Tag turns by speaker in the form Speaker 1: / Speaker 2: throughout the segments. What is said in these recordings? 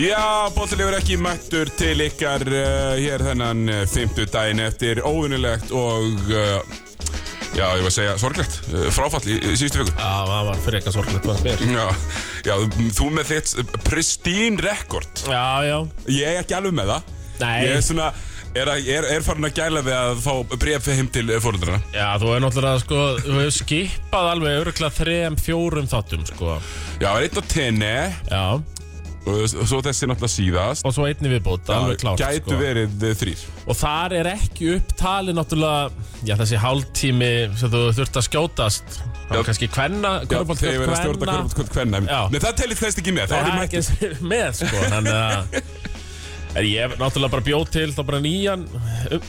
Speaker 1: Já, bóttilegur ekki mættur til ykkar uh, hér þennan uh, fymtu daginn eftir óvinnilegt og uh, já, ég var að segja sorglegt, uh, fráfall í, í síðustu viku.
Speaker 2: Já, það var frekar sorglegt fannst mér.
Speaker 1: Já, já, þú með þitt pristine rekord.
Speaker 2: Já, já.
Speaker 1: Ég er ekki alveg með það.
Speaker 2: Nei.
Speaker 1: Ég er svona, er, að- er, er farin að gæla við að fá bref heim til eh, fóröldrarna.
Speaker 2: Já, þú er náttúrulega, sko, þú hefur skipað alveg öruglega þrejum, fjórum þáttum, sko.
Speaker 1: Já, það er eitt á tenni
Speaker 2: Já,
Speaker 1: og s- svo þessi náttúrulega síðast.
Speaker 2: og svo einni viðbót, alveg klárt,
Speaker 1: Gætu
Speaker 2: sko.
Speaker 1: verið uh, þrýr.
Speaker 2: Og þar er ekki upptalið náttúrulega, já, þessi hálftími sem þú þurft að skjótast. Það
Speaker 1: Já.
Speaker 2: var kannski kvenna,
Speaker 1: Já, þegar ég verið að stjórna
Speaker 2: kvenna.
Speaker 1: kvörbótt kvenna.
Speaker 2: Já.
Speaker 1: Nei, það telir þess ekki með. Það
Speaker 2: Það er
Speaker 1: er
Speaker 2: ekki
Speaker 1: mættið.
Speaker 2: eins með sko Þannig að En ég náttúrulega bara bjóð til þá bara nýjan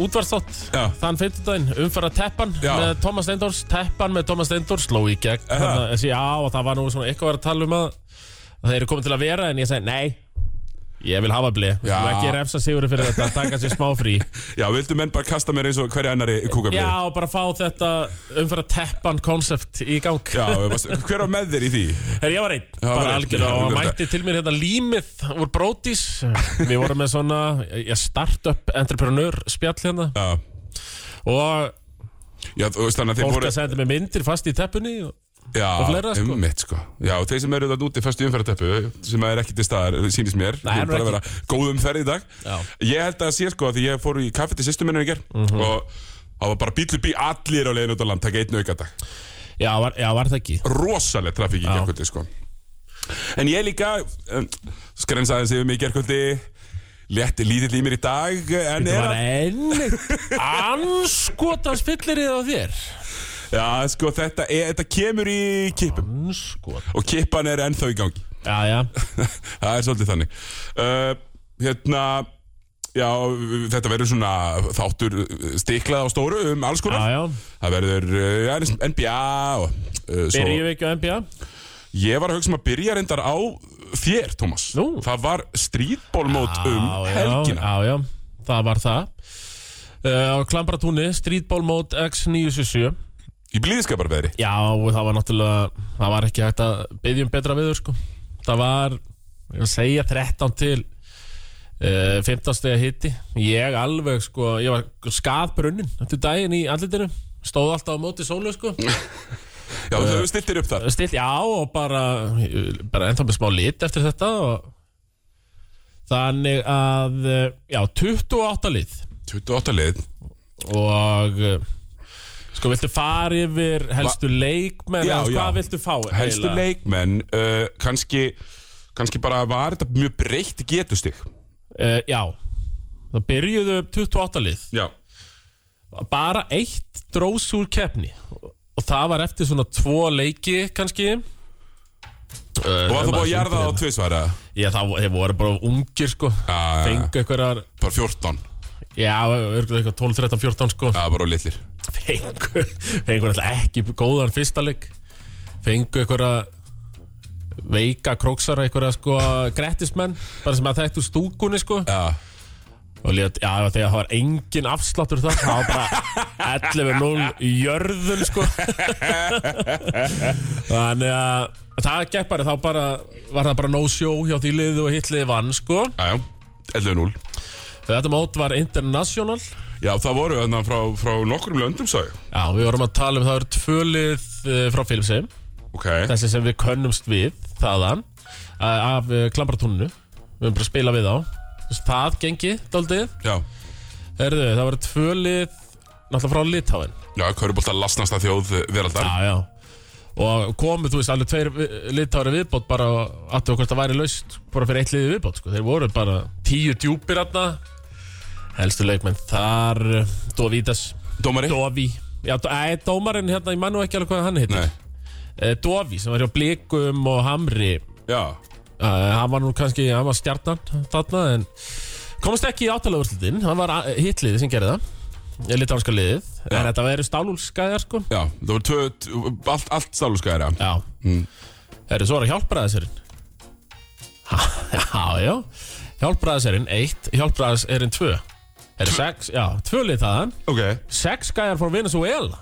Speaker 2: útvarstátt
Speaker 1: Já.
Speaker 2: Þann fyrtudaginn umfæra teppan
Speaker 1: Já.
Speaker 2: með Thomas Steindors Teppan með Thomas Steindors sló í gegn
Speaker 1: Aha.
Speaker 2: Þannig að þessi, já og það var nú svona eitthvað að vera að tala um að að þeir eru komið til að vera en ég segi nei Ég vil hafa blei Þú
Speaker 1: Já.
Speaker 2: ekki refsa Sigurður fyrir þetta taka sér smá frí
Speaker 1: Já, vildu menn bara kasta mér eins og hverja annari kúkablið?
Speaker 2: Já og bara fá þetta umfæra teppan koncept í gang
Speaker 1: Já, varst, hver var með þér í því?
Speaker 2: Herri, ég var einn,
Speaker 1: var
Speaker 2: bara
Speaker 1: einn.
Speaker 2: algjörlega
Speaker 1: Já,
Speaker 2: og hann
Speaker 1: algjörlega.
Speaker 2: mætti til mér hérna límið úr Brodís Við vorum með svona, ég start-up entrepreneur spjall hérna
Speaker 1: Já,
Speaker 2: og
Speaker 1: já þú veist þannig að þeir
Speaker 2: fólk
Speaker 1: voru
Speaker 2: að senda mér myndir fast í teppunni og...
Speaker 1: Já,
Speaker 2: og fleira, sko.
Speaker 1: einmitt, sko Já, og þeir sem eru þetta úti fyrst í umferðarteppu sem er ekki til staðar, sýnist mér
Speaker 2: Nei,
Speaker 1: Þú
Speaker 2: hann er
Speaker 1: bara
Speaker 2: ekki.
Speaker 1: vera góð umferð í dag
Speaker 2: Já. Mhm.
Speaker 1: Ég held að sé sko að því ég fór í kaffi til sýstu minni í ger og það var bara bíl upp í allir á leiðin út á land, taka einn aukadag
Speaker 2: já, var, já, var það ekki
Speaker 1: rosaleg trafík í
Speaker 2: Já.
Speaker 1: gerkvöldi sko. En ég líka um, skræns aðeins yfir mig um í gerkvöldi létti lítill í mér í dag en
Speaker 2: Það
Speaker 1: er
Speaker 2: var
Speaker 1: að,
Speaker 2: enn anskotans fyllerið á þér
Speaker 1: já, sko, þetta, er, þetta kemur í kipum
Speaker 2: Anskot
Speaker 1: og kippan er ennþá í gangi
Speaker 2: Já, já,
Speaker 1: það er svolítið þannig uh, hérna já, þetta verður svona þáttur uh, stiklað á stóru um alls
Speaker 2: já,
Speaker 1: konar
Speaker 2: já
Speaker 1: það verður uh, já, eins- NBA og, uh, svo,
Speaker 2: Byrjum við ekki á NBA?
Speaker 1: ég var að hugsa um að byrja reyndar á þér, Tómas
Speaker 2: Nú.
Speaker 1: það var strítbólmót um
Speaker 2: Já, já,
Speaker 1: helgina
Speaker 2: Já, já, það var það Uh, á Klambratúni, Streetball Mode X977
Speaker 1: í blíðskaparveðri
Speaker 2: Já, og það var náttúrulega, það var ekki hægt að byggja um betra viður sko. Það var, ég að segja, 13 til uh, 15 steg hitti. Ég alveg, sko, ég var skaðbrunnin eftir daginn í andlitinu. Stóð alltaf á móti sólu, sko.
Speaker 1: já,
Speaker 2: Uh,
Speaker 1: þú stiltir upp þar
Speaker 2: Stilt, já, og bara, bara ennþá með smá lit eftir þetta. Og... Þannig að, eh, já, 28 lið
Speaker 1: 28 lið
Speaker 2: og eh, sko viltu fara yfir helstu leikmenn
Speaker 1: Já,
Speaker 2: eða
Speaker 1: já.
Speaker 2: hvað viltu fá
Speaker 1: helstu
Speaker 2: eiginlega?
Speaker 1: leikmenn uh, kannski, kannski bara var þetta mjög breytt getustig
Speaker 2: Uh, já, það byrjuðu 28 lið
Speaker 1: já,
Speaker 2: Bara eitt drós úr keppni Og það var eftir svona tvo leiki kannski
Speaker 1: og
Speaker 2: Eh,
Speaker 1: var það búið að jarða á
Speaker 2: hérna.
Speaker 1: tvisvara
Speaker 2: Já, það vo- þeir voru bara ungir sko
Speaker 1: Já, já, já.
Speaker 2: Fengu einhverjar
Speaker 1: bara 14
Speaker 2: Já, örgulega eitthvað 12, 13, 14 sko
Speaker 1: Já, bara á litlir
Speaker 2: Fengu Fengu alltaf ekki góðan fyrsta leik Fengu einhverja Veika króksara einhverja sko Grettismenn Bara sem að þekktu stúkunni sko
Speaker 1: Já,
Speaker 2: og lét, já, það var þegar það var engin afsláttur þar, það var bara 11-0 í jörðun sko þannig að það gekk bara, þá bara var það bara no show hjá því liðu og hitt liði vann sko,
Speaker 1: já, já 11-0
Speaker 2: þetta mót var international já,
Speaker 1: Já, það voru þarna frá, frá nokkrum löndum sagði ég.
Speaker 2: við vorum að tala um það eru tvö lið eh, frá Filmsheim,
Speaker 1: Ok,
Speaker 2: þessi sem við könnumst við þaðan, eh, af klambratúninu, við höfum bara að spila við á það gengi, daldið
Speaker 1: já
Speaker 2: Herðu, það var tvö lið náttúrulega frá Litáin
Speaker 1: Já, Körubólta lasnasta þjóð eh, veraldar
Speaker 2: Já, já Og komu, þú veist, alveg tveir vi- litári viðbót bara aftur okkur það væri laust bara fyrir eitt liði viðbót, sko. Þeir voru bara tíu djúpir aðna Helstu leikmenn þar Dovítas,
Speaker 1: Dómari?
Speaker 2: Dovi Já, dó- æ, dómarinn hérna, ég mann nú ekki alveg hvað hann heitir
Speaker 1: Nei,
Speaker 2: Eh, Dovi, sem var hjá Blikum og Hamri
Speaker 1: já
Speaker 2: Uh, hann var nú kannski, hann var stjarnan þarna en komast ekki í áttalega úrslutin hann var uh, hitliðið sem gerði það litánska liðið, en þetta verið stálúlskæðar sko,
Speaker 1: Já, það voru tvö, t- allt, allt stáluska er
Speaker 2: já
Speaker 1: Mm.
Speaker 2: Herri, svo er að hjálpbræðisherinn Já, já Hjálpbræðisherinn 1, hjálpbræðisherinn 2 Herri, 6, já, 2 lið þaðan
Speaker 1: Ok
Speaker 2: 6 gæjar frá Venezuela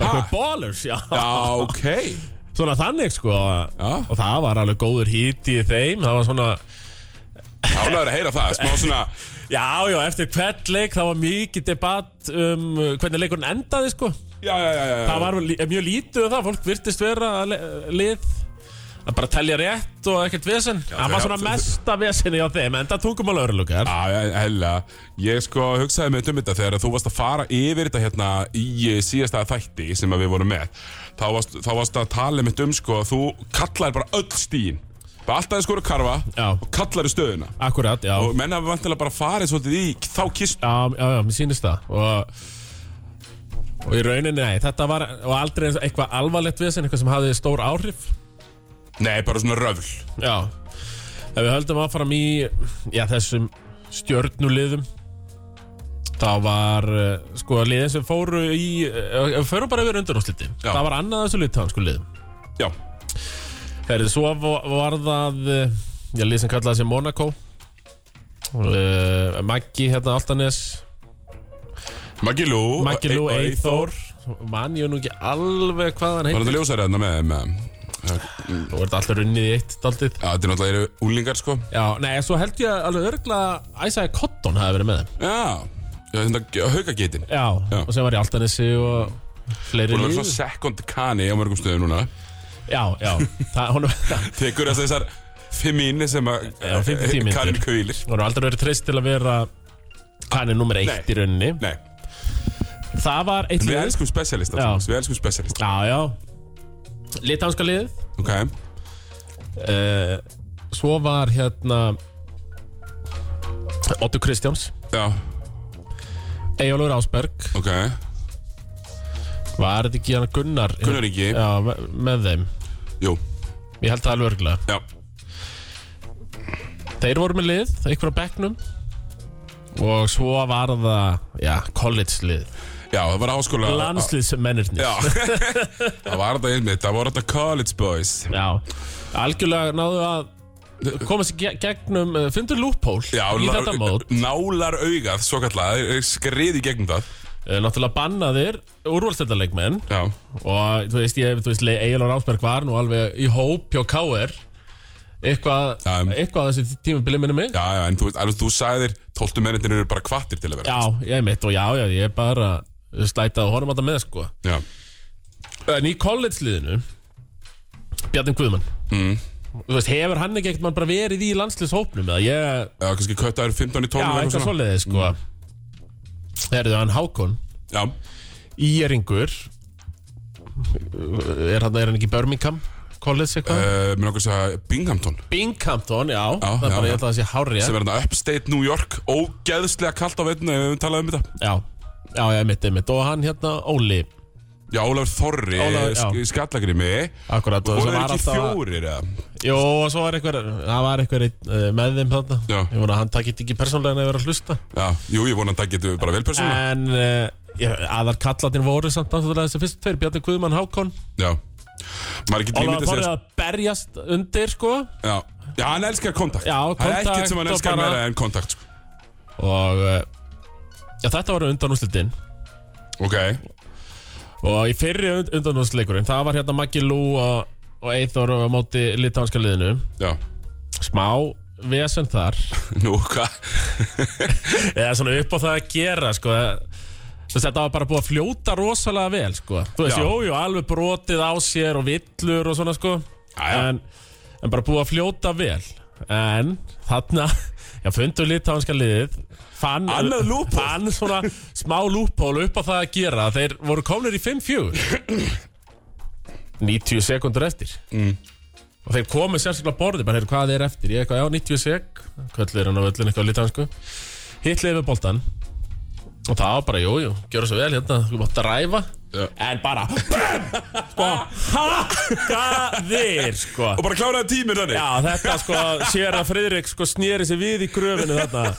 Speaker 2: Bara eitthvað ballers, já.
Speaker 1: Já, ok
Speaker 2: Svona þannig, sko.
Speaker 1: Já.
Speaker 2: Og það var alveg góður híti í þeim. Það var svona,
Speaker 1: Ánæður að heyra það, smá svona
Speaker 2: já, já, eftir hvert leik það var mikið debatt um uh, hvernig leikurinn endaði, sko.
Speaker 1: Já, já, já, já.
Speaker 2: Það var lí- mjög lítið um það. Fólk virtist vera að le- lið að bara telja rétt og ekkert vesen. það var
Speaker 1: já,
Speaker 2: svona
Speaker 1: þau-
Speaker 2: mesta vesenni á þeim, en það tungum alveg örlukar.
Speaker 1: Já, já, hella. Ég sko hugsaði með þetta þegar þú varst að fara yfir þetta hérna í síðasta þætti sem að við vorum með. Þá varst, þá varst að tala með um sko að þú kallar bara öll stíin. Bara alltaf þið skoru karfa
Speaker 2: Já.
Speaker 1: og kallar í stöðuna.
Speaker 2: Akkurat, já.
Speaker 1: Og menn hafa vantilega bara farið svolítið í þá kistu.
Speaker 2: Já, já, já, mér sýnist það og, og í rauninni, nei, þetta var og aldrei eins- eitthvað alvarlegt við sem eitthvað sem hafði stór áhrif
Speaker 1: Nei, bara svona röfl.
Speaker 2: Já, ef við höldum áfram í já, þessum stjörnuliðum þá var eh, sko liðin sem fóru í eh, ef við förum bara yfir undanúsliti
Speaker 1: Já.
Speaker 2: það var annað af þessu litansku liðum
Speaker 1: Já.
Speaker 2: Herri, svo va- var það eh, Já, lið sem kallaði sig Monaco uh, Maggi, hérna, Altanes
Speaker 1: Maggi Lú.
Speaker 2: Maggi Lú
Speaker 1: og
Speaker 2: Eithor Man ég nú ekki alveg hvað hann
Speaker 1: Var
Speaker 2: heitir
Speaker 1: þetta ljósæri hérna með þeim? eða?
Speaker 2: Nú er þetta alltaf runnið í eitt daldið
Speaker 1: Já, þetta er náttúrulega eru úlingar sko.
Speaker 2: Já, nei, svo held ég alveg örgla Æsæði Cotton hafi verið með þeim
Speaker 1: Já. Já, hérna, þetta haukagitin.
Speaker 2: Já,
Speaker 1: Já.
Speaker 2: og sem var í Altanesi og fleiri
Speaker 1: Hún er
Speaker 2: líf
Speaker 1: svona second kani á mörgum stöðum núna.
Speaker 2: Já, já, það, hún
Speaker 1: Tekur þess að þessar fimm inni sem að
Speaker 2: Já, 50 mínútur.
Speaker 1: Karin Kvílir
Speaker 2: hún er aldrei verið treyst til að vera kannið nummer eitt
Speaker 1: Nei.
Speaker 2: í rauninni
Speaker 1: Nei,
Speaker 2: Það var eitt
Speaker 1: við
Speaker 2: lið
Speaker 1: elskum specialista
Speaker 2: Já.
Speaker 1: Thomas, Við elskum specialista
Speaker 2: Já, já Litánska liðið
Speaker 1: Ok,
Speaker 2: uh, Svo var hérna Otto Kristjáns
Speaker 1: já,
Speaker 2: Eyjólfur Ásberg
Speaker 1: ok
Speaker 2: Var þetta ekki hann Gunnar
Speaker 1: Gunnar Ingi,
Speaker 2: Já, me- með þeim
Speaker 1: jú,
Speaker 2: Ég held það alveg örgulega
Speaker 1: já
Speaker 2: Þeir voru með lið, einhver á bekknum Og svo var það Já, college lið
Speaker 1: Já, það var háskóla
Speaker 2: Landsliðsmennirnir
Speaker 1: Já, það var þetta einmitt Það voru þetta college boys
Speaker 2: Já, algjörlega náðu að koma sér ge- gegnum, uh, fundur loophole
Speaker 1: Já,
Speaker 2: í
Speaker 1: lá-
Speaker 2: þetta mót,
Speaker 1: nálar augað, svo kallað Þeir skriði gegnum það
Speaker 2: uh, náttúrulega bannaðir úrvalstættarleikmenn
Speaker 1: Já,
Speaker 2: og þú veist, ég, þú veist, Egil og Rásberg var nú alveg í hóp hjá K.R. eitthvað,
Speaker 1: Já. um-
Speaker 2: eitthvað á þessi tímabili minni mig
Speaker 1: já, já, en þú veist, alveg þú sagðir Tóltu mennindir eru bara kvattir til að vera
Speaker 2: já, ég mitt og já, já, ég er bara slætað og horfum alltaf með sko
Speaker 1: Já,
Speaker 2: en í college-liðinu Bjartin Guðmann mm. þú veist, hefur hann ekki ekkert mann bara verið í landslýshópnum eða ég,
Speaker 1: já kannski köttaður 15 í 12
Speaker 2: já,
Speaker 1: eða
Speaker 2: eitthvað
Speaker 1: svona.
Speaker 2: svoleiði sko mm. herðu hann Hákon
Speaker 1: Já,
Speaker 2: Íeringur er hann, er hann ekki í Birmingham college eitthvað?
Speaker 1: uh, mér nokkuð að Binghamton
Speaker 2: Binghamton, já,
Speaker 1: Já,
Speaker 2: það
Speaker 1: já,
Speaker 2: er bara
Speaker 1: já.
Speaker 2: ég ætla að það sé hárið
Speaker 1: sem er hérna upstate New York ógeðslega kalt á veitinu ef við talaðum um þetta
Speaker 2: Já, já, já, mitt, mitt Og hann hérna, Óli
Speaker 1: Já, Ólafur Þorri,
Speaker 2: Ólafur, já.
Speaker 1: Ólafur, skallagrimi
Speaker 2: Akkurat,
Speaker 1: og
Speaker 2: og
Speaker 1: það
Speaker 2: svo
Speaker 1: er
Speaker 2: var
Speaker 1: ekki
Speaker 2: alltaf
Speaker 1: fjórir eða
Speaker 2: Jó, og svo var einhver, það var einhver einn, eh, með þeim þarna
Speaker 1: Já.
Speaker 2: Ég vona að hann takit ekki persónlega en að vera að hlusta
Speaker 1: Já, jú, ég vona að það getur bara vel persónulega
Speaker 2: En uh, aðar kallatin voru samt náttúrulega þessi fyrst tveir Bjarni Guðmann Hákon
Speaker 1: Já, maður er ekki
Speaker 2: Óla
Speaker 1: límið að
Speaker 2: fórið
Speaker 1: segja
Speaker 2: Eh.
Speaker 1: sko.
Speaker 2: að berjast undir sko
Speaker 1: Já, já, hann elskar kontakt
Speaker 2: Já,
Speaker 1: Það er
Speaker 2: kontakt
Speaker 1: ekkert sem hann
Speaker 2: og
Speaker 1: elskar
Speaker 2: bara-
Speaker 1: meira en kontakt sko.
Speaker 2: Og uh, já, þetta var undanúslitin
Speaker 1: Ok,
Speaker 2: Og í fyrri und undanúsleikurinn Það var hérna Maggi Lú og, og Eithor á móti litánska liðinu
Speaker 1: já,
Speaker 2: Smá vesen þar
Speaker 1: nú, hvað
Speaker 2: eða svona upp á það að gera sko Þú veist, þetta var bara búið að fljóta rosalega vel sko. þú veist,
Speaker 1: Já.
Speaker 2: jú, jú, alveg brotið á sér og villur og svona sko.
Speaker 1: já.
Speaker 2: en, en bara búið að fljóta vel en þarna já, fundu litánska liðið fann,
Speaker 1: Annað loophole.
Speaker 2: fann svona smá lúphól upp á það að gera þeir voru komnir í 5-4 90 sekundur eftir og þeir komu sérstaklega að borði bara, heyrðu, hvað er eftir, ég eitthvað, já, 90 sek kvöldur hann á öllin eitthvað litánsku hitliði með boltan og það var bara, jú, jú, gjöra svo vel hérna þú mátt að ræfa
Speaker 1: Já.
Speaker 2: en bara, BAM sko, hakkaðir sko.
Speaker 1: Og bara kláraði tíminn þannig
Speaker 2: já, þetta sko, sér að Friðrik sko snýri sér við í gröfinu þarna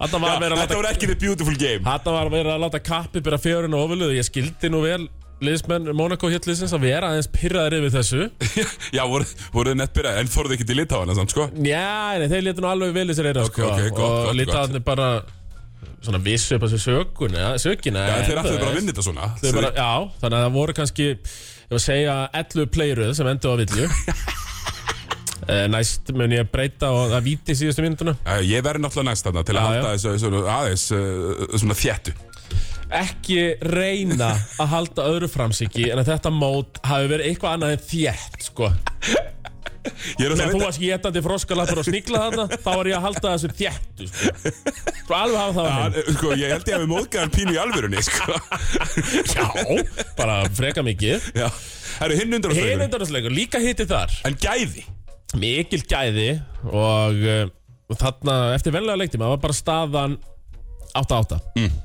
Speaker 2: þetta var að vera að
Speaker 1: Þetta
Speaker 2: láta
Speaker 1: voru ekki the beautiful game
Speaker 2: þetta var að vera að láta kappi byrja fjörun og ofiluðu, ég skildi nú vel liðsmenn Monaco hitliðsins að vera aðeins pyrraðir yfir þessu
Speaker 1: Já, voru, voru þið nett byrjað En þorðu ekki til litáana samt, sko
Speaker 2: Já, nei, þeir letu nú alveg vel í sér eira sko.
Speaker 1: ok, gott,
Speaker 2: og
Speaker 1: gott,
Speaker 2: litaðarnir bara svona vissu upp á þessu sökuna, sökina
Speaker 1: Já, en
Speaker 2: en
Speaker 1: þeir
Speaker 2: þú
Speaker 1: ætluðu bara að
Speaker 2: veist,
Speaker 1: vinna þetta svona
Speaker 2: þeir bara, Já, þannig að það voru kannski ég var að segja 11 playruð sem endur á vilju Eh, Næst mun ég breyta og það víti síðustu mínutuna
Speaker 1: Eh, Ég verði náttúrulega næst þarna til að
Speaker 2: Já,
Speaker 1: halda þessu þessu aðeins eh, svona þjættu
Speaker 2: Ekki reyna að halda öðru framsiki en að þetta mót hafi verið eitthvað annað en þétt sko.
Speaker 1: Ég er að
Speaker 2: Þegar þú
Speaker 1: það
Speaker 2: varst getandi froskalappur og snigla þarna þá var ég að halda þessu þéttu sko. Svo alveg hafa það á hreinu.
Speaker 1: Hann, eh, sko, ég held ég að við móðgæðan pínu í alvörunni sko.
Speaker 2: Já, bara freka mikið
Speaker 1: Já, það eru hinn undur
Speaker 2: Hinundarhansleikur, líka hitti þar
Speaker 1: En gæði
Speaker 2: Mikil gæði og, uh, og þarna eftir venlega leiktíma var bara staðan 8-8 mm.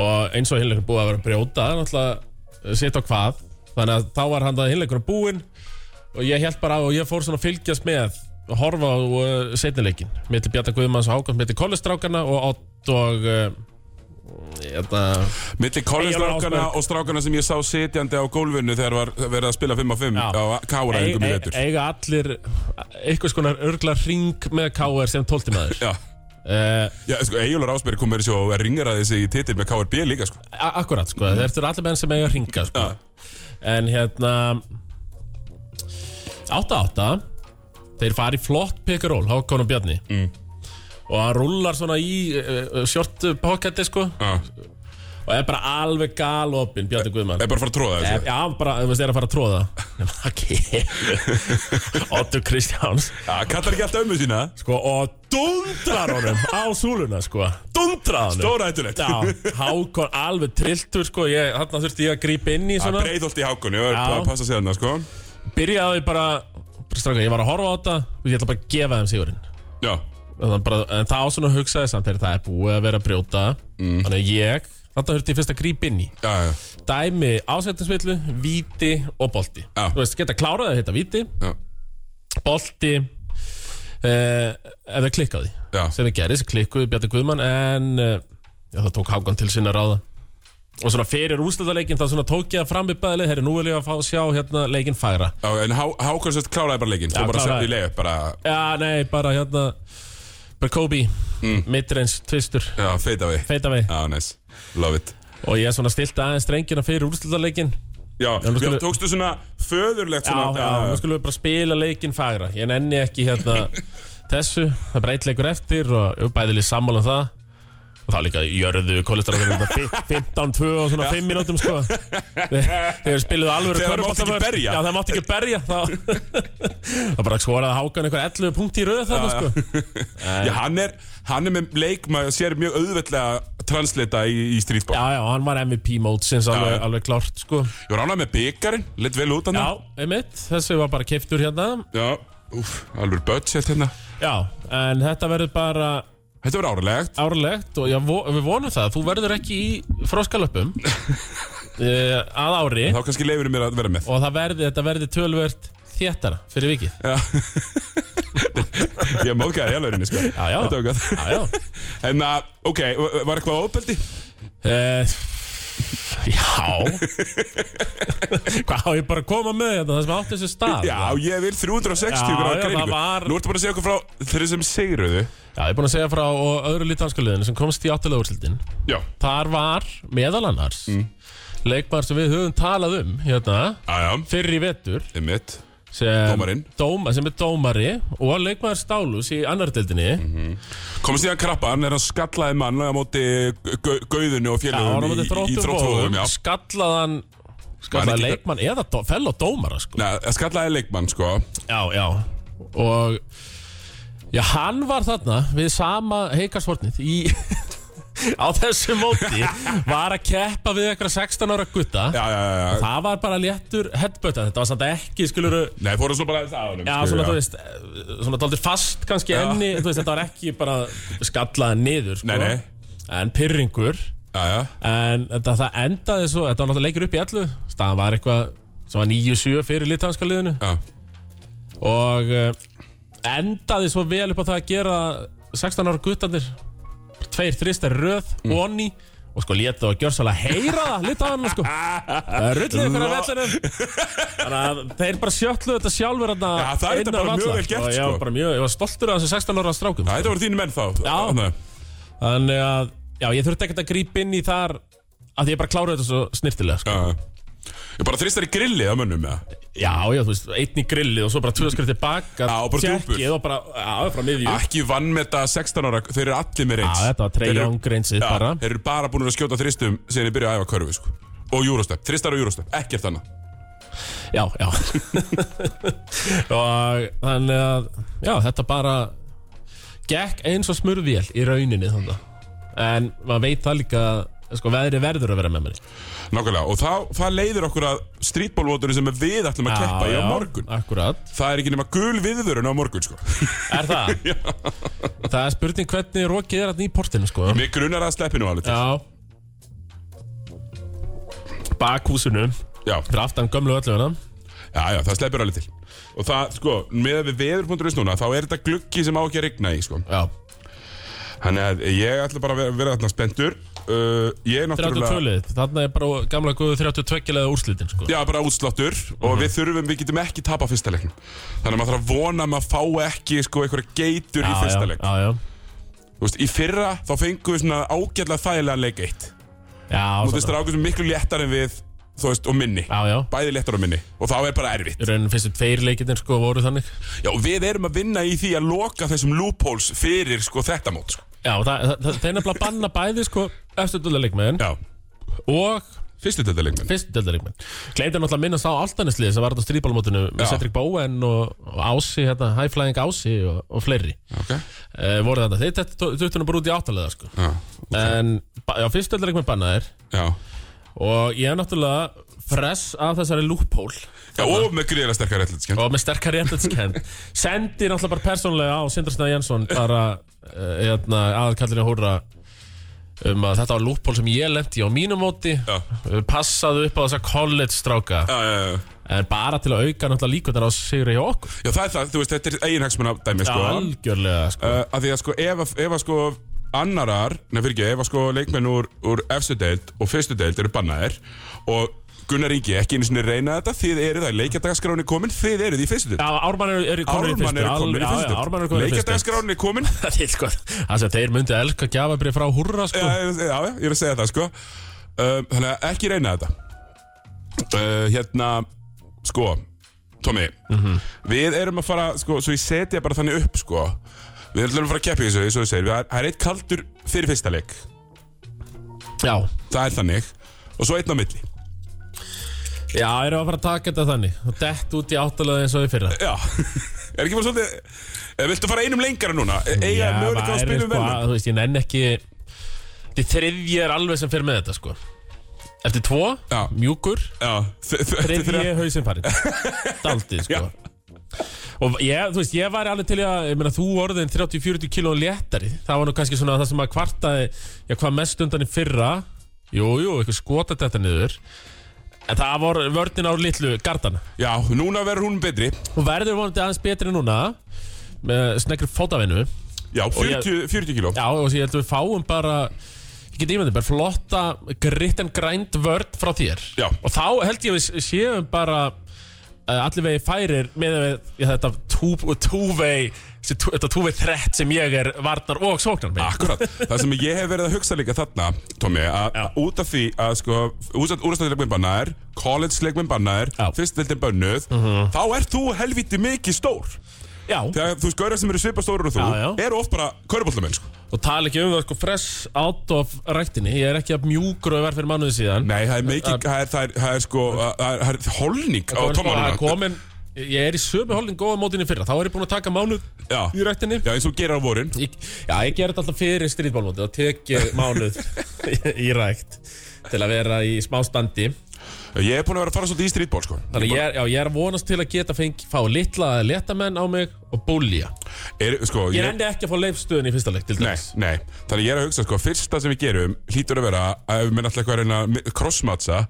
Speaker 2: og eins og hinleikur búið að vera að brjóta náttúrulega sitt á hvað þannig að þá var hann það hinleikur að búin og ég held bara á og ég fór svona að fylgjast með að horfa á uh, setnileikin mitt er Bjarta Guðmanns og Hákvæmt, mitt er Kollestrákana og Ott og eh, uh, þetta,
Speaker 1: Milli kollinstrákana og strákana sem ég sá sitjandi á gólfinu þegar var verið að spila 5 á 5
Speaker 2: Já.
Speaker 1: á kára
Speaker 2: eig,
Speaker 1: einhverjum í
Speaker 2: eig,
Speaker 1: vetur
Speaker 2: eiga allir einhvers konar örgla ring með KR sem tóltimaður
Speaker 1: Já,
Speaker 2: uh,
Speaker 1: já sko, Egilur Ásberg kom með þessu og ringar að þessi titil með KRB líka sko.
Speaker 2: A- Akkurat, sko, mm. þetta eru allir menn sem eiga að ringa sko.
Speaker 1: Já.
Speaker 2: En hérna 8-8 Þeir fara í flott pick and roll Hákon og Bjarni mm. Og hann rullar svona í uh, Short pocketi sko
Speaker 1: Já,
Speaker 2: Og er bara alveg gal opinn Bjarni Guðmann
Speaker 1: er bara að fara að tróða
Speaker 2: Eh,
Speaker 1: þessu
Speaker 2: Já, bara, þú veist, er að fara að tróða Ok Otto Kristjáns
Speaker 1: Já, kallar ekki alltaf ömmu sína
Speaker 2: Sko, og dundrar honum á súluna, sko Dundrar honum
Speaker 1: Stóra hættulegt
Speaker 2: Já, Hákon alveg trilltur, sko ég, Þarna þurfti ég að grípa inn í
Speaker 1: Það
Speaker 2: svona
Speaker 1: er breiðholt í hákunni og er bara að passa sig þarna sko.
Speaker 2: byrjaði bara, bara stráka, ég var að horfa á þetta og ég ætla bara að gefa þeim sigurinn
Speaker 1: Já,
Speaker 2: en það, bara, en það á svona hugsaði samt þegar það er búið að vera að brjóta
Speaker 1: Mm.
Speaker 2: þannig að ég, þetta hörði ég fyrst að grípa inn í
Speaker 1: já, já,
Speaker 2: dæmi ásettinsvillu, víti og bolti
Speaker 1: Já.
Speaker 2: þú veist, geta kláraði að hitta víti
Speaker 1: já,
Speaker 2: bolti eh, ef það klikkaði
Speaker 1: já.
Speaker 2: sem þið gerði, sem klikkuði Bjarni Guðmann en eh, já, það tók Hákan til sinna ráða og svona fyrir úrslutaleikin þá svona tók ég að fram í bæðileg, herri nú vil ég að fá sjá hérna leikin færa
Speaker 1: já En Há- Hákon sérst kláraði bara leikinn Svo bara
Speaker 2: kláraði.
Speaker 1: sett í leið bara
Speaker 2: Já, nei, bara hérna Bara Kobe, mm. midrange, tvistur
Speaker 1: Já, feita við
Speaker 2: Feita við
Speaker 1: Já, nice, love it
Speaker 2: Og ég svona stilti aðeins drengina fyrir úrslutaleikin
Speaker 1: Já,
Speaker 2: nú
Speaker 1: já,
Speaker 2: skulum-
Speaker 1: tókstu svona föðurlegt
Speaker 2: Já,
Speaker 1: svona
Speaker 2: já, nú skulum við bara spila leikin fagra Ég nenni ekki hérna þessu Það er bara eitt leikur eftir og við bæðileg sammála um það Og þá líka jörðu kolesterafinn 15-2 og svona 5 mínútum sko Þe- Þegar spiluðu alvöru
Speaker 1: Þegar það mátti ekki
Speaker 2: körfuboltavörn.
Speaker 1: berja.
Speaker 2: Já, það mátti ekki berja þá Það bara skoraði hákan einhver 11 punkt í röðu þarna sko
Speaker 1: Já, hann er, hann er með leik, maður sér mjög auðveldlega að translita í, í strítból.
Speaker 2: Já, já, hann var MVP mótsins alveg,
Speaker 1: já.
Speaker 2: alveg klart, sko.
Speaker 1: Ég var ánægð með byggarinn, lit vel út hann.
Speaker 2: Já, einmitt, þessi var bara keiftur hérna.
Speaker 1: Já. Úf, alveg budget hérna.
Speaker 2: Já, en þetta verður bara
Speaker 1: Þetta var árlegt.
Speaker 2: árlegt og ég, vo- við vonum það. Þú verður ekki í froskalöpum uh, að ári
Speaker 1: Þá kannski leifirum mér að vera með.
Speaker 2: og það verði, þetta verður tölvert þéttara fyrir vikið.
Speaker 1: Já. ég móðgæði í alvegurinni, sko.
Speaker 2: Já, já.
Speaker 1: Þetta var gott.
Speaker 2: Já, já.
Speaker 1: En að, ok, var- var eitthvað óbeldi?
Speaker 2: Uh, já. Hvað á ég bara að koma með þetta, það sem átti þessu stað?
Speaker 1: Já, ég vil 360
Speaker 2: Já,
Speaker 1: gráða
Speaker 2: já,
Speaker 1: greiningu.
Speaker 2: það var-
Speaker 1: Nú ertu bara að segja okkur frá þeirri sem sigruðu.
Speaker 2: Já, ég er búin að segja frá og öðru lítanska liðinu sem komst í áttilega úrslitin.
Speaker 1: Já.
Speaker 2: Þar var meðal annars mm. leikmar sem við höfum talað um hérna,
Speaker 1: Já, já,
Speaker 2: fyrr í vetur
Speaker 1: einmitt.
Speaker 2: sem,
Speaker 1: Dómarinn.
Speaker 2: dóma, sem er dómari og leikmar Stálus í annar deildinni
Speaker 1: Mhm. Komst í hann krabban, er hann skallaði mann á móti gau- gauðinu og
Speaker 2: Já, hann
Speaker 1: félagum
Speaker 2: átti
Speaker 1: í, í, í
Speaker 2: þróttur
Speaker 1: þróttvóðum.
Speaker 2: bóðum
Speaker 1: Já,
Speaker 2: skallaðan skallaðan
Speaker 1: ekki-
Speaker 2: leikmann eða dó, fell og dómara sko.
Speaker 1: Nei, það skallaði leikmann sko
Speaker 2: já, já og já, hann var þarna við sama heikarsvornið í á þessu móti var að keppa við eitthvað 16 ára gutta
Speaker 1: Já, já, já, já
Speaker 2: það var bara léttur headbutta þetta var samt ekki skiluru
Speaker 1: Nei, fórum svo bara aðeins að honum
Speaker 2: Já,
Speaker 1: skilur,
Speaker 2: svona, þú veist, eh, svona daldir fast kannski enni, þú veist, þetta var ekki bara skallaði niður, sko.
Speaker 1: Nei, nei.
Speaker 2: En pyrringur,
Speaker 1: Já, já,
Speaker 2: en þetta, það endaði svo, þetta var náttúrulega leikur upp í allu, staðan var eitthvað sem var 9-7 fyrir litanska liðinu
Speaker 1: já
Speaker 2: og eh, endaði svo vel upp á það að gera 16 ára guttandir, tveir þristar í röð,
Speaker 1: Mm.
Speaker 2: onni, og sko létt þá að gjör svolítið að heyra það, litanum, sko. Það rullið ykkur af
Speaker 1: Lo-
Speaker 2: vellinum. Þannig að þeir bara sjöttluðu þetta sjálfur þarna
Speaker 1: Já, það er þetta
Speaker 2: innan
Speaker 1: bara mjög
Speaker 2: vallar.
Speaker 1: vel gert,
Speaker 2: Og ég
Speaker 1: sko.
Speaker 2: var bara mjög, ég var stoltur af þessu 16 ára strákum
Speaker 1: Það, þetta voru þínu menn þá
Speaker 2: Já.
Speaker 1: Þarna.
Speaker 2: Þannig að já, ég þurfti ekkert að grípa inn í þar að ég bara klára þetta svo snirtilega sko.
Speaker 1: Já, já. Ég bara þristar í grilli á mönnum með það.
Speaker 2: Já, já, þú veist, einn í grillið og svo bara tvö skrið tilbaka
Speaker 1: Já, og bara Ah, djúpur.
Speaker 2: tékkið og bara, já, frá miðjú Já,
Speaker 1: Ekki vann með þetta 16 ára, þeir eru allir með reyns.
Speaker 2: þetta var
Speaker 1: Þeir eru-
Speaker 2: treyjóng reynsið
Speaker 1: Já,
Speaker 2: bara
Speaker 1: Þeir eru bara búin að skjóta þristum síðan ég byrja að æfa körfu, sko. Og júrostöp, þristar og júrostöp, ekkert annað.
Speaker 2: Já, já Og þannig að Já, þetta bara Gekk eins og smurðvél í rauninni þannig En maður veit það líka að, Sko, veðri verður að vera með manni
Speaker 1: Nákvæmlega, og það, það leiðir okkur að streetballvotunni sem við ætlum að keppa í á morgun.
Speaker 2: Akkurat
Speaker 1: Það er ekki nema gul viðvörun á morgun, sko.
Speaker 2: Er það? það er spurning hvernig rokið er að í portinu, sko
Speaker 1: Mér grunar að sleppi nú alveg til.
Speaker 2: Já Bakhúsinu
Speaker 1: Já,
Speaker 2: Fyrir aftan gömlu ölluguna
Speaker 1: já, já, það sleppir alveg til. Og það, sko, með við veður.is núna, þá er þetta gluggi sem á ekki að rigna í, sko.
Speaker 2: Já
Speaker 1: Þannig að ég ætla bara að vera, vera þarna spendur. Uh, ég er náttúrulega...
Speaker 2: 32 lið Þarna er bara gamla góðu 32 leða úrslitin, sko
Speaker 1: Já, bara útsláttur og
Speaker 2: Mhm.
Speaker 1: við þurfum, við getum ekki tapa fyrsta leiknum. Þannig að maður þarf að vona að maður fá ekki sko einhverja geitur í fyrsta leik.
Speaker 2: Já, já
Speaker 1: Þú veist, í fyrra þá fengum við svona ágætlega þægilega leik eitt.
Speaker 2: Já,
Speaker 1: Þú veist, það er ágætlega miklu léttar en við, þú veist, og minni.
Speaker 2: já, já
Speaker 1: Bæði léttar og minni. Og þá er bara erfitt.
Speaker 2: Í rauninni fyrstu tveir leikirnir sko voru þannig
Speaker 1: Já, og við erum að vinna í því að loka þessum loopholes fyrir sko þetta mót, sko.
Speaker 2: Já, og það, það, það er nefnilega banna bæði sko eftir dölda leikmenn
Speaker 1: Já,
Speaker 2: og
Speaker 1: fyrstu þetta leikmenn.
Speaker 2: fyrstu dölda leikmenn Gleimdi náttúrulega að minnast á Altaneslið sem var þetta stríðbálmótinu
Speaker 1: Já.
Speaker 2: með Cedric Bowen og, og Ási, hérna, hæflæðing Ási og, og fleiri
Speaker 1: Ok.
Speaker 2: e, voru þetta, þeir þetta tuttunum bara út í áttalega sko
Speaker 1: Já,
Speaker 2: En, ba- já, fyrstu dölda leikmenn bannaðir
Speaker 1: já.
Speaker 2: og ég er náttúrulega fress af þessari loophole
Speaker 1: Já, og með gríðilega sterkar réttlætiskennd.
Speaker 2: og með sterkar réttlætskend sendi náttúrulega bara persónlega á Sindarsnæð Jensson bara uh, aðkallinu hóra um að þetta var lúpból sem ég lendi á mínu móti
Speaker 1: Já.
Speaker 2: Eh, passaðu upp á þessa college stráka
Speaker 1: Já, já, já.
Speaker 2: en bara til að auka náttúrulega líkundar á sigri hjá okkur
Speaker 1: Já, það er það, þú veist, þetta er eiginhagsmunna dæmi, sko.
Speaker 2: algjörlega sko.
Speaker 1: uh, að því að sko ef, að- ef að sko annarar, nefnir fyrir ekki, ef að sko leikmenn úr, úr efstu deild og fyrstu deild eru bannaðir og Gunnar Ingi ekki einu sinni reyna þetta, þið eru það leikjardagaskráni komin, þið eru því í fyrstu deild
Speaker 2: Já, Ármann eru er komin
Speaker 1: Ármann eru
Speaker 2: al-
Speaker 1: komin í
Speaker 2: já, já, Ármann
Speaker 1: fyrstu deild
Speaker 2: eru komin í fyrstu
Speaker 1: Leikjardagaskráni er komin já,
Speaker 2: Það er sko- Það sem þeir myndi að elka gjafabrið frá húrra sko.
Speaker 1: Eh, já, já, ég er að segja það sko um, Þannig að ekki reyna þetta uh, Hérna, sko Tommy,
Speaker 2: Mhm.
Speaker 1: við erum að fara sko, svo ég setja bara þannig upp sko Við erum að fara að keppi þessu, eins og þú segir við- Það er eitt kaldur fyrir fyrsta leik
Speaker 2: Já,
Speaker 1: Það er þannig Og svo einn á milli
Speaker 2: já, eru að fara að taka þetta þannig og dett út í áttalega eins og við fyrra
Speaker 1: Já Er ekki bara svolítið eh, Viltu fara einum lengara núna? E- Eiga
Speaker 2: Já,
Speaker 1: möguleika á að
Speaker 2: væri,
Speaker 1: spila um
Speaker 2: sko,
Speaker 1: velum
Speaker 2: að- Þú veist, ég nenn ekki Þið þriðji er alveg sem fyrir með þetta sko Eftir tvo,
Speaker 1: Já.
Speaker 2: mjúkur
Speaker 1: Já þ- þ- þetta er
Speaker 2: Þriðji
Speaker 1: þeirra-
Speaker 2: hausinn farinn Daldið sko
Speaker 1: Já.
Speaker 2: Og ég, þú veist, ég var alveg til í að, ég meina, þú orðin 30-40 kílón léttari Það var nú kannski svona það sem að kvartaði, já, hvað mest undan í fyrra Jú, jú, eitthvað skotat þetta niður En það var vörnin á litlu gardana
Speaker 1: Já, núna verður hún betri
Speaker 2: Hún verður vonandi aðeins betri núna Með snekri fótavinnu
Speaker 1: Já, 40, 40 kíló
Speaker 2: Já, og ég held að við fáum bara Ég get ímyndið, bara flotta gritt en grænt vörd frá þér
Speaker 1: Já.
Speaker 2: Og þá held ég að við séum bara uh, Allir vegi færir með við, já, þetta tú- túvei þessi tú- Þetta túvei þrett sem ég er varnar og sóknar með
Speaker 1: Akkurat, það sem ég hef verið að hugsa líka þarna Tommy, að
Speaker 2: Já.
Speaker 1: út af því að sko úrstæðilegminn bannaðir, college-legminn bannaðir
Speaker 2: Já. Mhm.
Speaker 1: fyrstveldin bönnuð þá ert þú helviti mikið stór
Speaker 2: Já,
Speaker 1: þegar þú skaurar sem eru svipa stórar og þú
Speaker 2: Já, já.
Speaker 1: eru oft bara körbóltamenn sko.
Speaker 2: og tala ekki um það sko fresh out of ræktinni Ég er ekki að mjúkur og verð fyrir mannuði síðan
Speaker 1: Nei, það er mikið, það er, það er, það er sko það er, það er holning á
Speaker 2: Það er sko að
Speaker 1: tómanuna
Speaker 2: komin Ég er í sömu holdin góða mótinni fyrra Þá er ég búin að taka mánuð
Speaker 1: Já.
Speaker 2: í ræktinni
Speaker 1: Já, eins og gerir á vorin
Speaker 2: Ég, já, ég ger þetta alltaf fyrir strítbólmóti og tek ég mánuð í rækt til að vera í smá standi
Speaker 1: Ég er búin að vera að fara svolítið í streetball sko
Speaker 2: Þannig ég er, já, ég er að vonast til að geta fengi, fá litla eða letamenn á mig og búlja
Speaker 1: er, sko,
Speaker 2: Ég
Speaker 1: ég,
Speaker 2: rendi ekki að fá leifstöðun í fyrsta leik til
Speaker 1: nei,
Speaker 2: dæmis
Speaker 1: nei, þannig ég er að hugsa sko Fyrsta sem við gerum hlýtur að vera að ef við menn alltaf eitthvað að reyna að mi- crossmatcha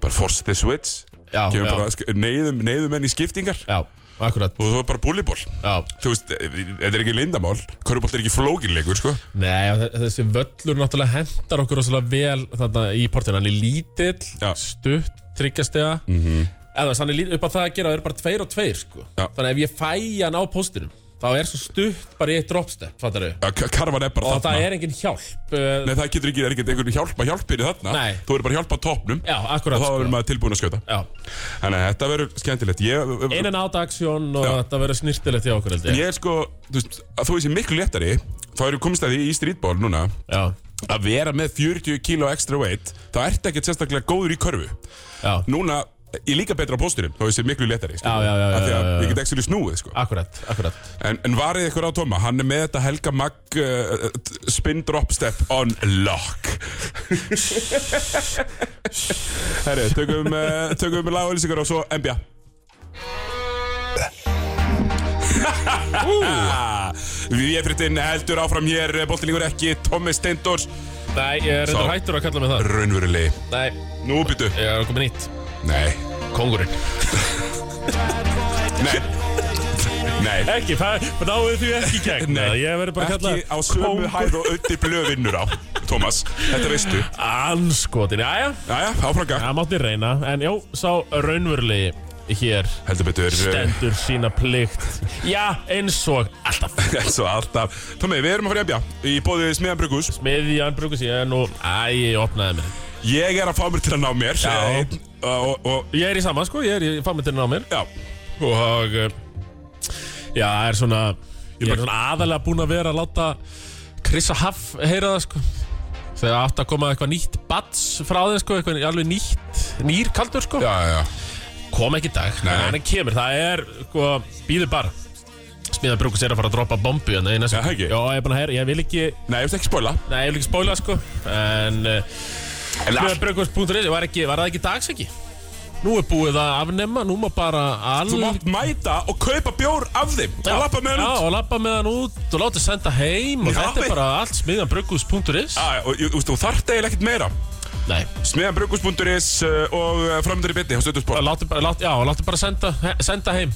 Speaker 1: Bara force the switch
Speaker 2: Já,
Speaker 1: Gefum
Speaker 2: já.
Speaker 1: bara, sk- neyðum, neyðum enn í skiptingar
Speaker 2: Já, akkurat
Speaker 1: Og þú er bara bullyból
Speaker 2: já.
Speaker 1: Þú veist, eh, þetta er ekki lindamál Körbólt er ekki flókinleikur sko
Speaker 2: Nei, og þe- þessi völlur náttúrulega hendar okkur rosalega vel þarna í portinu Hann er lítill,
Speaker 1: Já. Mhm.
Speaker 2: stutt, tryggjastega mm -hmm. Eða þannig upp á það að gera, það eru bara tveir og tveir sko.
Speaker 1: Já.
Speaker 2: Þannig ef ég fæ hann á póstinum þá er svo stutt bara í eitt dropstep, fattar
Speaker 1: Já, k- karfan er bara
Speaker 2: Og það
Speaker 1: þarna.
Speaker 2: er enginn hjálp uh,
Speaker 1: Nei, það getur ekki, er ekki einhvern hjálpa hjálpir í þarna.
Speaker 2: Nei.
Speaker 1: Þú verður bara að hjálpa topnum.
Speaker 2: Já,
Speaker 1: Og
Speaker 2: akkurat
Speaker 1: þá verður
Speaker 2: sko.
Speaker 1: maður tilbúin að skjóta.
Speaker 2: Já,
Speaker 1: Þannig að þetta verður skemmtilegt. Ég,
Speaker 2: inn en át aksjón og
Speaker 1: Já.
Speaker 2: þetta verður snirtilegt hjá okkur held ég
Speaker 1: ég er sko, þú veist, að þú veist ég miklu léttari, þá erum komist að því í streetball núna,
Speaker 2: Já,
Speaker 1: að vera með 40 kilo extra weight, þá ertu ekkert sérstaklega góður í körfu.
Speaker 2: já,
Speaker 1: Núna, ég er líka betra á pósturum, þá veist ég miklu léttari, sko.
Speaker 2: Já, já, já,
Speaker 1: Af því
Speaker 2: já,
Speaker 1: að
Speaker 2: já, já.
Speaker 1: ég get ekki snúið, sko.
Speaker 2: akkurat, akkurat
Speaker 1: En, en varið ykkur á Tóma, hann er með þetta Helga Mag uh, spin drop step on lock. Herri, tökum, uh, tökum lag og lýsingar og svo NBA. Við fréttin heldur áfram hér, boltin líkur ekki, Tómi Steindors,
Speaker 2: Nei, ég er
Speaker 1: Sá.
Speaker 2: reyndar hættur að kalla mig það
Speaker 1: raunverulegi.
Speaker 2: Nei,
Speaker 1: Nú byttu.
Speaker 2: ég er komið nýtt
Speaker 1: Nei,
Speaker 2: Kongurinn
Speaker 1: nei, nei.
Speaker 2: Ekki, það náðu því ekki í gegn
Speaker 1: Nei,
Speaker 2: Ég verður bara að kalla
Speaker 1: ekki á sömu hæð og ötti blöðvinnur á, Tómas, þetta veistu.
Speaker 2: Anskotin, jæja
Speaker 1: Jæja, áfram gang.
Speaker 2: Það mátti reyna, en já, sá raunverulegi hér
Speaker 1: Heldur betur eh,
Speaker 2: stendur sína plikt Já, eins og alltaf
Speaker 1: eins og alltaf Tómi, við erum að fara í ebja Í bóðið smiðan brukus
Speaker 2: Með í anbrukus, ég er nú Æ, ég opnaði mér
Speaker 1: Ég er að fá mér til að ná mér
Speaker 2: Já.
Speaker 1: Einn, og, og, og,
Speaker 2: Ég er í saman, sko, ég er í fammitinn á mér
Speaker 1: Já,
Speaker 2: Og eh, Já, það er svona Ég er svona aðalega búinn að vera að láta Krissa Haff heyra það, sko Þegar átt að koma eitthvað nýtt bats frá þeim, sko Eitthvað alveg nýtt, nýr kaldur, sko
Speaker 1: já, já, já
Speaker 2: kom ekki í dag
Speaker 1: Nei.
Speaker 2: en hann kemur, það er sko, býður bara Smíðan Brúkus er að fara að droppa bombu hérna í næstu
Speaker 1: Já, ekki?
Speaker 2: Já, ég er búin að heyra, ég vil ekki
Speaker 1: Nei, ég veist ekki spóla
Speaker 2: Nei, ég vil ekki spóla sko En uh,
Speaker 1: En allt,
Speaker 2: Smíðanbrúkus.is var, ekki- var það ekki dagsviki Nú er búið að afnema, nú má bara all...
Speaker 1: þú mátt mæta og kaupa bjór af þeim Og lappa með hann
Speaker 2: Já,
Speaker 1: út
Speaker 2: og lappa með hann út og láta senda heim og
Speaker 1: Já,
Speaker 2: þetta
Speaker 1: við-
Speaker 2: er bara allt smiðanbrugghús.is
Speaker 1: Já, já, og þú veist, þú þarft eiginlega ekkert meira
Speaker 2: Nei,
Speaker 1: Smiðan brukus.is uh, og framöndar í bytni á
Speaker 2: og
Speaker 1: stöðusport
Speaker 2: láta bara, láta, já, og láta bara senda, he, senda heim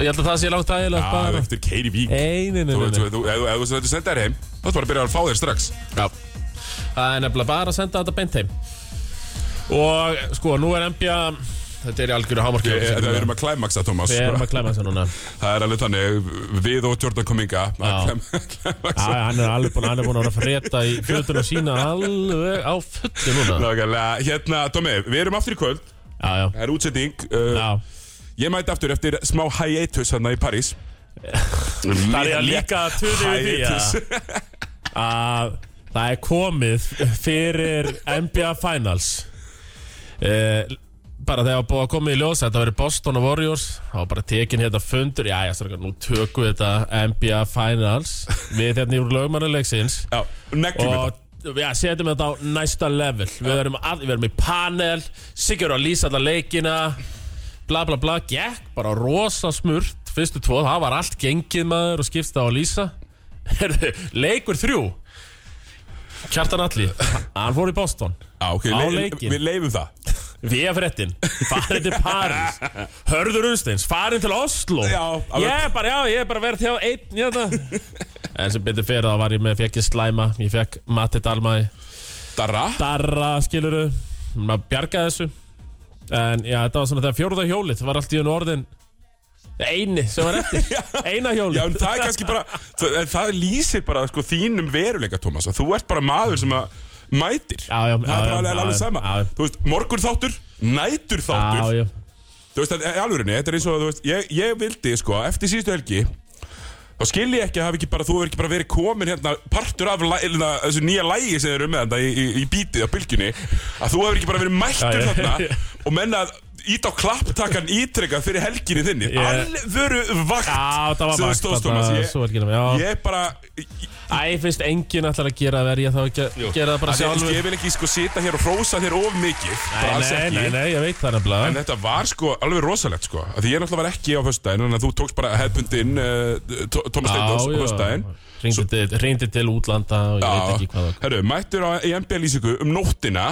Speaker 2: Ég held að það sé langt aðeins
Speaker 1: Já,
Speaker 2: bara
Speaker 1: eftir Keiri Vík
Speaker 2: Einu,
Speaker 1: Þú veist, þú- þú- ef þú- ef þú þetta sendar heim Þá ertu bara að byrja að fá þér strax
Speaker 2: Já Það er nefnilega bara að senda þetta beint heim Og sko, nú er NBA Þetta er í algjöru hámarki
Speaker 1: Ég- Við erum að klæmaksa, Tómas
Speaker 2: Við erum að klemma þessu núna
Speaker 1: Það er alveg þannig Við og Jordan Kominga að klæma-
Speaker 2: Já,
Speaker 1: klæmaksa
Speaker 2: hann er alveg búin, hann er búin að vera að frétta í fjöldunum sína alveg á fullu núna
Speaker 1: Nákvæmlega, hérna, Tómi, við erum aftur í kvöld
Speaker 2: Já, já,
Speaker 1: Það er útsetning uh,
Speaker 2: já
Speaker 1: Ég mæti aftur eftir smá hiatus hérna í París
Speaker 2: Það er ég líka að tuða yfir því að-
Speaker 1: Hiatus
Speaker 2: að það er komið fyrir NBA Finals eh, bara þegar búið að koma í ljós þetta verið Boston og Warriors þá var bara tekin hérna fundur já, já, strákar, nú tökum við þetta NBA Finals við hérna í lögmannuleiksins
Speaker 1: Já, neglum
Speaker 2: og
Speaker 1: þetta
Speaker 2: Já, setjum þetta á næsta level Við erum, að, við erum í panel Sigur að lýsa alla leikina Bla bla bla, gekk bara rosa smurt Fyrstu tvo, það var allt gengið maður Og skipst það á að lýsa Heyrðu, Leikur þrjú Kjartan Alli, hann fór í Boston
Speaker 1: Já, ok,
Speaker 2: Á
Speaker 1: leið,
Speaker 2: leikinn.
Speaker 1: við leifum það
Speaker 2: Vía fréttin, farin til París Hörður Unsteins, farin til Oslo
Speaker 1: Já, alveg.
Speaker 2: Ég er bara, já, ég er bara verið hjá einn hérna. En sem betur fyrir það var ég með Fekk ég slæma, ég fekk Matti Dalmæði
Speaker 1: Darra
Speaker 2: darra, skiluru maður bjargaði þessu en já, þetta var svona þegar fjórða hjólið var allt í unn orðin eini sem var eftir, eina hjólið
Speaker 1: Já, en það er kannski bara Það, en það lýsir bara sko, þínum veruleika, Tómas að Þú ert bara maður sem að mætir
Speaker 2: Já, já,
Speaker 1: Það er
Speaker 2: já,
Speaker 1: bara alveg
Speaker 2: já,
Speaker 1: alveg
Speaker 2: já,
Speaker 1: sama
Speaker 2: já.
Speaker 1: Þú veist, morgun þáttur, nætur þáttur
Speaker 2: já, já,
Speaker 1: Þú veist, í alvörinni, þetta er eins og, þú veist, ég, ég vildi, sko, eftir síðustu helgi þá skil ég ekki að hafi ekki bara, þú hefur ekki bara verið komin hérna partur af la- hérna, þessu nýja lægi sem þeir eru með þetta í, í, í bítið á bylgjunni að þú hefur ekki bara verið mættur
Speaker 2: Já, ég-
Speaker 1: þarna og menna að ít á klapptakan ítrekka fyrir helginni þinni
Speaker 2: Ég-
Speaker 1: alvöru vakt
Speaker 2: Já, það var
Speaker 1: sem þú
Speaker 2: vakt
Speaker 1: stóðst
Speaker 2: þarna,
Speaker 1: Thomas, ég-
Speaker 2: svo vel gerum, já.
Speaker 1: ég bara
Speaker 2: Æ, finnst enginn ætlar að gera það er ég þá ekki að gera það bara
Speaker 1: að ég,
Speaker 2: sjálfur
Speaker 1: ég vil ekki sko sita hér og rósa þér of mikið bara
Speaker 2: Nei,
Speaker 1: alls
Speaker 2: nei,
Speaker 1: ekki.
Speaker 2: nei, nei, ég veit það
Speaker 1: En
Speaker 2: nefnilega
Speaker 1: þetta var sko alveg rosalegt sko af Því ég náttúrulega var ekki á föstudaginn Þannig að þú tókst bara hefbundinn uh, Thomas Steindors á föstudaginn
Speaker 2: Hringdi til- hringdi til útlanda og ég veit
Speaker 1: Já,
Speaker 2: ekki hvað það
Speaker 1: herru, mættur á í NBA lýsingu um nóttina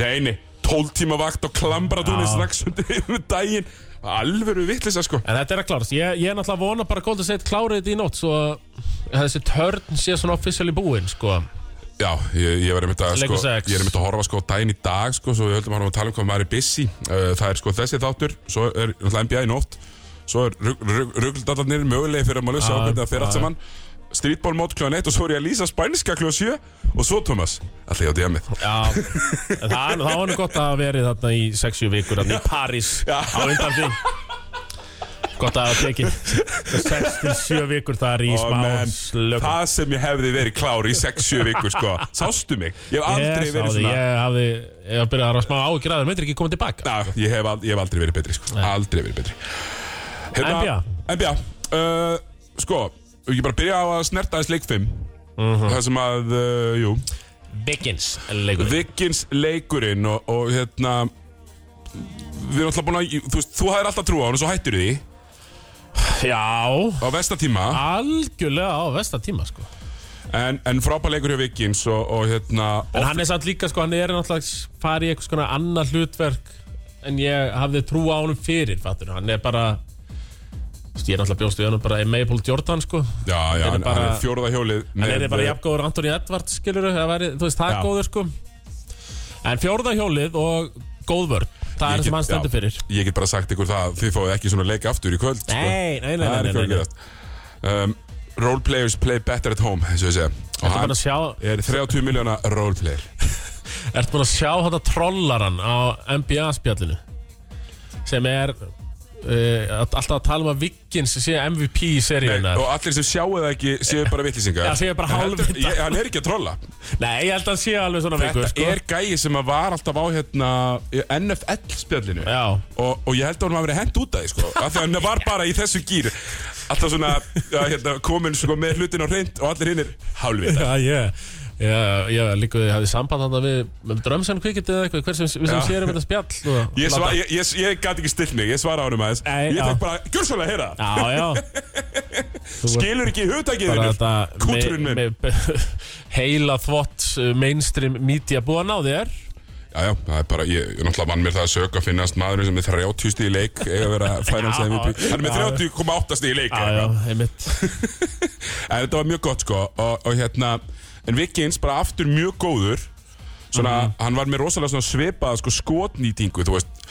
Speaker 1: Nei, nei, 12 tíma vakt og klambratúni
Speaker 2: Já.
Speaker 1: strax undir um daginn Alvöru vitlisa sko
Speaker 2: En þetta er að klárast, ég, ég er náttúrulega vona bara að Golden State klárið þetta í nótt Svo að þessi törn sé svona officially búinn, sko
Speaker 1: Já, ég, ég var einmitt að sko,
Speaker 2: Leikur sex.
Speaker 1: Ég er einmitt að horfa sko á daginn í dag sko Svo við höldum að horfa að tala um hvað maður er busy uh, Það er sko þessi þáttur Svo er náttúrulega NBA í nótt svo er ruggldallarnir mögulegi fyrir að maður sjá
Speaker 2: Já,
Speaker 1: hvernig það fer allt
Speaker 2: já.
Speaker 1: saman streetballmót kljóðan 1 og svo er ég að lýsa spænska kljóðan 7 og svo Thomas, allir á DM-ið
Speaker 2: Já, en það, er nú- það var nú gott að hafa verið þarna í 60 vikur þarna í París á undan því Gott að hafa tekið 6-7 vikur þar í
Speaker 1: Ó,
Speaker 2: smá
Speaker 1: menn,
Speaker 2: slökum
Speaker 1: Það sem ég hefði verið klár í 6-7 vikur sko Sástu mig, ég hef aldrei
Speaker 2: Ég sá
Speaker 1: verið
Speaker 2: því,
Speaker 1: svona
Speaker 2: Ég hafði, ég hafði byrjað að hafa smá ágjur að það myndir ekki koma tilbaka
Speaker 1: Já, ég hef, ald- ég hef aldrei verið betri sko. Aldrei verið betri Hérna,
Speaker 2: NBA.
Speaker 1: NBA uh, Sko, ég bara byrja á að snerta þess leik 5
Speaker 2: Mhm.
Speaker 1: Það sem að, uh, jú
Speaker 2: Begins leikur
Speaker 1: Vikins leikurinn og, og hérna Við erum alltaf búin að Þú, veist, þú hafðir alltaf trú á hann og svo hættir því
Speaker 2: Já,
Speaker 1: Á vestatíma
Speaker 2: Ah. algjörlega á vestatíma sko
Speaker 1: En, en frábær leikur hjá Vikins og, og hérna
Speaker 2: En hann er samt líka sko, hann er náttúrulega farið í eitthvað svona annað hlutverk en ég hafði trú á honum fyrir, fattur hann er bara þú veist, ég er náttúrulega bjóst við hann bara Maple Jordan sko
Speaker 1: Já, já,
Speaker 2: er
Speaker 1: hann,
Speaker 2: bara-
Speaker 1: hann er fjórða hjólið
Speaker 2: hann
Speaker 1: með- eh,
Speaker 2: er bara jafngóður Anthony Edwards skilur væri, þú veist, það
Speaker 1: Já.
Speaker 2: er góður sko en fjórða hjólið og góð vörn,
Speaker 1: Ég
Speaker 2: það er það
Speaker 1: get-
Speaker 2: sem hann stendur
Speaker 1: já,
Speaker 2: fyrir sko.
Speaker 1: Ég get bara sagt ykkur það Þið fáið ekki svona leik aftur í kvöld sko.
Speaker 2: Nei, nei, nei,
Speaker 1: Það er
Speaker 2: nei,
Speaker 1: ekki
Speaker 2: nei,
Speaker 1: að gerast um, Role players play better at home eins og ég segja Og
Speaker 2: Ertu búin
Speaker 1: hann
Speaker 2: að sjá,
Speaker 1: er 30 miljóna role player
Speaker 2: ertu búin að sjá þetta trollaran á NBA spjallinu sem er uh, alltaf að tala um að Vikins sé MVP í seríunar
Speaker 1: Og allir sem sjáu það ekki séu bara vitlisingar
Speaker 2: Já, séu bara hálfvitar.
Speaker 1: Hann er ekki að trolla
Speaker 2: Nei, ég held að hann sé alveg svona veikur
Speaker 1: Þetta
Speaker 2: sko.
Speaker 1: er gæi sem að var alltaf á hérna í NFL spjallinu
Speaker 2: Já.
Speaker 1: og, og ég held að hann hafi verið hent út af því sko Af því að hann var bara í þessu gýr Alltaf svona að, hérna, komin sko, með hlutin á reynd og allir hinn er hálfvita
Speaker 2: Já, ég Já, já, líka við hafði samband hann við með drömsan kvikið eða eitthvað, hver sem, við sem
Speaker 1: Já.
Speaker 2: sérum þetta spjall og,
Speaker 1: Ég, sva, ég, ég, ég gæti ekki stilt mig, ég svara á hann um aðeins
Speaker 2: Nei,
Speaker 1: Ég
Speaker 2: já.
Speaker 1: tek bara, gjör svolítið að heyra það
Speaker 2: Já, já,
Speaker 1: Skilur ekki hugtækið
Speaker 2: bara
Speaker 1: þinnur
Speaker 2: þetta
Speaker 1: Kúturinn
Speaker 2: me-
Speaker 1: minn
Speaker 2: me- be- Heila þvott uh, mainstream media búið að ná þér
Speaker 1: Já, já, það er bara, ég, ég náttúrulega vann mér það að sög að finnast maðurinn sem er 30 stíð í leik eiga að vera finals
Speaker 2: Já.
Speaker 1: MVP Hann er með
Speaker 2: Já.
Speaker 1: 30,8 stíð í leik
Speaker 2: Já,
Speaker 1: eða
Speaker 2: já,
Speaker 1: eitthvað.
Speaker 2: einmitt
Speaker 1: En þetta var mjög gott sko og, og hérna, en Vikins bara aftur mjög góður Svona,
Speaker 2: Mhm.
Speaker 1: hann var með rosalega svona svipað sko skotnýtingu, þú veist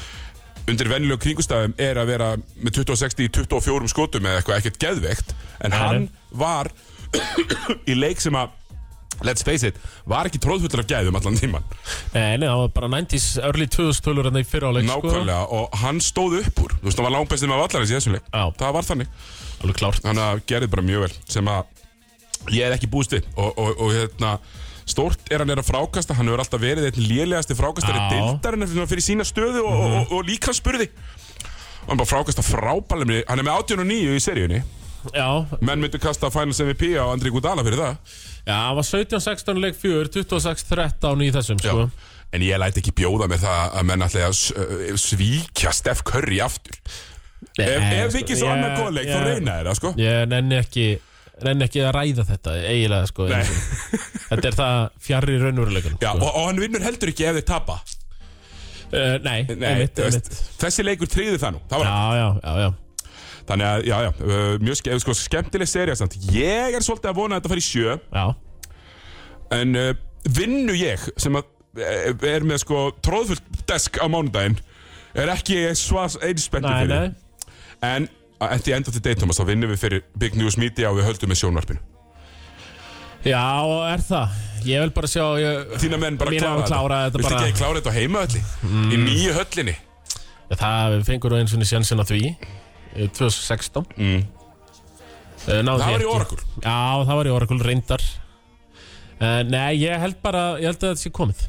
Speaker 1: undir venjulegum kringustafum er að vera með 2060 í 24 skotum eða eitthvað ekkert geðveikt en
Speaker 2: Nei,
Speaker 1: hann var í leik sem að let's face it, var ekki tróðfullur af gæðum allan tíman,
Speaker 2: Nei, nei, það var bara 90s, early 2000 tölur hann í sko. fyrráleik
Speaker 1: nákvæmlega og hann stóð upp úr, þú veist, hann var langbæstum af allarins í þessum leik,
Speaker 2: Já.
Speaker 1: það var þannig
Speaker 2: sko. Alveg klárt
Speaker 1: hann uh, gerði bara mjög vel sem að ég er ekki búist við og, og, og hérna Stort er hann er að frákasta, hann hefur alltaf verið einn lélegasti frákastari
Speaker 2: Já. Mhm.
Speaker 1: deildarinn fyrir fyrir sína stöðu og, og, og, og líka spurði. Hann bara frákasta frábælemni, hann er með 18 og 9 í seríunni.
Speaker 2: Já,
Speaker 1: Menn myndu kasta Finals MVP á Andri Gudala fyrir það.
Speaker 2: já, það var 17-16 leik 4, 26-13 í þessum sko.
Speaker 1: En ég læti ekki bjóða mér það að menn ætli að s- ö, svíkja Steff Curry aftur. Ef, ef
Speaker 2: sko,
Speaker 1: ekki svo
Speaker 2: ég-
Speaker 1: annar góðleik,
Speaker 2: ég-
Speaker 1: þá reyna þeir það, sko.
Speaker 2: Ég nenni ekki nenni ekki að ræða þetta eiginlega sko einu
Speaker 1: Nei.
Speaker 2: sinni. Þetta er það fjarrir raunveruleikunum
Speaker 1: Já,
Speaker 2: sko.
Speaker 1: og, og hann vinnur heldur ekki ef þeir tapa.
Speaker 2: uh, Nei,
Speaker 1: Nei,
Speaker 2: nei einmitt,
Speaker 1: þú veist,
Speaker 2: einmitt
Speaker 1: þessi leikur tríði það nú. Það var
Speaker 2: Já, já, já, já
Speaker 1: Þannig að, já, já, uh, mjög ske, sko, skemmtileg serið samt. Ég er svolítið að vona að þetta fari í sjö,
Speaker 2: Já,
Speaker 1: en uh, vinnu ég, sem að, eh, er með sko tróðfullt desk á mánudaginn, er ekki svas einspenntur
Speaker 2: nei,
Speaker 1: fyrir.
Speaker 2: nei
Speaker 1: En at the end of the day, Thomas, þá vinnum við fyrir Big News Media og við höldum með sjónvarpinu.
Speaker 2: Já, og er það Ég vil bara sjá ég,
Speaker 1: Þína menn bara
Speaker 2: Mína menn klára þetta
Speaker 1: Viltu
Speaker 2: bara. Mm.
Speaker 1: ekki að ég klára þetta á heimaölli? Í nýju höllinni?
Speaker 2: Það við fengur eins og niður sjansinn að því eh, 2016
Speaker 1: Mm.
Speaker 2: Eh, náðu
Speaker 1: Það
Speaker 2: því
Speaker 1: var í
Speaker 2: ekki.
Speaker 1: Oracle.
Speaker 2: Já, það var í Oracle reyndar uh, Nei, ég held bara Ég held að þetta sé komið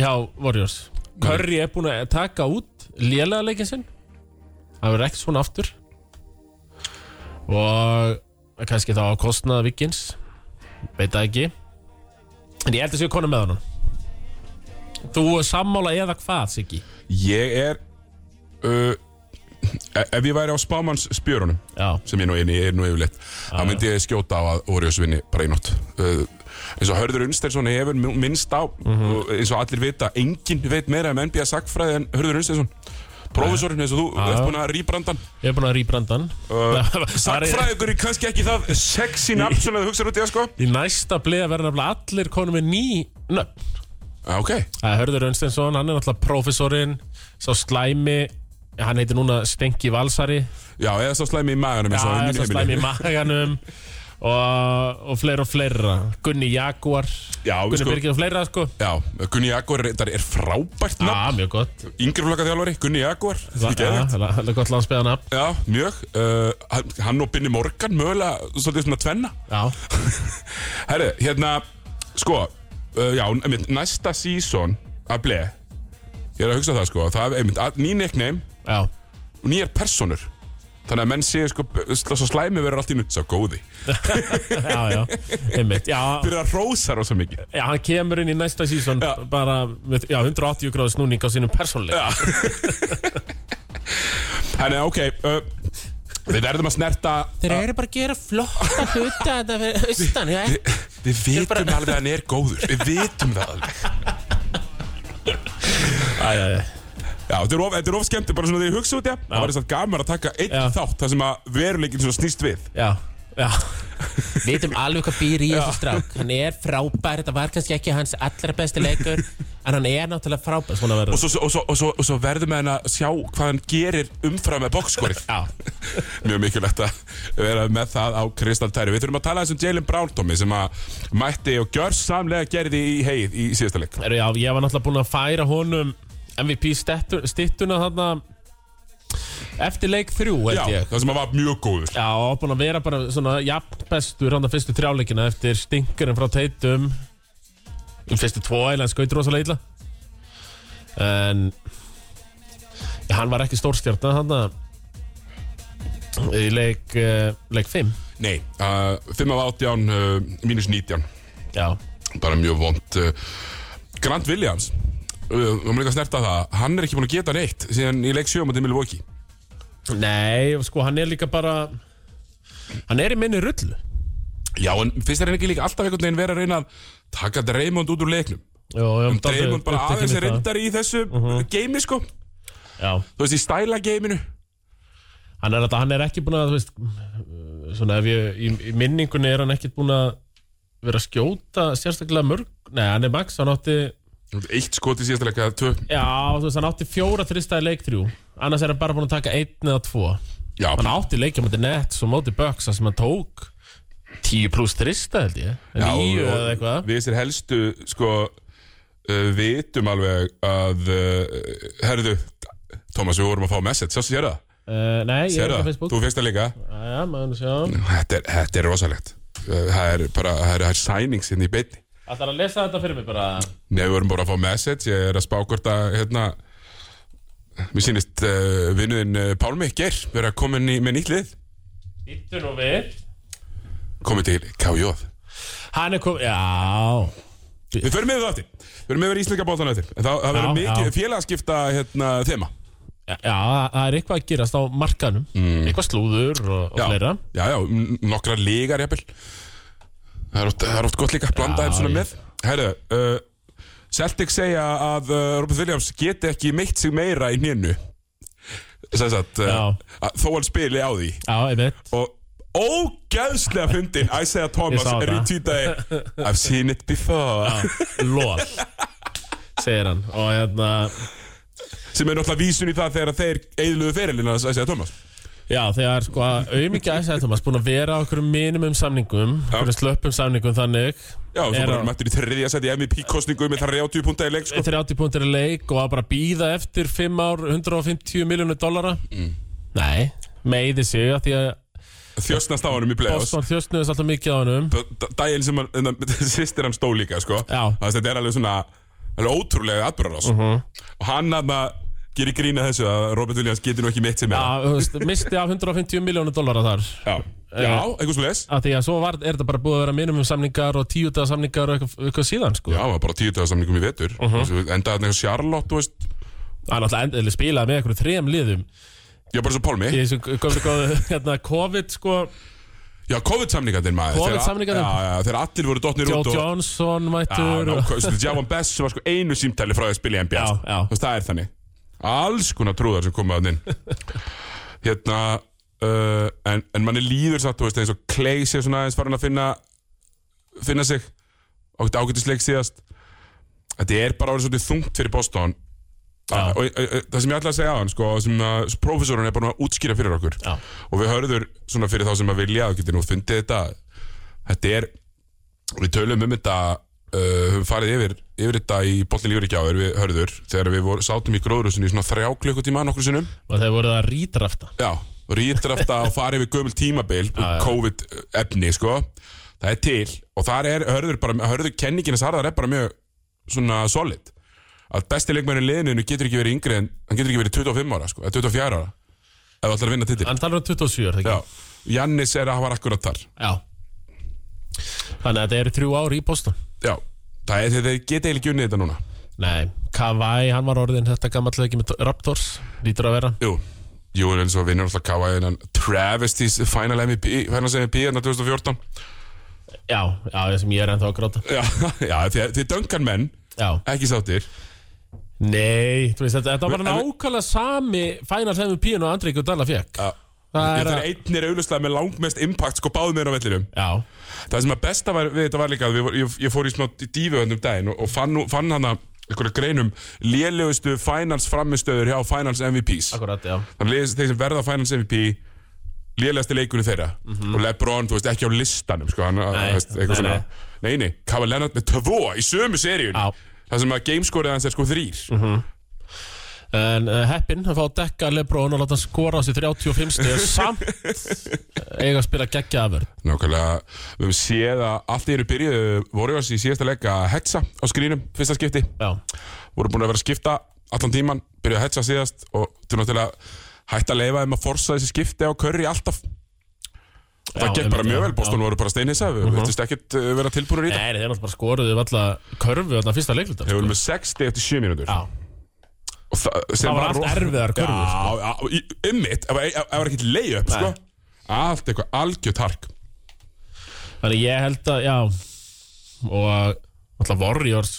Speaker 2: Já, Warriors
Speaker 1: Mm.
Speaker 2: Curry er búin að taka út lélega leikinn sinn Það verður ekki svona aftur Og kannski þá að kostnaða vikins Veit það ekki En ég held að sé konum með honum Þú er sammála eða hvað, Siggi?
Speaker 1: Ég er, uh, e- ef ég væri á spámanns spjörunum,
Speaker 2: Já,
Speaker 1: sem ég nú eini, ég er nú yfirleitt
Speaker 2: Ah.
Speaker 1: þá myndi ég skjóta á að Óriós vinni bara í nótt uh, eins og Hörður Unsteinsson hefur mu- minnst á
Speaker 2: Mhm.
Speaker 1: og eins og allir vita, enginn veit meira um NBA sagfræði en Hörður Unsteinsson Prófessorinn eins og þú,
Speaker 2: Ah.
Speaker 1: ert búinn að rýbrandan
Speaker 2: ég er búin að rýbrandan
Speaker 1: uh, Sagfræðingur er kannski ekki það sexy nafn sem þú hugsaður út í það sko
Speaker 2: Í næsta bleið verður nefnilega allir konum með ný nöfn
Speaker 1: Já, Ah, Ok,
Speaker 2: Það er Hörður Önstensson, hann er náttúrulega prófessorinn, sá slæmi hann heitir núna Stengi Valsari
Speaker 1: Já, eða svo slæmi í maganum eins og í
Speaker 2: Já,
Speaker 1: mínu
Speaker 2: svo slæmi í
Speaker 1: heimili.
Speaker 2: maganum og, og fleira og fleira Gunni Jaguar
Speaker 1: Já,
Speaker 2: Gunni
Speaker 1: sko,
Speaker 2: Birgir og fleira sko
Speaker 1: já, Gunni Jaguar er, er frábært nafn
Speaker 2: Já, mjög gott
Speaker 1: Yngri flokka þjálfari, Gunni Jaguar
Speaker 2: Það
Speaker 1: Ekki eða?
Speaker 2: er gott landsbyðanab
Speaker 1: Já, mjög uh, hann- Hann og Binni Morgan mögulega svolítið svona tvenna
Speaker 2: Já,
Speaker 1: Herru, hérna, sko uh, Já, einmitt, næsta sísón að ble Ég er að hugsa það sko Það er einmitt, að- ný nickname
Speaker 2: já,
Speaker 1: og nýjar personur Þannig að menn séu sko, svo slæmi verður allt í nutt Sá góði,
Speaker 2: já, já Einmitt, já,
Speaker 1: byrjar að rósa rosa mikið
Speaker 2: já, hann kemur inn í næsta sísón
Speaker 1: Já.
Speaker 2: bara, með, já, 180 gráð snúning á sínum persónleik Já,
Speaker 1: Þannig að ok uh, Við verðum að snerta
Speaker 3: Þeir eru bara að gera flotta hluta þetta fyrir austan, já.
Speaker 1: Við vitum alveg að hann er góður Við vitum það alveg
Speaker 2: já, já,
Speaker 1: Já, þetta er of, þetta er of skemmt bara svona því ég hugsa út í það Það var þess að gaman að taka einn
Speaker 2: Já.
Speaker 1: þátt þar sem að veruleikin svona snýst við
Speaker 2: já, já.
Speaker 3: Við veitum alveg hvað býr í þessu strák. Hann er frábær, þetta var kannski ekki hans allra besti leikur, en hann er náttúrulega frábær.
Speaker 2: Svona
Speaker 1: Og
Speaker 2: verður
Speaker 1: svo, og, svo, og, svo, og svo verðum við hann að sjá hvað hann gerir umfram með boxskorið
Speaker 2: Já,
Speaker 1: Mjög mikilvægt að vera með það á kristaltæri Við þurfum að tala þessum Jalen Brown, Tommy sem að mætti og gjör samlega gerði í heið í síðasta leik
Speaker 2: Eru, já, ég var náttúrulega búinn að færa honum MVP stettu- styttuna þarna eftir leik þrjú,
Speaker 1: Já,
Speaker 2: held ég
Speaker 1: það sem að var mjög góður
Speaker 2: Já, og búinn að vera bara svona jafn bestur hann að fyrstu trjáleikina eftir stinkurinn frá teitum um fyrstu tvo eða hann skautur rosalega illa en já, hann var ekki stórstjarta hann að í leik, uh, leik 5
Speaker 1: Nei, uh, 5 af 18, uh, mínus 19
Speaker 2: Já,
Speaker 1: Bara mjög vond uh, Grant Williams Við uh, erum líka að snerta það Hann er ekki búin að geta neitt Síðan í leik 7 mútið Milwaukee
Speaker 2: nei, sko hann er líka bara hann er í minni rullu
Speaker 1: Já, en finnst þér hann ekki líka alltaf einhvern veginn vera að reyna að taka Draymond út úr leiknum
Speaker 2: Jó, ég var dálítið
Speaker 1: Draymond bara
Speaker 2: upptekinn
Speaker 1: aðeins
Speaker 2: í
Speaker 1: er
Speaker 2: það. Mhm.
Speaker 1: reyndar í þessu geimi sko Þú
Speaker 2: Já,
Speaker 1: veist, í stæla geiminu
Speaker 2: hann er, alltaf- hann er ekki búin að þú veist, svona ef ég í, í minningunni er hann ekki búin að vera að skjóta sérstaklega mörg nei, hann er max, hann átti já,
Speaker 1: Eitt skot í síðasta leik eða tvö
Speaker 2: þú veist, hann átti fjóra þristæði leik þrjú annars er hann bara búin að taka einn eða tvo
Speaker 1: Já,
Speaker 2: hann átti leikja mútið nett og mótið böksa sem hann tók 10 pluss þrista held ég
Speaker 1: já,
Speaker 2: nýju
Speaker 1: og-
Speaker 2: eða eitthvað
Speaker 1: Við sér helstu sko uh, vitum alveg að uh, herðu Thomas, við vorum að fá message, sástu sér það?
Speaker 2: uh, nei, ég er
Speaker 1: Sér
Speaker 2: ekki á
Speaker 1: það?
Speaker 2: Facebook
Speaker 1: Þú fyrst það líka?
Speaker 2: já, maður sjá
Speaker 1: Þetta er, þetta er rosalegt Uh, Það er bara, það er, það er sænings inn í beinni
Speaker 2: ætlar að lesa þetta fyrir mig bara
Speaker 1: Nei, við vorum bara að fá message Ég er að spá hvort að, hérna Mér sýnist uh, vinnuðin uh, Pálmi Geir Verið að koma inn í, með nýtt lið
Speaker 2: Íttu nú við
Speaker 1: Komið til KJ
Speaker 2: Hann er kom, já
Speaker 1: Við förum með það eftir Við förum með verið íslenska bóttan eftir En Það, það verður
Speaker 2: Já,
Speaker 1: mikið
Speaker 2: já.
Speaker 1: félagaskipta hérna, þema
Speaker 2: Já, já, það er eitthvað að gerast á markanum Eitthvað slúður og,
Speaker 1: Mm.
Speaker 2: og
Speaker 1: Já,
Speaker 2: fleira
Speaker 1: já, já m- nokkrar lígar jafnvel Það er oft, það er oft gott líka að blanda
Speaker 2: Já,
Speaker 1: þeim svona
Speaker 2: ég-
Speaker 1: með Herru, uh, Celtic segja að uh, Robert Williams geti ekki meitt sig meira í nénu Sæs að, uh,
Speaker 2: Já.
Speaker 1: að þó hann spili á því
Speaker 2: Já, ég veit
Speaker 1: og ógæðslega fyndin Isaiah Thomas
Speaker 2: sá það.
Speaker 1: retweetaði I've seen it before
Speaker 2: Lól Segir hann Og hérna
Speaker 1: sem er náttúrulega vísun í það þegar þeir eðluðu ferilinn að Isaiah Thomas
Speaker 2: Já, þegar sko auðmikið æsæði Thomas búin að vera á okkur minimum samningum Okkur slöppum samningum þannig
Speaker 1: Já, og svo
Speaker 2: Er
Speaker 1: bara
Speaker 2: hann-
Speaker 1: mættur í þriðja seti MVP-kostningu með það 30 punta í leik sko.
Speaker 2: 30 púntir í leik og að bara býða eftir 5 ár 150 miljónu dollara
Speaker 1: Mm.
Speaker 2: Nei, meiði sig að því að
Speaker 1: Þjóstnast á honum í play-offs
Speaker 2: Boston þjóstnuðist alltaf mikið á hennum
Speaker 1: D- Daginn sem hann, sýstir hann stó líka sko.
Speaker 2: Já. Mhm.
Speaker 1: Þannig að þetta er alveg svona alveg ótrúlega atbyrðar Og hann aðna gerir grína þessu að Robert Williams getur nú ekki mitt sem er
Speaker 2: Já, þú veist, misti af 150 miljónu dollara þar
Speaker 1: Já,
Speaker 2: Eh.
Speaker 1: Já eitthvað svo les
Speaker 2: að því að svo var, er þetta bara búið að vera minimum samningar og tíu dagar samningar og eitthvað, eitthvað síðan sko.
Speaker 1: Já, það var bara tíu dagasamningum í vetur
Speaker 2: Mhm.
Speaker 1: uh -huh. Endaði hann eitthvað Charlotte, þú veist
Speaker 2: hann alltaf endilega spilaði með einhverjum þrejum liðum
Speaker 1: Já, bara svo Pálmi
Speaker 2: í þessum góðu góðu hérna, COVID sko,
Speaker 1: Já, COVID-samningarnir maður
Speaker 2: COVID-samningarnir.
Speaker 1: Þegar- Já, já, þegar allir voru dotnir
Speaker 2: Joe
Speaker 1: út og
Speaker 2: Johnson
Speaker 1: Já,
Speaker 2: mættur
Speaker 1: ná,
Speaker 2: og,
Speaker 1: hvað- sko, Javon Bess sem var sko einu símtæli frá því að spila í NBA
Speaker 2: Já,
Speaker 1: sko.
Speaker 2: já.
Speaker 1: Þú veist, Það er þannig Alls konar trúðar sem koma að inn Hérna uh, en, en manni líður satt, þú veist, eins og Clay sé svona aðeins farin að finna finna sig ágætt ágættisleik síðast Þetta er bara orðið svolítið þungt fyrir Boston Ah, og, og, og, það sem ég ætla að segja á hann sko, sem að prófessorinn er búin að útskýra fyrir okkur
Speaker 2: Já.
Speaker 1: og við hörður svona fyrir þá sem að vilja og getur nú fundið þetta þetta er, við tölum um þetta uh, höfum farið yfir, yfir þetta í boltin lífur ekki á þér, við hörður þegar við vor, sátum í gróðrúsinu í svona þrjá klukkutíma nokkur sinnum,
Speaker 2: og þeir voru það rítrafta
Speaker 1: já, rítrafta og farið við gömul tímabil, COVID efni sko, það er til og þar er hörður bara, hörður kenningina sarðar er bara mjög svona solid að besti leikmærin liðinu getur ekki verið yngri en hann getur ekki verið 25 ára sko, eða 24 ára ef þú ætlar að vinna titil
Speaker 2: hann talar um 27 er það
Speaker 1: Já,
Speaker 2: ekki?
Speaker 1: Jannis er að hafa akkurat þar
Speaker 2: Já. þannig að þetta eru þrjú ár í Boston
Speaker 1: Já, það er þeir geta eiginlega ekki unnið þetta núna
Speaker 2: nei, Kawhi, hann var orðin þetta gammal ekki með Raptors lítur að vera
Speaker 1: Jú, jú en eins og vinnur alltaf Kawhi innan Travestis final MVP final MVP hérna 2014
Speaker 2: já, já, það sem ég er ennþá að gráta
Speaker 1: Já, já þið, þið döngan menn
Speaker 2: já,
Speaker 1: ekki sáttir
Speaker 2: nei, þú veist þetta, þetta var
Speaker 1: En- en-
Speaker 2: nákvæmlega sami fænar sem við píun og Andri Gudala fekk
Speaker 1: Já,
Speaker 2: Það er
Speaker 1: þetta
Speaker 2: að-
Speaker 1: er einnir auðvitað með langmest impact sko báðum meira á vellinum
Speaker 2: já,
Speaker 1: Það sem að besta var, við þetta var líka að við, vor- ég, ég fór í smá dífu hann um daginn og, og fann, nú- fann hana einhverja greinum lélegustu finals framistöður hjá finals MVPs
Speaker 2: akkurat, já
Speaker 1: þannig að þeir sem verða finals MVP lélegasti leikunni þeirra og Lebron, þú veist, ekki á listanum sko, hann,
Speaker 2: Nei,
Speaker 1: þú veist, eitthvað
Speaker 2: nei,
Speaker 1: svona Nei, nei, Kava Leonard með tvo í sömu seríun
Speaker 2: Já. Mhm.
Speaker 1: það sem að gameskorið hans er sko þrýr
Speaker 2: En uh, heppin að fá að dekka Lebron og láta hann skora á sig 35 stig samt eiga að spila geggja afvörð
Speaker 1: Nákvæmlega, við höfum séð að allt í eru byrjuðu Warriors í síðasta leik að hetsa á skrínum, fyrsta skipti
Speaker 2: Já,
Speaker 1: voru búin að vera að skipta allan tíman byrjuðu að hetsa síðast og til náttúrulega hætt að leifa þeim að forsa þessi skipti á körri alltaf og það
Speaker 2: Já,
Speaker 1: gekk bara mjög
Speaker 2: einmitt, já, Mhm. Eh.
Speaker 1: vel, Boston voru bara steinhissa við veitist ekkert uh, vera tilbúinur í þetta
Speaker 2: Nei, þeir náttúrulega bara skoruðu alltaf körfu þarna fyrsta leiklutar
Speaker 1: Þeir voru með 60 eftir 7 mínútur
Speaker 2: Já,
Speaker 1: og það, sem
Speaker 2: það var allt sko.
Speaker 1: ro-
Speaker 2: erfiðar körfur
Speaker 1: Já, já, og í- einmitt, ef það var ekkert leið upp sko. allt eitthvað, algjört hark
Speaker 2: Þannig ég held að, já Og alltaf Warriors